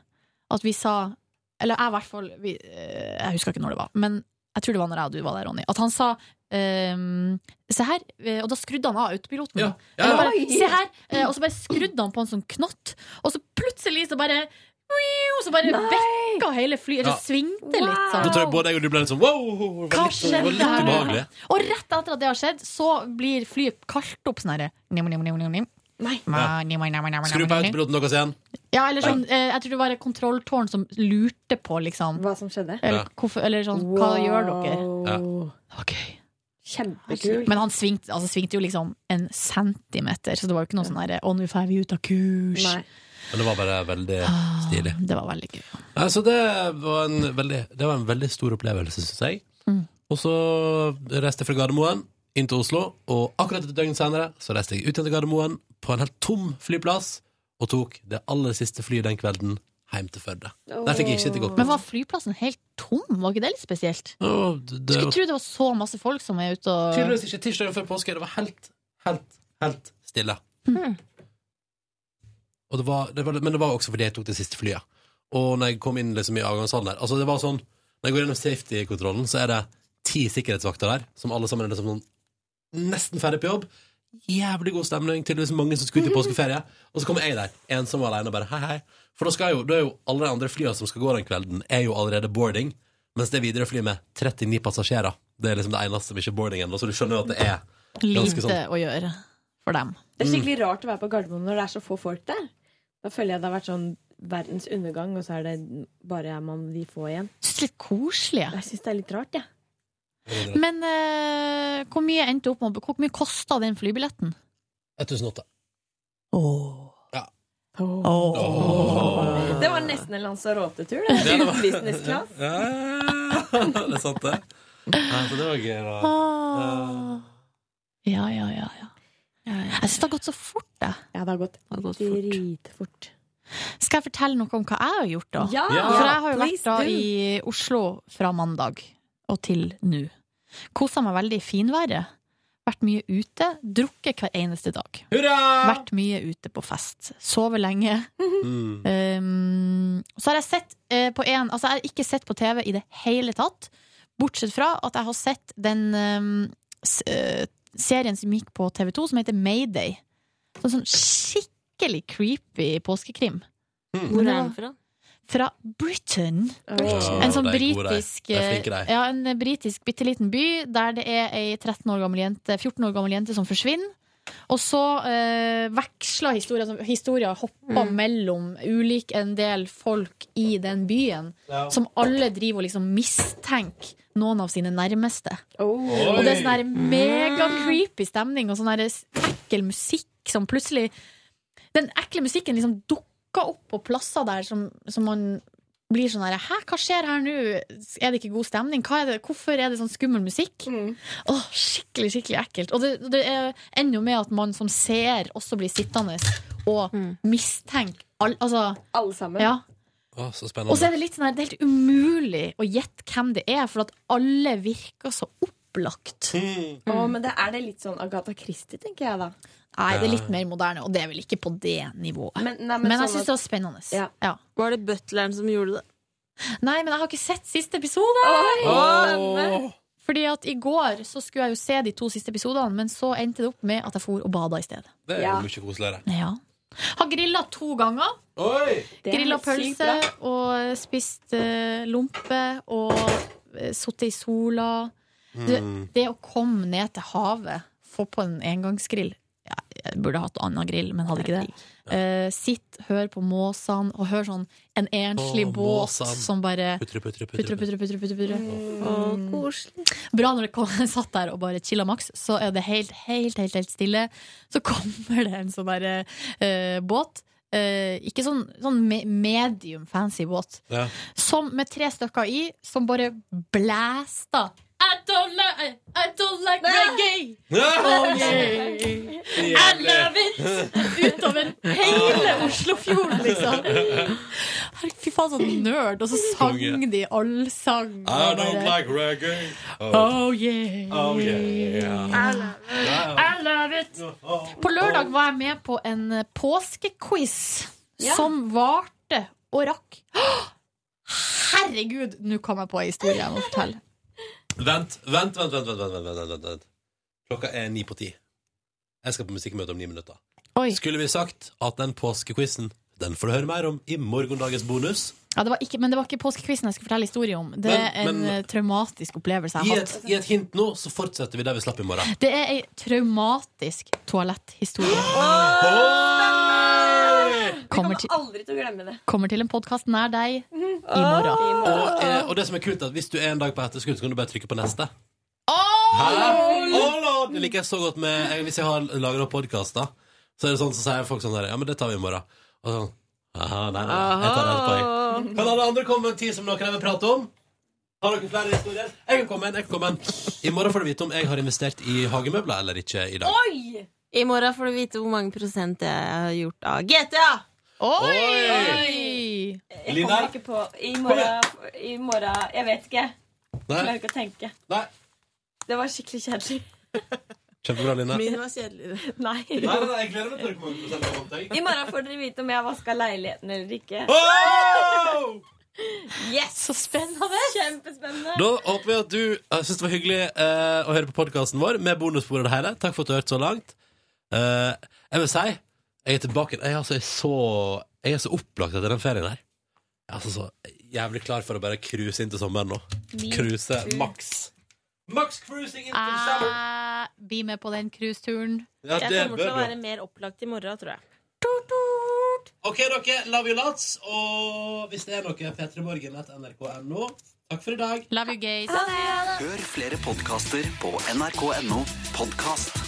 Speaker 3: At vi sa Eller jeg i hvert fall vi, eh, Jeg husker ikke når det var, men jeg tror det var når jeg og du var der, Ronny. At han sa ehm, Se her. eh, Og da skrudde han av autopiloten.
Speaker 2: Ja. Ja,
Speaker 3: Eller
Speaker 2: ja.
Speaker 3: bare, se her! eh, Og så bare skrudde han på en sånn knott, og så plutselig så bare og så bare vekka hele flyet. Eller
Speaker 2: Ja.
Speaker 3: svingte litt
Speaker 2: Da
Speaker 3: sånn.
Speaker 2: tror jeg både jeg og du ble litt sånn wow! Det var
Speaker 3: Hva
Speaker 2: litt- det var
Speaker 3: skjedde
Speaker 2: litt
Speaker 3: her?
Speaker 2: ubehagelig.
Speaker 3: Og rett etter at det har skjedd, så blir flyet kalt opp sånn herre
Speaker 2: Ja. Skru på
Speaker 3: Ja,
Speaker 2: autopiloten deres igjen.
Speaker 3: eller sånn eh, Jeg tror det var et kontrolltårn som lurte på, liksom.
Speaker 7: Hva som skjedde?
Speaker 2: Ja.
Speaker 3: Eller, hvorfor, eller sånn Hva gjør dere?
Speaker 7: Kjempekult.
Speaker 3: Men han svingte, altså, svingte jo liksom en centimeter, så det var jo ikke noe sånn herre Å, nå får vi ut av kurs.
Speaker 7: Nei.
Speaker 2: Men det var bare veldig
Speaker 3: Ah,
Speaker 2: stilig.
Speaker 3: Det var veldig gøy.
Speaker 2: Nei, så det var en veldig, det var en veldig stor opplevelse, syns jeg.
Speaker 3: Mm.
Speaker 2: Og så reiste jeg fra Gardermoen inn til Oslo, og akkurat et døgn senere så reiste jeg ut igjen til Gardermoen på en helt tom flyplass og tok det aller siste flyet den kvelden hjem til Førde. Der fikk jeg ikke sitte godt.
Speaker 3: Men var flyplassen helt tom? Var ikke det litt spesielt?
Speaker 2: Å, det- det
Speaker 3: Skulle
Speaker 2: var
Speaker 3: tro det var så masse folk som er ute og
Speaker 2: tydeligvis ikke tirsdagen før påske. Det var helt, helt, helt stille. Og det var, det var, men det var også fordi jeg tok det siste flyet. Og når jeg kom inn liksom i avgangshallen der Altså det var sånn Når jeg går gjennom safety-kontrollen, så er det ti sikkerhetsvakter der, som alle sammen er liksom sånn nesten ferdig på jobb. Jævlig god stemning, tydeligvis mange som skulle til påskeferie. Og så kommer jeg der, ensom og alene, og bare hei, hei. For da, skal jo, da er jo alle de andre flyene som skal gå den kvelden, er jo allerede boarding. Mens det videre flyet med 39 passasjerer, det er liksom det eneste som ikke er boarding ennå. Så du skjønner jo at det er ganske
Speaker 3: lite
Speaker 2: sånn.
Speaker 3: å gjøre for dem.
Speaker 7: Det er
Speaker 2: Mm.
Speaker 7: skikkelig rart å være på Gardermoen når det er så få folk der. Da føler jeg det har vært sånn verdens undergang, og så er det bare er man de få igjen.
Speaker 3: Synes litt koselig.
Speaker 7: Jeg syns det er litt rart, jeg. Ja.
Speaker 3: Men eh, hvor mye endte opp med Hvor mye kosta den flybilletten?
Speaker 2: 1008.
Speaker 7: Det var nesten en Lanzarote-tur, det.
Speaker 2: Det var-
Speaker 7: Business class.
Speaker 2: Ja, [laughs] det er sant, det. Nei, så det var gøy, da.
Speaker 3: Ah. Ja, ja, ja, ja. Jeg syns det har gått så fort, jeg.
Speaker 7: Ja, det har gått
Speaker 1: Det har gått fort.
Speaker 7: dritfort.
Speaker 3: Skal jeg fortelle noe om hva jeg har gjort, da?
Speaker 7: Ja!
Speaker 3: For jeg har jo
Speaker 7: please
Speaker 3: vært da
Speaker 7: do.
Speaker 3: i Oslo fra mandag og til nå. Kosa meg veldig i finværet. Vært mye ute. Drukket hver eneste dag.
Speaker 2: Hurra!
Speaker 3: Vært mye ute på fest. Sovet lenge.
Speaker 2: Mm.
Speaker 3: Um, så har jeg sett eh, på en Altså, jeg har ikke sett på TV i det hele tatt. Bortsett fra at jeg har sett den um, s eh, serien som gikk på TV2, som heter Mayday. Sånn, sånn skikkelig creepy påskekrim.
Speaker 1: Hvor er den fra?
Speaker 3: Fra Britain.
Speaker 2: Ja,
Speaker 3: En sånn
Speaker 2: de er gode, de.
Speaker 3: britisk
Speaker 2: De er flinke,
Speaker 3: eh,
Speaker 2: de.
Speaker 3: Ja, en britisk bitte liten by der det er ei 13 år gammel jente, 14 år gammel jente som forsvinner. Og så eh, veksler historien, som- historien hopper mellom ulik en del folk i den byen, som alle driver og liksom mistenker noen av sine nærmeste. Og det er sånn her mega creepy stemning og sånn her ekkel musikk som plutselig Den ekle musikken liksom dukker opp på plasser der som, som man blir sånn her Hæ, hva skjer her nå? Er det ikke god stemning? Hva er det? Hvorfor er det sånn skummel musikk? Åh, skikkelig, skikkelig ekkelt. Og det, det er- ender jo med at man som seer også blir sittende og mistenker all, altså,
Speaker 7: Alle sammen.
Speaker 3: ja.
Speaker 2: Å, så
Speaker 3: Og så
Speaker 2: spennende.
Speaker 3: er det litt sånn her, det er helt umulig å gjette hvem det er, for at alle virker så
Speaker 1: opplagt.
Speaker 7: Å, men det er det litt sånn Agatha Christie, tenker jeg da.
Speaker 3: Nei, det er litt mer moderne, og det er vel ikke på det nivået. Men,
Speaker 7: Men, nei, men,
Speaker 3: jeg
Speaker 7: sånn
Speaker 3: syns
Speaker 7: at-
Speaker 3: det var spennende.
Speaker 7: Ja.
Speaker 1: Var det butleren som gjorde det?
Speaker 3: Nei, men jeg har ikke sett siste episode!
Speaker 2: Åh.
Speaker 3: Fordi at i går så skulle jeg jo se de to siste episodene, men så endte det opp med at jeg for og bada i stedet.
Speaker 2: Det er jo
Speaker 7: Ja.
Speaker 2: mye koseligere.
Speaker 3: Ja. Har grilla to ganger.
Speaker 2: Oi!
Speaker 7: det er
Speaker 3: Grilla
Speaker 7: helt sykt
Speaker 3: pølse
Speaker 7: bra.
Speaker 3: og spist eh, lompe og eh, sittet i sola. Det,
Speaker 2: Mm.
Speaker 3: det å komme ned til havet, få på en engangsgrill ja, Jeg burde hatt annen grill, men hadde ikke det. Eh, sitt, hør på måsene, og hør sånn en enslig
Speaker 2: Å,
Speaker 3: båt
Speaker 2: måsene.
Speaker 3: som bare
Speaker 2: Putre, putre, putre.
Speaker 3: putre, putre, putre, putre, putre.
Speaker 1: Å, koselig.
Speaker 3: Mm. Bra når det kom, [laughs] satt der og bare chilla maks, så er det helt, helt, helt, helt stille. Så kommer det en sånn derre båt. eh, ikke sånn, sånn me medium fancy båt.
Speaker 2: Ja.
Speaker 3: Som med tre stykker i, som bare blæsta. I don't like, I don't like reggae! Oh,
Speaker 2: [laughs]
Speaker 3: I love it! Utover hele Oslofjorden, liksom. Herre, Fy faen, så nerd. Og så sang de allsang.
Speaker 2: I
Speaker 3: og
Speaker 2: don't
Speaker 3: bare-
Speaker 2: like reggae. Oh,
Speaker 3: Oh yeah.
Speaker 2: oh yeah.
Speaker 3: I Mm. love it. På lørdag var jeg med på en eh, påskequiz som varte og rakk. Åh! Herregud, nå kom jeg på en historie jeg må fortelle.
Speaker 2: Vent, vent, vent, vent, vent, vent, vent, vent, vent. Klokka er ni på ti. Jeg skal på musikkmøte om ni minutter.
Speaker 3: Oi.
Speaker 2: Skulle vi sagt at den påskequizen den får du høre mer om i morgendagens bonus.
Speaker 3: Ja, det var ikke, men det var ikke påskequizen jeg skulle fortelle historie om. Det
Speaker 2: Men-
Speaker 3: er en
Speaker 2: men-
Speaker 3: eh, traumatisk opplevelse
Speaker 2: Gi
Speaker 3: jeg har
Speaker 2: et,
Speaker 3: hatt.
Speaker 2: gi et hint nå, så fortsetter vi der vi slapp i morgen.
Speaker 3: Det er ei traumatisk
Speaker 2: [gasps]
Speaker 3: toaletthistorie.
Speaker 2: Oi!
Speaker 7: Vi kommer
Speaker 3: Kommer til,
Speaker 7: aldri til å glemme det.
Speaker 3: kommer til en podkast nær deg i morgen.
Speaker 2: Og, eh, og det som er kult, er at hvis du er en dag på etterskudd, så kan du bare trykke på neste.
Speaker 3: Åh!
Speaker 2: Hæ? Å, lord! Det liker jeg så godt med jeg, Hvis jeg har laget opp podkaster, så er det sånn, så sier folk sånn der Ja, men det tar vi i morgen. Og sånn Aha, nei, nei, jeg tar det etterpå, jeg. Kan alle andre komme med en tid som dere vil prate om? Har dere flere historier? Jeg kan komme en. jeg kan komme en I morgen får du vite om jeg har investert i hagemøbler eller ikke i dag.
Speaker 1: I morgen får du vite hvor mange prosent jeg har gjort av GTA!
Speaker 3: Oi!
Speaker 2: Oi!
Speaker 3: Oi!
Speaker 7: Jeg
Speaker 2: Lina?
Speaker 7: kommer ikke på I morgen, i morgen Jeg vet ikke. Jeg
Speaker 2: Nei?
Speaker 7: klarer ikke å tenke.
Speaker 2: nei.
Speaker 7: Det var skikkelig kjedelig. [laughs]
Speaker 2: Kjempebra, Line.
Speaker 1: Min var kjedeligere.
Speaker 7: Nei.
Speaker 2: Nei, nei, nei, jeg gleder meg til dere kommer til å sende meg
Speaker 7: I morgen får dere vite om jeg har vaska leiligheten eller ikke.
Speaker 2: Wow!
Speaker 7: Yes!
Speaker 3: Så spennende!
Speaker 7: Kjempespennende.
Speaker 2: Da håper vi at du jeg synes det var hyggelig eh, å høre på podkasten vår med bonusbord og det hele. Takk for at du har hørt så langt. Eh, jeg vil si jeg er tilbake. Jeg, altså, er så, jeg er så opplagt etter den ferien her. Jeg er altså så jævlig klar for å bare cruise inn til sommeren nå. Cruise maks. Maks cruising inn til sommeren!
Speaker 3: Jeg blir med på den cruiseturen.
Speaker 2: Ja,
Speaker 1: Ah, Jeg
Speaker 2: det
Speaker 1: kommer til å
Speaker 2: bør
Speaker 1: være
Speaker 2: du.
Speaker 1: mer opplagt i morgen, tror jeg.
Speaker 2: OK, dere. Love you lots. Og hvis det er noe, p3morgen.nrk.no. Takk for i dag.
Speaker 3: Love you, gays.
Speaker 6: Hør flere podkaster på nrk.no podkast.